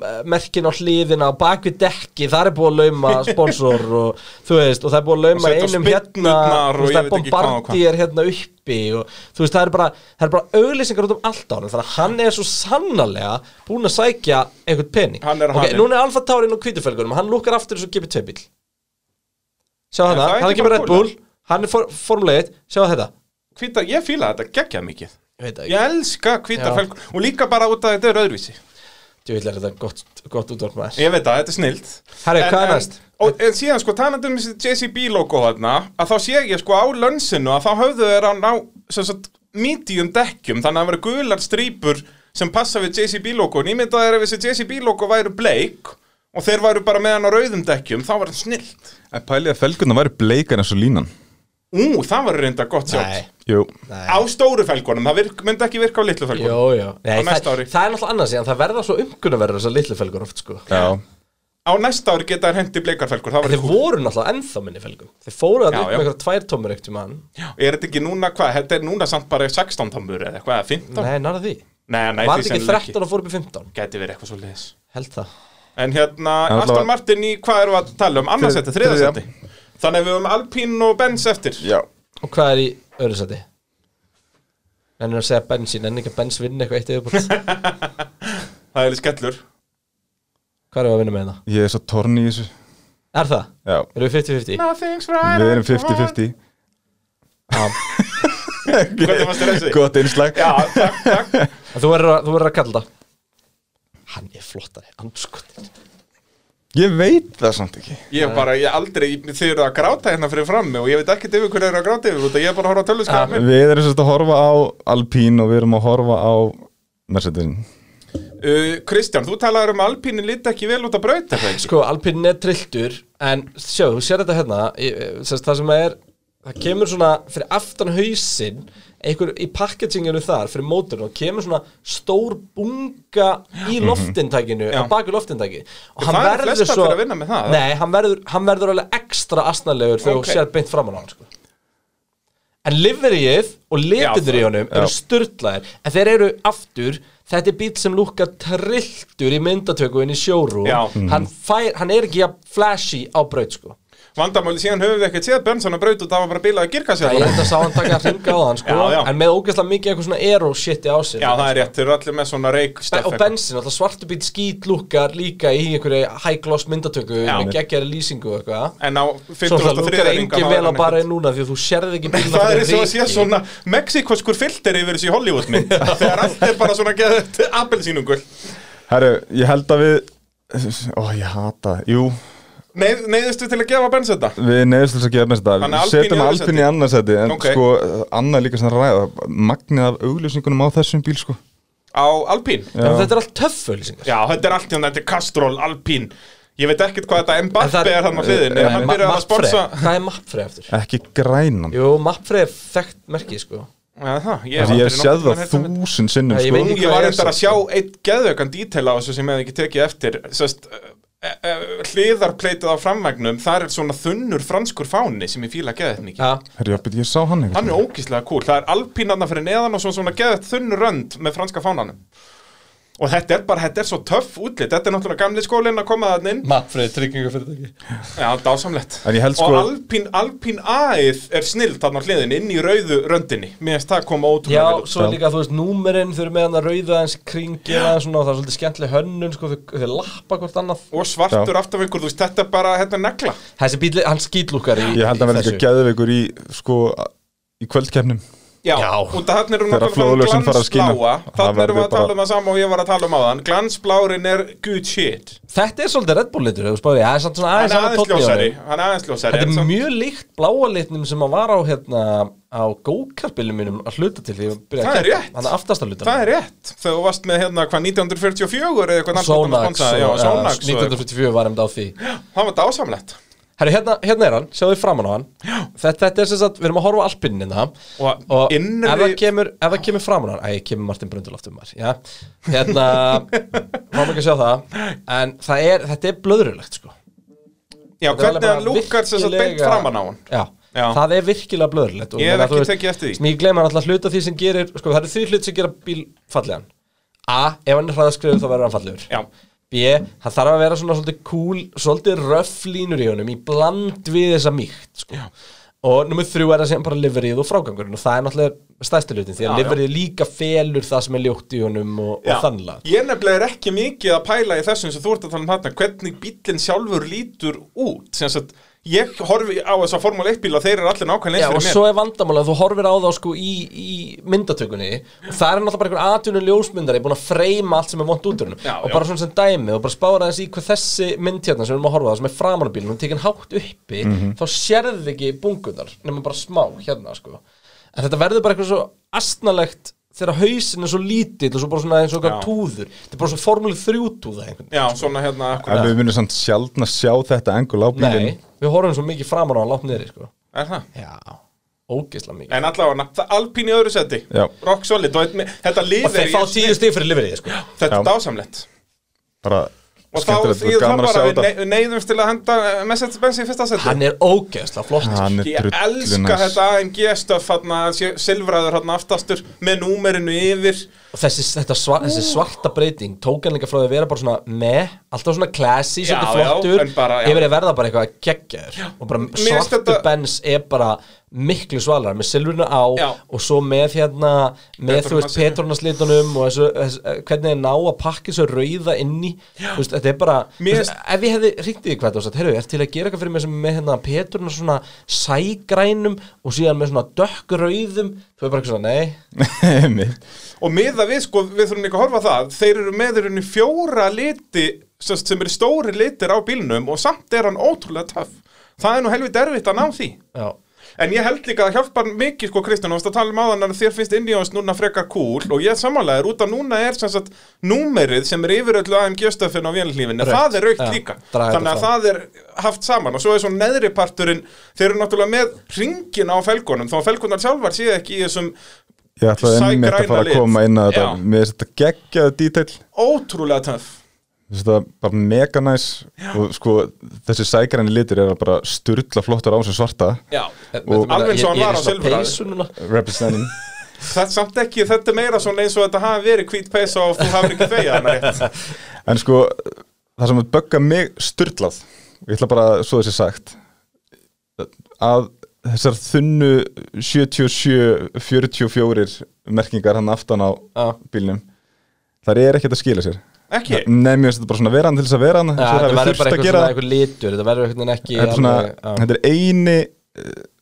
Speaker 1: frammerkin á hliðina og bak við dekki, þar er búið að lauma sponsor og þú veist, og það er búið að lauma
Speaker 2: Og setja
Speaker 1: einum hérna,
Speaker 2: spyrnurnar og
Speaker 1: þú veist,
Speaker 2: ég
Speaker 1: það er
Speaker 2: veit ekki hvað og hvað.
Speaker 1: bombardier hérna uppi og þú veist, það er bara, það er bara auglýsingar út um allt á hann, þannig að hann er svo sannarlega búin að sækja einhvern pening
Speaker 2: Hann er
Speaker 1: Ok,
Speaker 2: haninn.
Speaker 1: núna er Alfa Taurin og hvítufelgurum Hann lukkar aftur þessu GP2 bíl Sjá
Speaker 2: það
Speaker 1: hana,
Speaker 2: er ekki
Speaker 1: hann er ekki með
Speaker 2: bara
Speaker 1: Red
Speaker 2: kúla.
Speaker 1: Bull Hann er for, formulegið, sjá þetta
Speaker 2: Hvítar, ég fíla þetta geggjað mikið
Speaker 1: Ég veit það
Speaker 2: Ég
Speaker 1: ekki,
Speaker 2: elska hvítar
Speaker 1: Já.
Speaker 2: felgur Og líka bara út að þetta er öðruvísi
Speaker 1: ég vil er þetta gott, gott útvarp maður
Speaker 2: Ég veit það, þetta er snilt
Speaker 1: Herri, hvað er næst?
Speaker 2: Og, en síðan sko, talandi um þessi JCB logo þarna Að þá sé ég sko á lönsinu Að þá höfðu þeir að ná sem sagt, medium dekkjum Þannig að það verið gular strípur Sem passa við JCB logoin Ég mynda þeir ef þessi JCB logo væru bleik Og þeir væru bara með hann á rauðum dekkjum Þá var það snilt
Speaker 3: En pælið að felgurna væri bleikar eins og línan
Speaker 2: Ú, það var reynda gott
Speaker 1: Nei,
Speaker 2: sjátt
Speaker 3: Jú
Speaker 1: nei
Speaker 2: Á stóru felgunum, það virk, myndi ekki virka á litlu
Speaker 1: Jó,
Speaker 2: felgunum
Speaker 1: jó nei,
Speaker 2: Á
Speaker 1: það,
Speaker 2: næsta
Speaker 1: það er
Speaker 2: ári.
Speaker 1: náttúrulega annars síðan Það verða svo umkunnaverður þessar litlu felgur oft sko
Speaker 3: Já
Speaker 2: Á næsta ári geta þær hendi bleikar felgur Það var
Speaker 1: Þeir voru náttúrulega ennþá minni felgum Þeir fóru að
Speaker 2: Já,
Speaker 1: upp með
Speaker 2: já.
Speaker 1: einhverja tvær tómur eitt um hann
Speaker 2: Er þetta ekki núna, hvað, þetta er núna samt bara 16 tammur eða eitthvað, eða 15?
Speaker 1: Nei, nara því
Speaker 2: Nei, nei,
Speaker 1: Var þetta ekki
Speaker 2: því sennilega
Speaker 1: 13 og fóru upp í 15?
Speaker 2: Gæti verið eitthvað svo leiðis
Speaker 1: Held það
Speaker 2: En hérna,
Speaker 3: En
Speaker 2: Aston
Speaker 3: allavega-
Speaker 2: Martin í hvað erum við að tala um?
Speaker 3: Þrið-
Speaker 2: Annarsætti,
Speaker 3: þriðja.
Speaker 2: þriðarsætti Þannig að við höfum Alpine og Benz eftir
Speaker 3: Já
Speaker 1: Og hvað er í öðru sæti? Ennur að segja bensín, enn ekki að bens vinna eitthvað eitt yfirbúrt
Speaker 2: Það er skellur
Speaker 1: Hvað erum við að vinna með það?
Speaker 3: Ég er svo torn í þessu
Speaker 1: Er það?
Speaker 3: Já
Speaker 1: Erum við 50-50?
Speaker 2: Nothing's right
Speaker 3: Við erum 50-50
Speaker 1: Já.
Speaker 2: Hvernig fannst þér þessi?
Speaker 3: Gott innslag
Speaker 2: Já, takk, takk
Speaker 1: En Þú verður að, þú verður að kalla það Hann er flottari, anskotin
Speaker 3: Ég veit það samt ekki
Speaker 2: Ég bara, ég aldrei, þið eru að gráta hérna fyrir frammi Og ég veit ekkert yfir hverju eru að gráta yfir út af Ég er bara að horfa á tölvuskapin
Speaker 3: Við erum sérst að horfa á Alpín og við erum að horfa á Mercedesin
Speaker 2: uh, Kristján, þú talaður um að Alpine líti ekki vel út að brauta það
Speaker 1: Sko, Alpinn er trilltur En sjá, þú sér þetta hérna ég- sérst, Það sem er, það kemur svona Fyrir aftan hausinn Einhver í packaginginu þar, fyrir móturinn Og kemur svona stór bunga Í loftindækinu,
Speaker 2: Mhm. Já.
Speaker 1: á baku loftindæki Og
Speaker 2: Það eru flestar fyrir að vinna með það, eða?
Speaker 1: Nei, hann verður, hann verður alveg ekstra asnalegur Þegar
Speaker 2: Ok.
Speaker 1: þú sér beint framan á hann, sko En liveríið og litinur í
Speaker 2: Já,
Speaker 1: honum eru styrlaðir En þeir eru aftur Þetta er bíl sem lúkar trilltur í myndatöku inn í sjóru
Speaker 2: Já. Mhm.
Speaker 1: hann, fær, hann er ekki að flashy á braut sko
Speaker 2: Vandamáli síðan höfum við ekkert séð Benson að braut og það var bara bílaði
Speaker 1: Það ég
Speaker 2: kirkasjálf
Speaker 1: held að sá hann taka hringa á hann sko
Speaker 2: Já, já.
Speaker 1: En með ógeðslega mikið eitthvað svona aero shiti á sig
Speaker 2: Já, það er rétt, þeir eru allir með svona reik
Speaker 1: Be- Og bensin, alltaf svartu bíl skít lúkar líka í einhverju high gloss myndatöku
Speaker 2: Já.
Speaker 1: Með geggjari lýsingu og eitthvað
Speaker 2: En á
Speaker 1: Svo
Speaker 2: 53.
Speaker 1: það lúkar
Speaker 2: ringa
Speaker 1: engin
Speaker 2: þá er
Speaker 1: vel á
Speaker 2: hann
Speaker 1: bara
Speaker 2: ekkert-
Speaker 1: núna Því að þú sérði ekki bíl
Speaker 2: Það er eins og að sé svona mexikoskur filter yfir þessu í Hollywood mynd Þegar allt er bara svona geðið appelsínungul
Speaker 3: Herru, ég held að við Ó, ég hata það Jú,
Speaker 2: Nei, Neiðustu til að gefa Benz þetta
Speaker 3: Við neðumst þess að gefa mest þetta
Speaker 2: Þannig
Speaker 3: Við
Speaker 2: Alpine í
Speaker 3: setjum
Speaker 2: öðru
Speaker 3: Alpine
Speaker 2: sæti.
Speaker 3: í annarsæti En
Speaker 2: Ok.
Speaker 3: sko, annað er líka svona ræða Magnið af auglýsingunum á þessum bíl sko
Speaker 2: Á Alpine
Speaker 1: En þetta er allt töffölsingar
Speaker 2: Já, þetta er allt hérna, þetta er Castrol, Alpine Ég veit ekkert hvað þetta
Speaker 1: En það
Speaker 2: Mbappe
Speaker 1: er-
Speaker 2: er hann á hliðinni
Speaker 1: Nei,
Speaker 2: Hann
Speaker 1: Ma-
Speaker 2: byrjaði að
Speaker 1: Mapfre.
Speaker 2: sponsa
Speaker 1: Hvað er Mapfre eftir?
Speaker 3: Ekki grænan
Speaker 1: Jú, Mapfre er þekkt merki sko
Speaker 2: Já, það, ég hef aldrei
Speaker 3: Þessi ég hef séð
Speaker 2: nokkurn tímann
Speaker 3: það
Speaker 2: heyrt um þetta.
Speaker 3: þúsund sinnum
Speaker 1: Nei, ég
Speaker 3: sko
Speaker 1: veit-
Speaker 2: Ég
Speaker 1: Hvað
Speaker 2: var
Speaker 1: er
Speaker 2: reyndar
Speaker 1: það?
Speaker 2: að sjá eitt geðveikan dítel á þessu sem ég hef ekki tekið eftir Sest, uh, uh, hliðarpleitið á framvagnum þar er svona þunnur franskur fáni sem ég fíla geðið mikið
Speaker 1: Já,
Speaker 3: Herru, ég, ég sá hann
Speaker 2: Hann
Speaker 3: einhvern
Speaker 2: er ógíslega cool, það er alpínarna fyrir neðan og svo svona geðið þunnur rönd með franska fánanum Og þetta er bara, þetta er svo töff útlit, þetta er náttúrulega gamli skólinn að koma þann inn
Speaker 1: Mapfrið tryggingafyrirtæki
Speaker 2: Já, dásamlegt
Speaker 3: En ég held
Speaker 2: Og
Speaker 3: sko-
Speaker 2: alpín, alpín aðið er snild þarna á hliðinni inn í rauðu röndinni Mér finnst það koma
Speaker 1: Já,
Speaker 2: ótrúlega vel út.
Speaker 1: svo er líka, þú veist, númerinn þau eru með hann að rauða hans kringina svona, og það er svolítið skemmtileg hönnun, sko, þau, þau lappa hvort annað
Speaker 2: Og svartur aftafingur, þú veist, þetta er bara, þetta er negla
Speaker 1: Þessi bíl, hann skýtlúkar í
Speaker 3: Ég held að
Speaker 1: í
Speaker 3: vera
Speaker 1: þessu.
Speaker 3: ekki geðveikur í sko Í kvöldkeppnum
Speaker 2: Já,
Speaker 1: Já.
Speaker 2: út af þannig erum við
Speaker 3: Þegar
Speaker 2: að tala um
Speaker 3: flóðljósin fara að skína.
Speaker 2: glansbláa
Speaker 3: Það
Speaker 2: Þannig erum við
Speaker 3: verður
Speaker 2: að tala
Speaker 3: bara-
Speaker 2: um að sama og ég var að tala um áðan Glansblárin er good shit
Speaker 1: Þetta er svolítið Red Bull litur, ef þú spáðir, það er samt svona
Speaker 2: Hann
Speaker 1: aðeins
Speaker 2: er
Speaker 1: annar
Speaker 2: aðeins
Speaker 1: tónn í
Speaker 2: ljósari
Speaker 1: honum.
Speaker 2: Hann er aðeins ljósari
Speaker 1: Þetta
Speaker 2: en
Speaker 1: er
Speaker 2: samt-
Speaker 1: mjög líkt bláa litnum sem að var á hérna á gókartbílum mínum að hluta til því að byrja
Speaker 2: Það
Speaker 1: að
Speaker 2: er rétt.
Speaker 1: Þannig aftast að hluta
Speaker 2: Það er rétt Þegar þú varst með hérna hvað 1944 eða eitthvað
Speaker 1: Sonax
Speaker 2: sponsa,
Speaker 1: og,
Speaker 2: já,
Speaker 1: já,
Speaker 2: Sonax og eitthvað.
Speaker 1: 1944 var einmitt á því
Speaker 2: Það var dásamlegt
Speaker 1: Herru, hérna, hérna er hann, sjáðu þið framan á hann þetta, þetta er sem sagt, við erum að horfa á alpinnin hérna
Speaker 2: Og
Speaker 1: og
Speaker 2: innri-
Speaker 1: ef, það kemur, ef það kemur framan á hann Æ, kemur Martin Brunduloftum maður Já, hérna, fáum ekki að sjá það En það er, þetta er blöðrulegt sko
Speaker 2: Já,
Speaker 1: Þetta er alveg
Speaker 2: hvernig hann
Speaker 1: bara
Speaker 2: lúkar sem sagt beint
Speaker 1: virkilega-
Speaker 2: framan á hann
Speaker 1: Já,
Speaker 2: Já.
Speaker 1: það er virkilega blöðrulegt og
Speaker 2: Ég
Speaker 1: meina,
Speaker 2: hef
Speaker 1: þú
Speaker 2: ekki
Speaker 1: veist,
Speaker 2: tekið eftir því
Speaker 1: sem Ég gleyma alltaf hluta því sem gerir Sko, það eru því hlut sem gera bíl fallegan A, ef hann er hraðaskriður þá verður hann fallegur
Speaker 2: Já,
Speaker 1: B, það þarf að vera svona svolítið cool, svolítið röff línur í honum í bland við þessa mýkt sko. og nummið þrjú er það sem bara liverið og frágangurinn og það er náttúrulega stærsti hlutin því að
Speaker 2: Já, já.
Speaker 1: liverið líka felur það sem er ljótt í honum og,
Speaker 2: já.
Speaker 1: og þannlega
Speaker 2: Ég nefnilega er ekki mikið að pæla í þessum sem þú ert að tala um þarna Hvernig bíllinn sjálfur lítur út Sem sagt, ég horfi á þessa Formule 1 bíla Þeir eru allir nákvæmlega
Speaker 1: Já, og
Speaker 2: eins fyrir mér
Speaker 1: svo er vandamál að þú horfir á þá sko í, í myndatökunni og það er náttúrulega bara einhver atvinnum ljósmyndari búin að freyma allt sem er vont út úr hennum
Speaker 2: Já,
Speaker 1: og
Speaker 2: já.
Speaker 1: bara svona sem dæmi og bara spára aðeins í hvað þessi mynd hérna sem við erum að horfa á sem er framan á bílunum og tekin hátt uppi
Speaker 2: Mhm.
Speaker 1: þá sérði ekki bungunar nema bara smá hérna sko en þetta verður bara eitthvað svo astnalegt þegar hausin er svo lítill og svo bara svona eins og eitthvað
Speaker 2: Já.
Speaker 1: túður þetta er bara svo formúli þrjútúða einhvern
Speaker 2: Já, svona hérna akkurat.
Speaker 3: En við munum samt sjaldna sjá þetta engul á bílinn
Speaker 1: Nei, við horfum svo mikið framan á hann látt niður sko.
Speaker 2: Er það?
Speaker 1: Já, ógeisla mikið
Speaker 2: En allavega, Alpín í öðru seti
Speaker 3: Já.
Speaker 2: Rock solid, og þetta- þetta
Speaker 1: Og
Speaker 2: lifir
Speaker 1: þeir fá
Speaker 2: í-
Speaker 1: tíu stig fyrir liverið sko.
Speaker 2: Þetta
Speaker 3: Já.
Speaker 2: er dásamlegt
Speaker 3: Bara
Speaker 2: Og þá
Speaker 3: skemmtilegt
Speaker 2: þýðir það
Speaker 3: og gaman að
Speaker 2: bara
Speaker 3: sjá
Speaker 2: að við
Speaker 3: þetta
Speaker 2: ne- neyðumst til að henda Mercedes-Benz í fyrsta seti
Speaker 1: Hann er ógeðslega flott
Speaker 3: Hann er
Speaker 2: Ég elska
Speaker 3: drullunæs
Speaker 2: þetta AMG-stöf hérna, silfraður hérna aftastur með númerinu yfir
Speaker 1: Og þessi, þetta svar, þessi svarta breyting tók hann líka frá því að vera bara svona með Alltaf svona classy,
Speaker 2: Já,
Speaker 1: svolítið
Speaker 2: já,
Speaker 1: flottur
Speaker 2: en bara, já.
Speaker 1: Yfir að verða bara eitthvað geggjaður Og bara
Speaker 2: finnst
Speaker 1: svartu
Speaker 2: þetta-
Speaker 1: bens er bara miklu svalara Með silfurinu á
Speaker 2: Já.
Speaker 1: og svo með hérna Með þú veist
Speaker 2: Petronas-
Speaker 1: petrónaslitunum Og þessu, þessu, hvernig þeir ná að pakka þessu rauða inn í Þú veist, þetta er bara
Speaker 2: Mér
Speaker 1: þú veist, Ef ég hefði hringt í því hvað þú veist Herru, ég er til að gera eitthvað fyrir mig sem er með hérna Petrona svona sægrænum Og síðan með svona dökkrauðum Þú er bara eitthvað svona, nei
Speaker 3: Einmitt.
Speaker 2: og miða við, sko, við þurfum ekki að horfa á það þeir eru með þeirinu fjóra liti sem, sagt, sem eru stóri litir á bílnum og samt er hann ótrúlega töff það er nú helvit erfitt að ná því
Speaker 1: Já
Speaker 2: En ég held líka að það hjálpar mikið sko Kristján, þú veist að tala um áðan að þér finnst Indians núna frekar cool og ég samanlega er út að núna er sem sagt númerið sem er yfir öllu AMG stöfin á vénlífinni,
Speaker 1: Rautt.
Speaker 2: það er raukt
Speaker 1: Já,
Speaker 2: líka
Speaker 1: draga
Speaker 2: þannig
Speaker 1: þetta
Speaker 2: að það er haft saman og svo er svo neðri parturinn, þeir eru náttúrulega með ringin á felgunum, þá að felgunar sjálfar séu ekki í þessum
Speaker 3: Ég ætlaði einmitt að
Speaker 2: Sægræna
Speaker 3: fara að
Speaker 2: lit.
Speaker 3: koma inn að þetta
Speaker 2: Já.
Speaker 3: Mér finnst þetta geggjaðu dítill
Speaker 2: ótrúlega töff
Speaker 3: Þetta er bara mega næs og sko þessi sækræni litur er bara sturla flottur á sem svarta
Speaker 2: Já,
Speaker 3: Og-
Speaker 2: alveg eins og hann var á silfraði
Speaker 1: silfraði
Speaker 3: representing
Speaker 2: Það er samt ekki, þetta er meira svona eins og þetta hafi verið hvít peysa og þú hafir ekki þegið hana rétt
Speaker 3: En sko það sem að bögga mig sturlað ég ætla bara svo þessi sagt að þessar þunnu 77-44 merkingar hann aftan á
Speaker 1: Já.
Speaker 3: bílnum þar er ekkert að skila sér
Speaker 2: Ekki?
Speaker 3: Nei, mér finnst þetta bara svona veran til þess að veran
Speaker 1: Já, þetta verður bara eitthvað svona
Speaker 3: gera
Speaker 1: eitthvað litur Þetta verður eitthvað ekki
Speaker 3: Þetta er svona,
Speaker 1: alveg,
Speaker 3: þetta er eini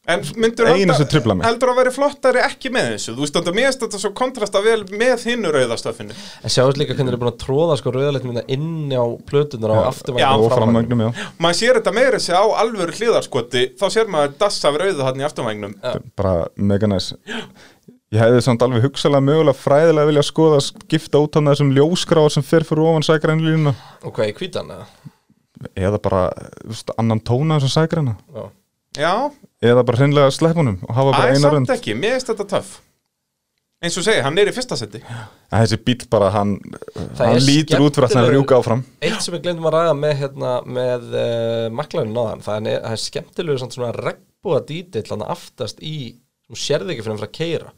Speaker 2: En myndur
Speaker 3: Eina sem truflar mig.
Speaker 2: heldur að veri flottari ekki með þessu Þú veist, þetta mér finnst þetta svo kontrasta vel með hinnu rauðastöfinu
Speaker 1: já. En sjáðu líka hvernig þeir eru búin að tróða sko rauðalegt mynda inn á plötunar á
Speaker 2: já,
Speaker 1: afturvægum
Speaker 3: og framvögnum, já
Speaker 2: Maður sér þetta meira þessi á alvöru hliðarskoti Þá sér maður dassa af rauðu hann í afturvægnum
Speaker 3: Þetta er bara mega næs ég hefði samt alveg hugsalega mögulega fræðilega vilja skoða að skipta út hann þessum ljósgráð sem fer fyrir ofan sækrænlínuna
Speaker 1: Og hvað er hvítan eða?
Speaker 3: eða bara þú veist, annan tóna þessum sækræna
Speaker 1: Já.
Speaker 2: Já,
Speaker 3: eða bara hreinlega sleppunum og hafa bara
Speaker 2: aðeins
Speaker 3: eina
Speaker 2: samt
Speaker 3: rönd
Speaker 2: ekki, mér finnst þetta töff Eins og segi, hann er í fyrsta seti
Speaker 3: En þessi bíl bara hann,
Speaker 1: Það er
Speaker 3: hann lítur út fyrir að hann
Speaker 1: skemmtilegur.
Speaker 3: rjúka áfram
Speaker 1: Eitt sem við glemdum að ræða með, hérna, með uh, maklarinn á þann Það er, það er skemmtilegur samt svona regnbúa dítill Þannig aftast í, þú sérði ekki fyrir hann frá að keira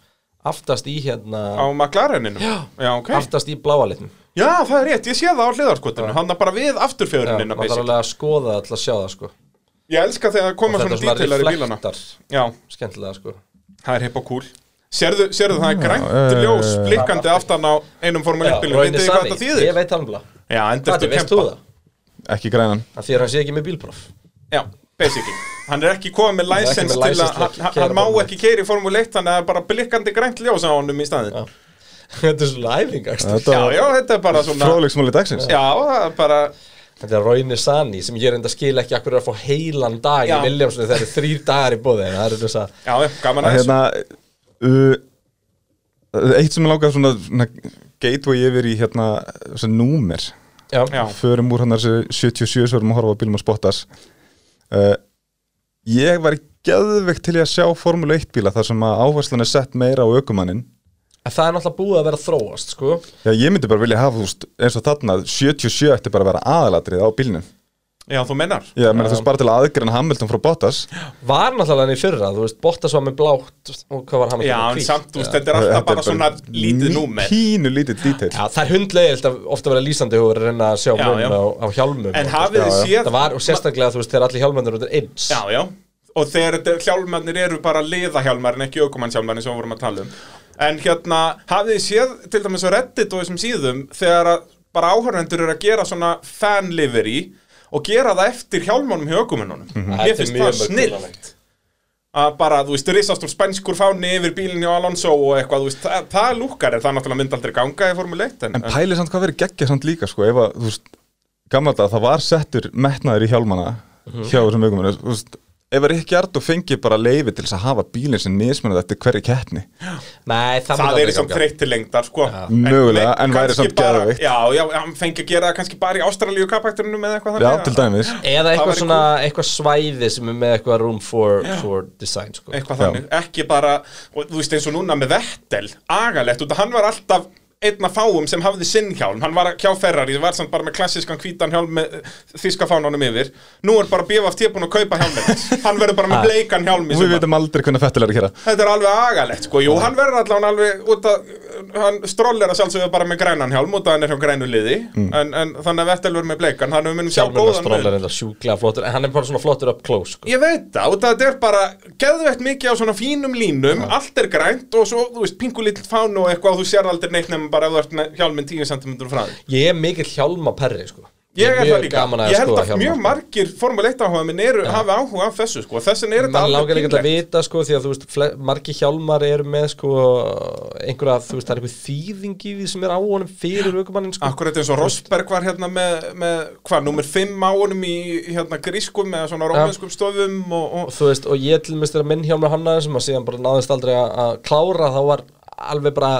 Speaker 1: Aftast í hérna
Speaker 2: Á McLareninum Já, ok
Speaker 1: Aftast í bláa litnum
Speaker 2: Já, það er rétt, ég sé það á hliðarskotinu Hann er bara við
Speaker 1: Já,
Speaker 2: afturfjörunina
Speaker 1: maður þarf
Speaker 2: basic.
Speaker 1: alveg að skoða það til að sjá það sko
Speaker 2: Ég elska þegar það
Speaker 1: Og
Speaker 2: koma
Speaker 1: þetta
Speaker 2: svona
Speaker 1: er svona
Speaker 2: dítilar í bílana
Speaker 1: reflektar
Speaker 2: Já,
Speaker 1: Skemmtilega sko
Speaker 2: það er hipp og cool Sérðu, sérðu það er
Speaker 3: já,
Speaker 2: grænt
Speaker 3: já, já,
Speaker 2: ljós
Speaker 3: já.
Speaker 2: blikkandi aftan á einum formule 1 bílum,
Speaker 1: Raunir
Speaker 2: veitir þið
Speaker 1: Sami,
Speaker 2: hvað það þýðir?
Speaker 1: Ég veit hann blá
Speaker 2: Já, enda
Speaker 1: Hvað,
Speaker 2: ertu að
Speaker 1: veist þú
Speaker 2: kempa
Speaker 1: það?
Speaker 3: ekki grænan
Speaker 1: Það þýðir hann sé ekki með bílpróf
Speaker 2: Já, basically Hann er ekki komið með
Speaker 1: er ekki
Speaker 2: license
Speaker 1: með
Speaker 2: til
Speaker 1: license
Speaker 2: að,
Speaker 1: til að
Speaker 2: hann, hann-
Speaker 1: keyra
Speaker 2: hann má
Speaker 1: Formúlu
Speaker 2: ekki keiri Formule 1, þannig að það er bara blikkandi grænt ljós á honum í staðin.
Speaker 1: Já. Þetta er svona æfing axtur.
Speaker 2: Já, já, þetta er bara svona,
Speaker 3: Fróðleiksmáli dagsins
Speaker 2: já, það er bara,
Speaker 1: Þetta er Róini Sani sem ég reynda að skila ekki akkur er að fá heilan dag í
Speaker 2: Já.
Speaker 1: Williamson þegar það eru þrýr dagar í bóði en það er þess að
Speaker 2: já, já, gaman
Speaker 3: að
Speaker 2: aðeins.
Speaker 3: hérna uh, eitt sem er lágað svona, svona gateway yfir í hérna þessi númer,
Speaker 1: Já,
Speaker 2: Já,
Speaker 3: förum úr hann þessi 77 sem vorum að horfa á bílum og spottas uh, ég var geðveikt til í að sjá Formule 1 bíla þar sem að áherslan er sett meira á ökumannin
Speaker 1: En það er náttúrulega búið að vera að þróast sko
Speaker 3: Já, ég myndi bara vilja hafa, þú veist, eins og þarna 77 ætti bara að vera aðalatrið á bílnum
Speaker 2: já, þú mennar.
Speaker 3: Já, menn þú veist, bara til að aðgreina Hamilton frá Bottas
Speaker 1: Var náttúrulega hann í fyrra, þú veist, Bottas var með blátt og hvað var hann
Speaker 2: Já, en samt, þú veist, þetta
Speaker 3: eh,
Speaker 2: er alltaf bara svona lítið númer.
Speaker 3: Pínu lítið dítill
Speaker 1: Já, það er hundlegilegt að ofta vera lýsandi og reyna að sjá
Speaker 2: Já,
Speaker 1: mun
Speaker 2: já.
Speaker 1: á, á hjálmum
Speaker 2: En
Speaker 1: og-
Speaker 2: hafið þið
Speaker 3: já, já.
Speaker 2: séð
Speaker 1: Það var, og sérstaklega þú veist, þegar allir hjálmendur eru eins
Speaker 2: Já, já, og þegar þetta- hjálmarnir eru bara liðahjálmar en ekki aukumannshjálmar eins og við vorum að tala um En hérna, hafið þið séð til dæmis á Reddit og þessum síðum þegar að bara áhörvendur eru að gera svona fanlivery og gera það eftir hjálmunum hjá aukumennunum Mér
Speaker 1: Þetta er
Speaker 2: finnst
Speaker 1: mjög
Speaker 2: það snill
Speaker 1: mörgulegt.
Speaker 2: að bara, þú veist, risastur spænskur fáni yfir bílinni á Alonso og eitthvað, þú veist, það, það lúkar en það náttúrulega myndi aldrei ganga í Formule 1 en,
Speaker 3: En pælið samt hvað verið geggja samt líka sko, ef að, þú veist, gamla dag það var settur metnaður í hjálmana hjá þessum aukumann, þú veist ef að Rikki Ardó fengi bara leifi til þess að hafa bílinn sem mismunandi eftir hverju keppni
Speaker 1: Nei, það,
Speaker 2: það
Speaker 1: myndi
Speaker 2: er
Speaker 1: aldrei
Speaker 2: sem
Speaker 1: ganga.
Speaker 2: þreytti lengdar sko En
Speaker 3: Mögulega, en væri
Speaker 2: kannski
Speaker 3: samt
Speaker 2: bara-
Speaker 3: geðveikt.
Speaker 2: Já, já, hann fengi að gera það kannski bara í Ástralíu kapækturinu með eitthvað
Speaker 3: Já,
Speaker 2: að-
Speaker 3: til dæmis
Speaker 1: Eða
Speaker 2: Það
Speaker 1: eitthvað
Speaker 2: væri
Speaker 1: svona, eitthvað svæði sem er með eitthvað room for, for design sko.
Speaker 2: eitthvað
Speaker 3: Já.
Speaker 2: þannig, ekki bara og þú veist eins og núna með Vettel agalegt, út að hann var alltaf einn af fáum sem hafði sinn hjálm, hann var hjá Ferrari var samt bara með klassískan hvítan hjálm með þíska fánanum yfir, nú er bara BFT búin að kaupa hjálmið, hann verður bara með bleikan hjálm í
Speaker 3: Og við
Speaker 2: sumar.
Speaker 3: veitum aldrei hvernig fettil er að gera
Speaker 2: þetta er alveg agalegt sko, jú, hann verður allan alveg út að, hann strollir að sjálfsögðu bara með grænan hjálm, út að hann er hjá grænu liði
Speaker 1: Mm.
Speaker 2: en, en þannig að Vettel verður með bleikan þannig að við munum sjá
Speaker 1: Hjálmurinn að
Speaker 2: góðan mun.
Speaker 1: stróla reynda sjúklega flottur En hann er bara svona flottur up close sko.
Speaker 2: Ég veit það, og þetta er bara geðveitt mikið á svona fínum línum, allt er grænt og svo, þú veist, pingu lill fán og eitthvað og þú sér aldrei neitt nefnum bara ef þú ert með hjálminn 10 cm frá þig.
Speaker 1: Ég er mikill hjálmaperri sko.
Speaker 2: Ég er
Speaker 1: mjög
Speaker 2: það líka,
Speaker 1: gaman að
Speaker 2: ég held
Speaker 1: skoða
Speaker 2: að
Speaker 1: hjálma,
Speaker 2: mjög
Speaker 1: sko.
Speaker 2: margir Formule 1 áhuga minn eru, hafi áhuga af þessu, sko, þess vegna er þetta
Speaker 1: Man langar ekkert að
Speaker 2: pínlegt.
Speaker 1: vita sko því að þú veist fle- margir hjálmar eru með sko einhverja þú veist það er einhver þýðing í því sem er á honum fyrir aukumannin sko
Speaker 2: Akkurat eins og Rosberg var hérna með, með hvað, númer 5 á honum í hérna grískum eða svona rómanskum stofum og, og
Speaker 1: og þú veist og ég til mest er að minn hjálmar hannaði sem að síðan bara náðist aldrei að að klára þá var alveg bara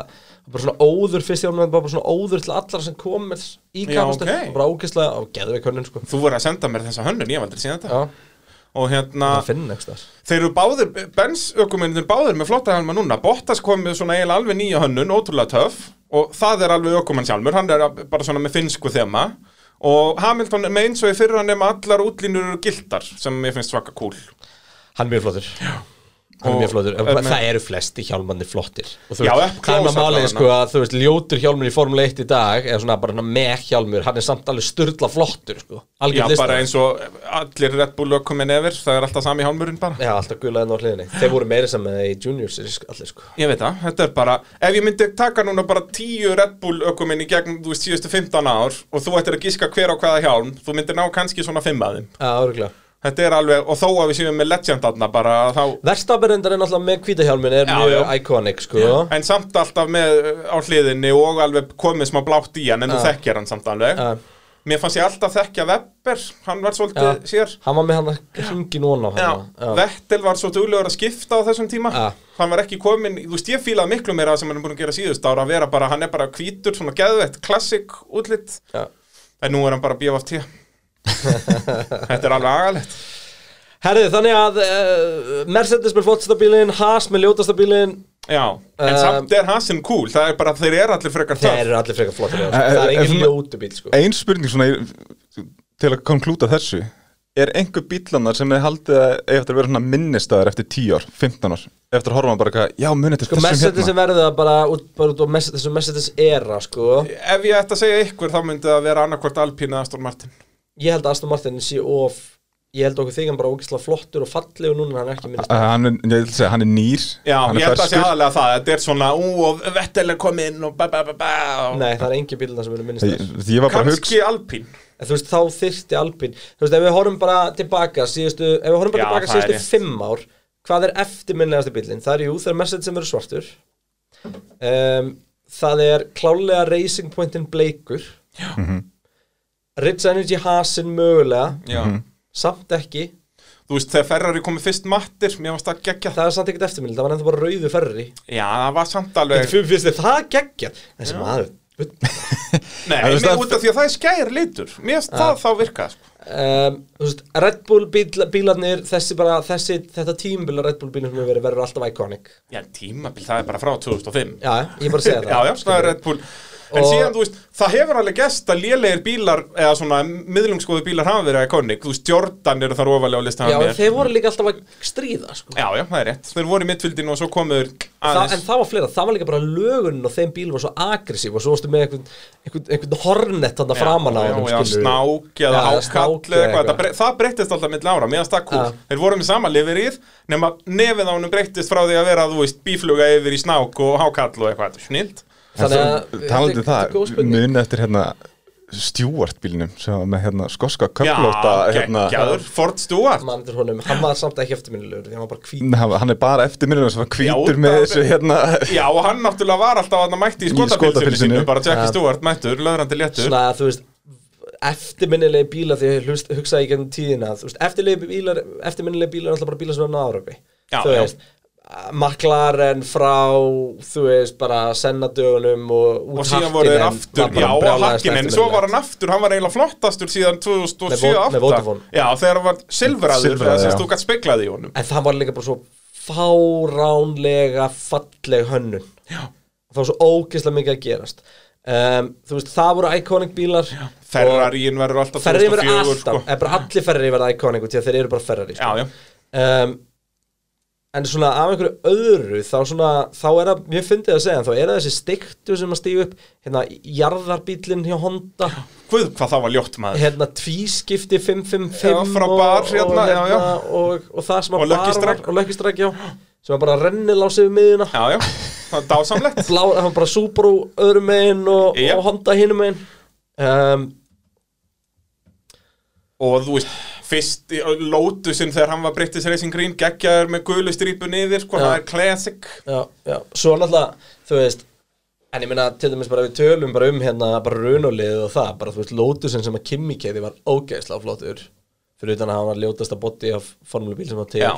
Speaker 1: bara svona óður fyrst hjálmar bara svona óður til allar sem komir í
Speaker 2: Já,
Speaker 1: kapastu
Speaker 2: ok.
Speaker 1: og bara ógeðslega og geðveik hönnun sko
Speaker 2: þú voru að senda mér þessa hönnun, ég hef aldrei síðan þetta.
Speaker 1: Já,
Speaker 2: Og hérna...
Speaker 1: það finn ekki þar
Speaker 2: Þeir eru báðir, Benz ökumennir báðir með flotta helma núna Bottas kom með svona eiginlega alveg nýja hönnun, ótrúlega töff Og það er alveg ökumann sjálfur, hann er bara svona með finnsku þema Og Hamilton er með eins og í fyrra nema allar útlínur eru gildar Sem ég finnst svaka cool
Speaker 1: Hann er mjög flottur Hann er
Speaker 2: Og eh,
Speaker 1: mjög flottur,
Speaker 2: er
Speaker 1: það,
Speaker 2: með-
Speaker 1: eru flesti hjálmannir flottir og þú
Speaker 2: Já,
Speaker 1: veist, það
Speaker 2: up
Speaker 1: er
Speaker 2: close
Speaker 1: maður málið
Speaker 2: allavega.
Speaker 1: sko að þú veist, ljótur hjálmur í Formule 1 í dag eða svona bara með hjálmur, hann er samt alveg styrla flottur sko,
Speaker 2: Já,
Speaker 1: algjörn
Speaker 2: bara
Speaker 1: listar
Speaker 2: eins og allir Red Bull ökuminn yfir, það er alltaf sami hálmurinn bara
Speaker 1: Já, alltaf gulaðið á hliðinni, þeir voru meira sem með það í junior series allir sko
Speaker 2: Ég veit það, þetta er bara, ef ég myndi taka núna bara tíu Red Bull ökuminn í gegn, þú veist, síðustu 15 ár og þú ættir að gíska hver á hvaða hjálm, þú myndir ná kannski svona fimm að þeim.
Speaker 1: Já, örgulega
Speaker 2: Þetta er alveg, og þó að við séum með legendarna bara, þá,
Speaker 1: Verstaberendar er náttúrulega með hvítahjálmin er
Speaker 2: Já,
Speaker 1: mjög
Speaker 2: já.
Speaker 1: iconic sko
Speaker 2: en samt alltaf með uh, á hliðinni og alveg komið smá blátt í hann en þú þekkir hann samt alveg
Speaker 1: Já.
Speaker 2: mér fannst ég alltaf þekkja Webber hann var svolítið
Speaker 1: Já.
Speaker 2: sér
Speaker 1: Hann var með hann að hringi núna
Speaker 2: Já,
Speaker 1: hann
Speaker 2: Vettel var svo duglegur að skipta á þessum tíma
Speaker 1: Já.
Speaker 2: hann var ekki komin, þú veist ég fílaði miklu meira það sem hann er búin að gera síðust ára að vera bara, hann er bara hvítur, svona geðvett, klassik útlitt, en nú er hann bara BFT þetta er alveg agalegt
Speaker 1: Herrið, þannig að uh, Mercedes með flottasta bílinn, Haas með ljótasta bílinn
Speaker 2: Já, en
Speaker 1: Um,
Speaker 2: samt er Hasin cool, það er bara, þeir eru allir frekar
Speaker 1: Þeir
Speaker 2: töff
Speaker 1: eru allir frekar flottir já, sko.
Speaker 3: Eh,
Speaker 1: Það er
Speaker 3: eh,
Speaker 1: engin
Speaker 3: svona-
Speaker 1: ljótu bíl sko
Speaker 3: Ein spurning svona í- til að konklúta þessu Er einhver bílanar sem er haldið að eiga eftir að vera svona minnistæðar eftir 10 ár, 15 ár eftir að horfa maður bara eitthvað, já munið til
Speaker 1: Sko,
Speaker 3: þessum
Speaker 1: Mercedes
Speaker 3: hérna
Speaker 1: er verðið að bara út, bara út á Mercedes- þessum Mercedes era, sko
Speaker 2: Ef ég ætti að segja ykkur, þá myndi það vera annarkvort Alpín eða Aston Martin
Speaker 1: Ég held að Aston Martin sé of Ég held okkur þig hann bara ógislega flottur og fallegur núna en hann er ekki minnist
Speaker 3: Uh, hann er, ég vil segja, hann er nýr
Speaker 2: Já,
Speaker 3: hann
Speaker 2: ég
Speaker 3: er
Speaker 2: held að sé
Speaker 3: ferskur.
Speaker 2: aðalega það, þetta er svona ú, og vettel er kominn og ba ba ba ba og
Speaker 3: eh.
Speaker 1: Nei, það er engin bílina sem eru minnist
Speaker 3: Ég- ég var bara að hugsa
Speaker 2: kannski alpín
Speaker 1: en þú veist, þá þyrfti Alpín þú veist, ef við horfum bara tilbaka síðustu, ef við horfum bara
Speaker 2: Já,
Speaker 1: tilbaka
Speaker 2: það er
Speaker 1: síðustu fimm ár hvað er eftirminnilegasti bílinn? Það er jú, það er message sem eru svartur um, það er klálega Racing Pointin bleikur
Speaker 2: Já.
Speaker 1: Ritz Energy Hasin mögulega
Speaker 2: Já.
Speaker 3: Mhm.
Speaker 1: samt ekki,
Speaker 2: Þú veist, þegar Ferrari komið fyrst mattir, mér varst það geggja það.
Speaker 1: það er samt ekkert eftirminnileg það var ennþá bara rauðu ferri
Speaker 2: Já, það var samt alveg...
Speaker 1: Fyrir fyrst þið það geggja Þessi maður
Speaker 2: Nei,
Speaker 3: En þú veist,
Speaker 2: mér
Speaker 3: það-
Speaker 2: út af því að það er skær litur. Mér varst það þá virkað, sko.
Speaker 1: um, þú veist, Red Bull bíl, bílarnir Þessi bara, þessi, þetta tímbil Red Bull bílarnir verður, verður alltaf iconic
Speaker 2: Já, en tímabil, það er bara frá 2005.
Speaker 1: Já, ég er bara að segja það
Speaker 2: Já, sko, já, það er Red Bull En
Speaker 1: Og-
Speaker 2: síðan, þú veist, það hefur alveg gest að lélegir bílar eða svona miðlungsgóðu bílar hafa verið ikonik Þú veist, Jordan eru þar ofalega á listan
Speaker 1: Já,
Speaker 2: hjá
Speaker 1: en
Speaker 2: mér.
Speaker 1: þeir voru líka alltaf að stríða sko.
Speaker 2: Já, já, það er rétt Þeir voru í mittfildinu og svo komuður
Speaker 1: Þa,
Speaker 2: aðeins
Speaker 1: En það var fleira, það var líka bara lögunin og þeim bíl var svo agressív og svo varstu með einhvern, einhvern, einhvern hornet þannig
Speaker 2: Já,
Speaker 1: framan á
Speaker 2: já,
Speaker 1: honum,
Speaker 2: já,
Speaker 1: skilurðu.
Speaker 2: snák
Speaker 1: Já,
Speaker 2: eða
Speaker 1: eða
Speaker 2: ákall
Speaker 1: snák
Speaker 2: eða
Speaker 1: eða
Speaker 2: eitthvað,
Speaker 1: eitthvað.
Speaker 2: það, bre það breyttist alltaf mill ára, mér að stakkúl
Speaker 1: Já.
Speaker 2: Þeir voru með sama liverið, nema nefið á honum breyttist frá því að vera, þú veist, bífluga yfir í snák og hákall og eitthvað, þetta er snilt
Speaker 1: Þannig að
Speaker 3: talandi
Speaker 1: þetta
Speaker 3: um
Speaker 1: er
Speaker 3: það,
Speaker 1: góð spurning.
Speaker 3: mun eftir hérna Stewart bílnum sem var með hérna skoska
Speaker 2: Já,
Speaker 3: köflóta hérna,
Speaker 2: geggjaður, Ford Stewart
Speaker 1: Mann eftir honum, hann var samt ekki eftirminnilegur því hann var bara hvít
Speaker 3: Nei, hann hann er bara eftir minnum sem var
Speaker 2: Já,
Speaker 3: hvítur með
Speaker 2: það-
Speaker 3: þessu hérna
Speaker 2: Já, og hann náttúrulega var alltaf að mætti í
Speaker 3: Í
Speaker 2: skotapilsinu
Speaker 3: skotapilsinu.
Speaker 2: sínu, bara Jackie
Speaker 1: Já.
Speaker 2: Stewart mættur, löðrandi léttur
Speaker 1: svona þú veist eftirminnilegi bílar því ég hlust, hugsaði í gegnum tíðina þú veist, eftirminnilegi bílar eftirminnilegi bílar er alltaf bara bílar sem er náðuröpi
Speaker 2: Já,
Speaker 1: þú
Speaker 2: já.
Speaker 1: veist McLaren frá, þú veist, bara sennadögunum og út
Speaker 2: og síðan voru þeir
Speaker 1: Hakkinen, var
Speaker 2: aftur,
Speaker 1: bara
Speaker 2: já, og
Speaker 1: brjálæðislega
Speaker 2: hakkin en svo
Speaker 1: eftirminnilegt.
Speaker 2: var hann aftur, hann var eiginlega flottastur síðan
Speaker 1: Með Vo- með
Speaker 2: 2007-2008
Speaker 1: Vodafone.
Speaker 2: Já, þegar hann var silfraður,
Speaker 3: Silfraður,
Speaker 2: þegar sem
Speaker 3: já.
Speaker 2: þú gætt speklaði í honum
Speaker 1: En það var líka bara svo fáránlega falleg hönnun Já Það var svo ógeðslega mikið að gerast um, Þú veist, það voru iconic bílar Já,
Speaker 2: Ferrarín verður alltaf
Speaker 1: Ferrari verður
Speaker 2: 2004
Speaker 1: alltaf,
Speaker 2: sko.
Speaker 1: eða bara allir Ferrari verða iconic út í að þeir eru bara Ferrari sko.
Speaker 2: Já, já,
Speaker 1: um, En svona af einhverju öðru þá svona, þá er það, mér fyndi það að segja þá er það þessi stiktu sem að stígu upp hérna, jarðarbílinn hjá Honda
Speaker 2: guð hvað það var ljótt maður
Speaker 1: hérna tvískipti 555
Speaker 2: Já, frá
Speaker 1: og-
Speaker 2: bar,
Speaker 1: og,
Speaker 2: hérna, já, já.
Speaker 1: Og, og það sem að
Speaker 2: Og
Speaker 1: bar
Speaker 2: Lucky Strike.
Speaker 1: var, og lökkistræk, já sem var bara rennilás yfir miðuna
Speaker 2: Já, já, það er dásamlegt
Speaker 1: blá, það var bara Subaru öðrum megin og,
Speaker 2: Yep.
Speaker 1: og Honda hinum megin um,
Speaker 2: og þú veist fyrst í Lotusinn þegar hann var British Racing Green geggjaður með gulu strípu niður sko,
Speaker 1: Já.
Speaker 2: það er classic
Speaker 1: já, já, svo náttúrulega, þú veist en ég meina, til dæmis bara við tölum bara um hérna, bara runolið og það bara, þú veist, Lotusin sem að Kimi keiði var ógeðslega flottur, fyrir utan að hann var ljótasta botti af formulebíl sem var til
Speaker 2: Já.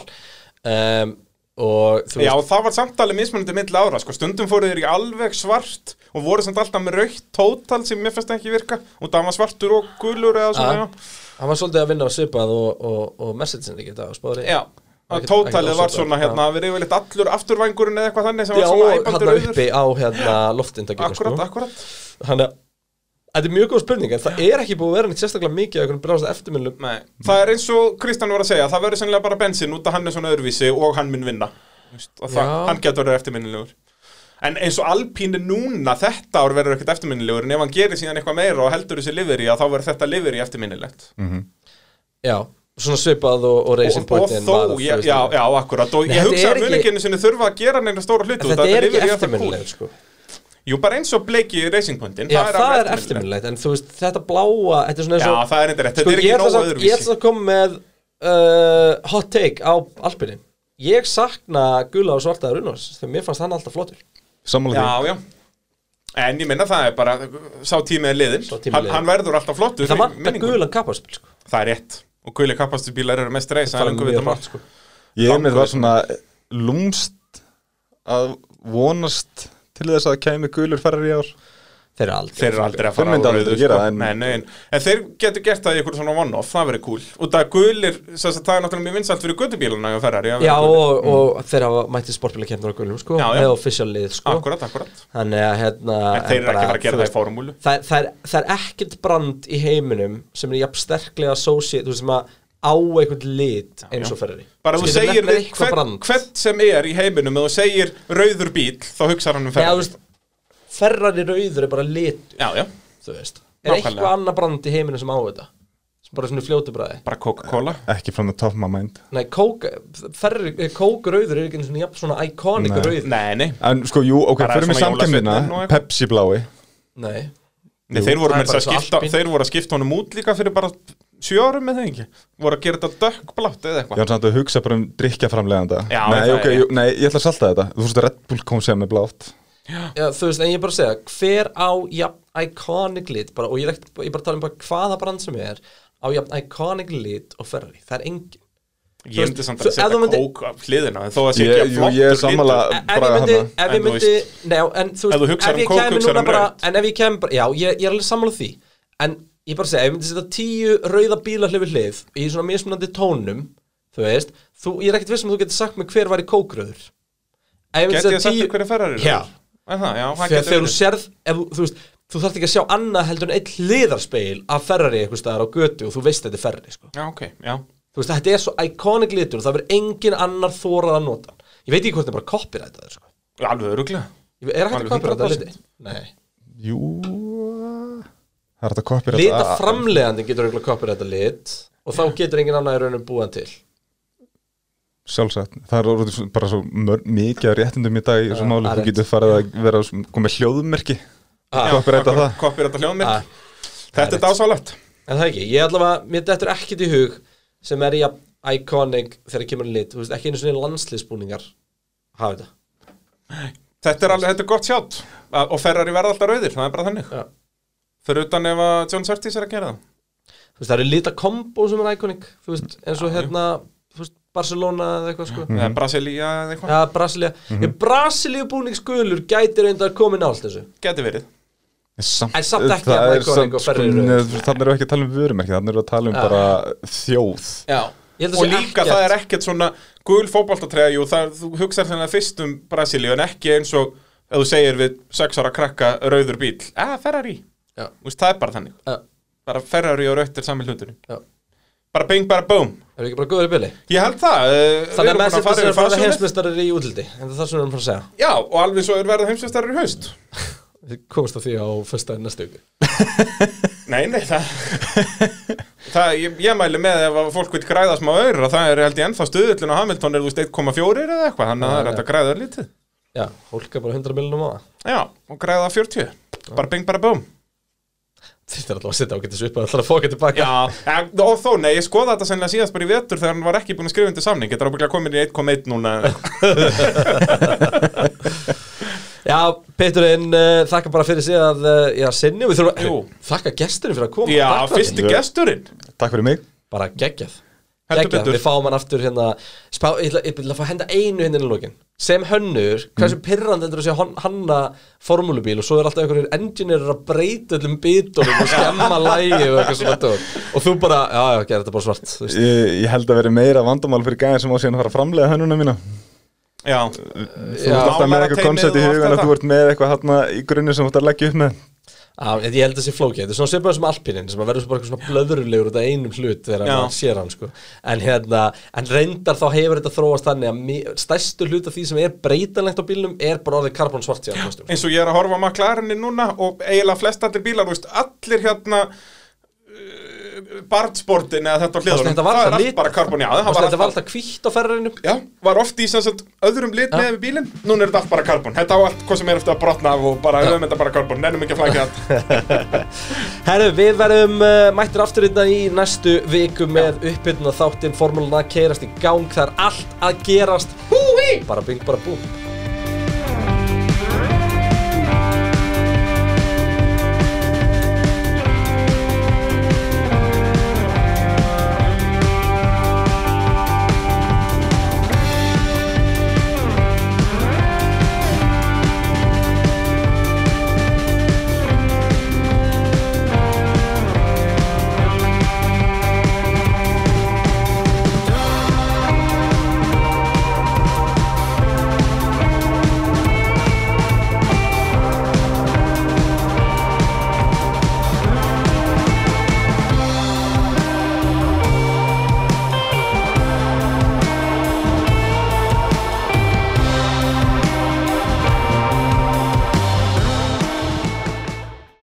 Speaker 1: um, og þú
Speaker 2: Já,
Speaker 1: veist,
Speaker 2: það var samtalið mismunandi milli ára sko. Stundum fóru þeir í alveg svart og voru samt alltaf með raukt tótal sem mér finnst ekki virka og það var svartur og gulur eða svona,
Speaker 1: að, hann var svolítið að vinna á svipað og, og, og messagein ekki þetta á spári
Speaker 2: já Já,
Speaker 1: Ekkert-
Speaker 2: tótalið
Speaker 1: ekkert
Speaker 2: var
Speaker 1: ósvipað,
Speaker 2: svona hérna, við erum yfirleitt allur afturvængurinn eða eitthvað þannig sem
Speaker 1: Já,
Speaker 2: var svona
Speaker 1: og
Speaker 2: æpandur
Speaker 1: hérna uppi sko. á
Speaker 2: auður
Speaker 1: hérna loftindakinu
Speaker 2: Akkurat, akkurat
Speaker 1: Þannig að þetta er mjög góð spurning en það er ekki búið að vera neitt sérstaklega mikið af einhvern bráðast eftirminnlum
Speaker 2: Nei. Það er eins og Kristján var að segja, það verður sennilega bara bensin út að hann er svona öðruvísi og hann mun vinna Þú veist, og það,
Speaker 1: Já.
Speaker 2: hann getur verið eftirminnilegur En eins og Alpín er núna þetta ár verður ekkert eftirminnilegur en ef hann gerir síðan eitthvað meira og heldur þessi liveri að þá verður þetta liveri eftirminnilegt
Speaker 1: Já, svona svipað og, og racing
Speaker 2: og, og
Speaker 1: pointin
Speaker 2: þó, já, já, já, akkurat og
Speaker 1: Nei,
Speaker 2: ég
Speaker 1: þetta
Speaker 2: hugsa
Speaker 1: er
Speaker 2: að
Speaker 1: ekki-
Speaker 2: muninginu sinni þurfa að gera neina stóra hluti
Speaker 1: En
Speaker 2: og
Speaker 1: þetta er
Speaker 2: lifir
Speaker 1: ekki
Speaker 2: í alltaf
Speaker 1: eftirminnilegt
Speaker 2: kúl.
Speaker 1: sko
Speaker 2: Jú, bara eins og bleiki racing pointin
Speaker 1: Já, það
Speaker 2: alveg
Speaker 1: er eftirminnilegt en þú veist, þetta bláa Þetta er svona
Speaker 2: Já,
Speaker 1: eins og
Speaker 2: það er eitthvað rétt,
Speaker 1: Sko, ég
Speaker 2: þetta er ekki
Speaker 1: ætla
Speaker 2: nógu
Speaker 1: samt- ég ætla
Speaker 2: öðruvísi
Speaker 1: að koma með uh, hot take á Alpinin Ég sakna gula og svarta runos þegar mér fannst hann alltaf flottur
Speaker 3: sammála
Speaker 2: Já,
Speaker 3: því
Speaker 2: já En ég minna það er bara, sá tími er liðin,
Speaker 1: Sá tími er
Speaker 2: hann,
Speaker 1: liðinn.
Speaker 2: hann verður alltaf flottur
Speaker 1: Það
Speaker 2: í
Speaker 1: vantar
Speaker 2: minningunni.
Speaker 1: gulan kappaspil sko.
Speaker 2: Það er rétt Og guli kappastubílar eru mest reysa
Speaker 1: Það er mjög
Speaker 2: mál
Speaker 1: hratt, sko.
Speaker 3: ég með var svona lúmst að vonast til þess að það kæmi gulur ferri í ár
Speaker 1: Þeir eru aldrei
Speaker 2: Þeir eru aldrei að fara
Speaker 3: Þeir myndu
Speaker 2: á
Speaker 3: aldrei
Speaker 2: rauðu,
Speaker 3: gera
Speaker 2: sko.
Speaker 3: það, en-
Speaker 2: nei, nei, en- en þeir getur gert það í ykkur svona one-off, það verður cool Og það gulir, sem sagt, það er náttúrulega mjög vinsalt fyrir göttubíluna að ferrar
Speaker 1: Já, og, og þeir hafa mætti sportbílakefnir á gulum sko,
Speaker 2: Mm. Já, já.
Speaker 1: með official lið sko.
Speaker 2: Akkurat, akkurat
Speaker 1: Þannig að hérna
Speaker 2: En þeir eru ekki að fara að gera
Speaker 1: þú
Speaker 2: það í
Speaker 1: veist,
Speaker 2: formúlu
Speaker 1: það, er- það, er, það er ekkert brand í heiminum sem er jafn sterklega associate, þú veist sem að á einhvern lit eins
Speaker 2: já.
Speaker 1: og ferri
Speaker 2: Bara þú segir við hvern, hvern sem er í heiminum og þú segir rauður bíl, þá hugsar hann um
Speaker 1: Nei, þú
Speaker 2: ferrar
Speaker 1: veist, ferrari rauður er bara lit
Speaker 2: Já, já,
Speaker 1: þú veist Er
Speaker 2: Nákvæmlega.
Speaker 1: eitthvað annað brand í heiminum sem á þetta? Sem bara svona fljótu bræði
Speaker 2: bara Coca-Cola
Speaker 3: ekki frá það topma mænd
Speaker 1: Nei, kók, ferri, kók rauður er ekki einu sinni jafn svona iconic
Speaker 3: Nei.
Speaker 1: rauður
Speaker 2: Nei, nei
Speaker 3: en sko, jú, ok,
Speaker 2: Bara
Speaker 3: fyrir mig
Speaker 2: svona jólasveinninn
Speaker 3: samkemnina
Speaker 2: og eitthvað.
Speaker 3: Pepsi blái
Speaker 1: Nei,
Speaker 2: Nei, þeir, voru
Speaker 4: það er
Speaker 2: meira að
Speaker 4: bara
Speaker 2: segja að
Speaker 4: eins og
Speaker 2: skipta,
Speaker 4: Alpín.
Speaker 2: þeir voru að skipta honum út líka fyrir bara sjö árum með þeim ekki voru að gera þetta dökkblátt eða
Speaker 3: Ég
Speaker 2: eitthvað
Speaker 3: var samt að hugsa bara um drikkjaframleganda
Speaker 2: Já,
Speaker 3: nei,
Speaker 2: það
Speaker 3: ok,
Speaker 2: er-
Speaker 3: jú, nei, ég ætla að salta þetta Þú veist að Red Bull kom sem er blátt
Speaker 1: Já, þú veist, en ég er bara að segja, hver á jafn iconic lit, bara, og ég er ekkert, ég er bara að tala um bara hvaða brand sem er, á jafn iconic lit og Ferrari, það er engin.
Speaker 2: Ég myndi samt
Speaker 1: þú-
Speaker 2: að
Speaker 1: ef
Speaker 2: setja
Speaker 1: þú myndi-
Speaker 2: kók af hliðina þó að sé
Speaker 3: Ég,
Speaker 2: ekki að
Speaker 3: jú,
Speaker 2: flottur
Speaker 3: ég er sammála
Speaker 2: litur.
Speaker 1: En ef
Speaker 3: bara
Speaker 1: ég myndi,
Speaker 3: hana
Speaker 1: ef
Speaker 2: En
Speaker 1: ég
Speaker 2: þú
Speaker 1: myndi, neá, en þú
Speaker 2: Ef þú
Speaker 1: veist,
Speaker 2: hugsar
Speaker 1: ef
Speaker 2: um
Speaker 1: ég
Speaker 2: kók,
Speaker 1: kæmi
Speaker 2: hugsar
Speaker 1: núna
Speaker 2: um
Speaker 1: bara,
Speaker 2: rautt.
Speaker 1: en ef ég kæmi bara, já, ég, ég er alveg sammála því, en ég bara að segja, ef ég myndi setja tíu rauða bílar hlifið hlið í svona mismunandi tónum, þú veist, þú, ég er ekkert vissum að þú getur sagt mig hver var í kókröður. Ef ég myndi
Speaker 2: Geti ég
Speaker 1: setja
Speaker 2: sagt
Speaker 1: tíu,
Speaker 2: hverju ferrar eru?
Speaker 1: Já.
Speaker 2: Er það, já, það
Speaker 1: þegar,
Speaker 2: getur
Speaker 1: þegar þú
Speaker 2: verið.
Speaker 1: sérð ef, þú- þú, veist, þú þarft ekki að sjá annað heldur en eitt hliðarspeil af Ferrari einhvers staðar á götu og þú veist þetta er Ferrari sko.
Speaker 2: Já, ok, já
Speaker 1: þú veist, þetta er svo iconic litur og það verður engin annar þórað að nota hann. ég veit ekki hvort það er bara copyrightaður sko.
Speaker 2: Já, Alveg öruglega
Speaker 1: Ég- er hægt að
Speaker 2: Alveg
Speaker 1: copyrighta
Speaker 2: 100%.
Speaker 1: liti? Nei.
Speaker 3: Jú Það er þetta kopir
Speaker 1: lita framlegandi getur eiginlega copyrighta lit og þá getur engin annar í raunum búið hann til
Speaker 3: Sjálfsagt, það er orðið svo- bara svo mör, mikið af réttindum í dag í þessu máli,
Speaker 1: Ah, það er
Speaker 3: þú getur farið að vera komið hljóðmerki
Speaker 1: Ah,
Speaker 3: Copyrighta það
Speaker 2: Kopir þetta hljóðmir
Speaker 1: Ah.
Speaker 2: Þetta er dásalegt
Speaker 1: en það ekki, ég allavega, mér dettur ekkit í hug sem er í að iconic þegar kemur hann lit, þú veist, ekki einu svona landsliðsbúningar hafa þetta
Speaker 2: Þetta er alveg, þetta er gott sjátt Og ferrar í verða alltaf rauðir, það er bara þannig
Speaker 1: Já.
Speaker 2: Fyrir utan ef að John Surtees er að gera það
Speaker 1: þú veist, það eru lita kombo sem er iconic þú veist, eins og hérna þú veist, Barcelona eða eitthvað sko
Speaker 2: Eða Brasilia eða eitthvað
Speaker 1: Já, Brasilia Ég Brasilíu búning skulur gæti reynda að koma nált þessu
Speaker 2: Geti verið
Speaker 3: En Samt,
Speaker 1: En samt ekki
Speaker 3: það
Speaker 1: að
Speaker 3: er
Speaker 1: Iconic
Speaker 3: samt,
Speaker 1: og
Speaker 3: sko,
Speaker 1: Ferrari eru.
Speaker 3: neð- Þannig erum við ekki að tala um vörumerki, þannig erum við að tala um
Speaker 1: Já.
Speaker 3: bara þjóð
Speaker 1: Já Ég held að
Speaker 2: og
Speaker 1: sé
Speaker 2: líka
Speaker 1: ekkert-
Speaker 2: það er ekkert svona gul fótboltatræða, jú, það, þú hugsar þennan fyrst um Brasilíu en ekki eins og ef þú segir við sex ára krakka rauður bíl, að Ferrari
Speaker 1: Já.
Speaker 2: Úst, það er bara þannig,
Speaker 1: Já,
Speaker 2: bara Ferrari og rautt er sami hluturinn,
Speaker 1: já
Speaker 2: bara bing, bara boom
Speaker 1: Erum við ekki bara góður í byrli?
Speaker 2: ég held það, uh,
Speaker 1: Þannig að
Speaker 2: búin
Speaker 1: menn sem þessi er
Speaker 2: yfir
Speaker 1: að fara
Speaker 2: fasjónið.
Speaker 1: heimsmeistarir í útliti En það er það sem við erum að fara að segja
Speaker 2: já, og alveg svo er verða heimsvistarir í haust
Speaker 1: Við komumst að því á fyrsta en næstu ykkur
Speaker 2: nei, nei, það, það ég, ég mæli með ef að fólk vil græða smá aur það er held ég ennþá stuðullin og Hamilton er þú veist 1,4 eða eitthvað, þannig að það er hægt að græða lítið
Speaker 1: Já, hólka bara 100 miljonum á það
Speaker 2: já, og græða 40, bara bing, bara boom
Speaker 1: Þetta er alltaf að setja ágættis upp að alltaf að fóka tilbaka
Speaker 2: Já, en- og þó, nei, ég skoða þetta sennilega síðast bara í vetur þegar hann var ekki búin að skrifa undir samning Þetta er ábygglega komin í 1.1 núna eða eitthvað.
Speaker 1: Já, Peturinn, uh, þakka bara fyrir sig að uh, Já, sinni, við þurfum
Speaker 2: Jú.
Speaker 1: Þakka gesturinn fyrir að koma
Speaker 2: Já,
Speaker 1: Takk fyrir.
Speaker 2: fyrsti gesturinn
Speaker 3: Takk fyrir mig
Speaker 1: bara geggjað
Speaker 2: Heldur
Speaker 1: geggjað,
Speaker 2: betur.
Speaker 1: við fáum hann aftur hérna spá, ég ætla ég ætla að fá að henda einu hérna í lokin sem hönnur, hversu
Speaker 2: Mhm.
Speaker 1: mm. pirrandi heldur þú að sé hon- hanna formúlubíl og svo er alltaf einhverjir engineer að breyta öllum bitunum og skemma lægi og eitthvað svona dót. og þú bara, já já, gera þetta bara svart þú veist.
Speaker 3: Ég, ég held að vera meira vandamál fyrir gæðin sem á síðan að fara að framlega hönnuna mína
Speaker 2: Já,
Speaker 3: Þú ert alltaf með eitthvað
Speaker 2: Málateymið
Speaker 3: koncept í
Speaker 2: og allt
Speaker 3: hugan að
Speaker 2: þetta.
Speaker 3: þú ert með eitthvað hann í grunni sem þú ert að leggja upp með
Speaker 1: á, ég ég held að það sé flókið, þetta er svona svipað sem alpinin sem að verður svo bara eitthvað svona blöðrulegur út af einum hlut þegar
Speaker 2: Já.
Speaker 1: maður sér hann sko. en, hérna, en reyndar þá hefur þetta þróast þannig að mi- stærstu hlut af því sem er breytanlegt á bílnum er bara orðið karbon svart síðan, kostum.
Speaker 2: eins og ég er að horfa á McLarenin núna og eiginlega flest allir bílar, þú veist, allir hérna uh, barnsportin eða þetta á hliðunum,
Speaker 1: þetta var
Speaker 2: það er
Speaker 1: alltaf
Speaker 2: allt
Speaker 1: lit-
Speaker 2: bara karbon, já, það var
Speaker 1: Þetta var
Speaker 2: alltaf
Speaker 1: alltaf kvítt á ferrarinum
Speaker 2: Já, var oft í sem sagt öðrum lit með við bílinn, núna er þetta allt bara karbon Þetta á allt hvað sem er eftir að brotna af og bara höfum þetta bara karbon, nennum ekki að flækja þetta
Speaker 1: Herru, við verðum uh, mættir aftur hérna í næstu viku með upphyrna þáttinn Formúluna að keirast í gang Það er allt að gerast Húi! Bara bing, bara búm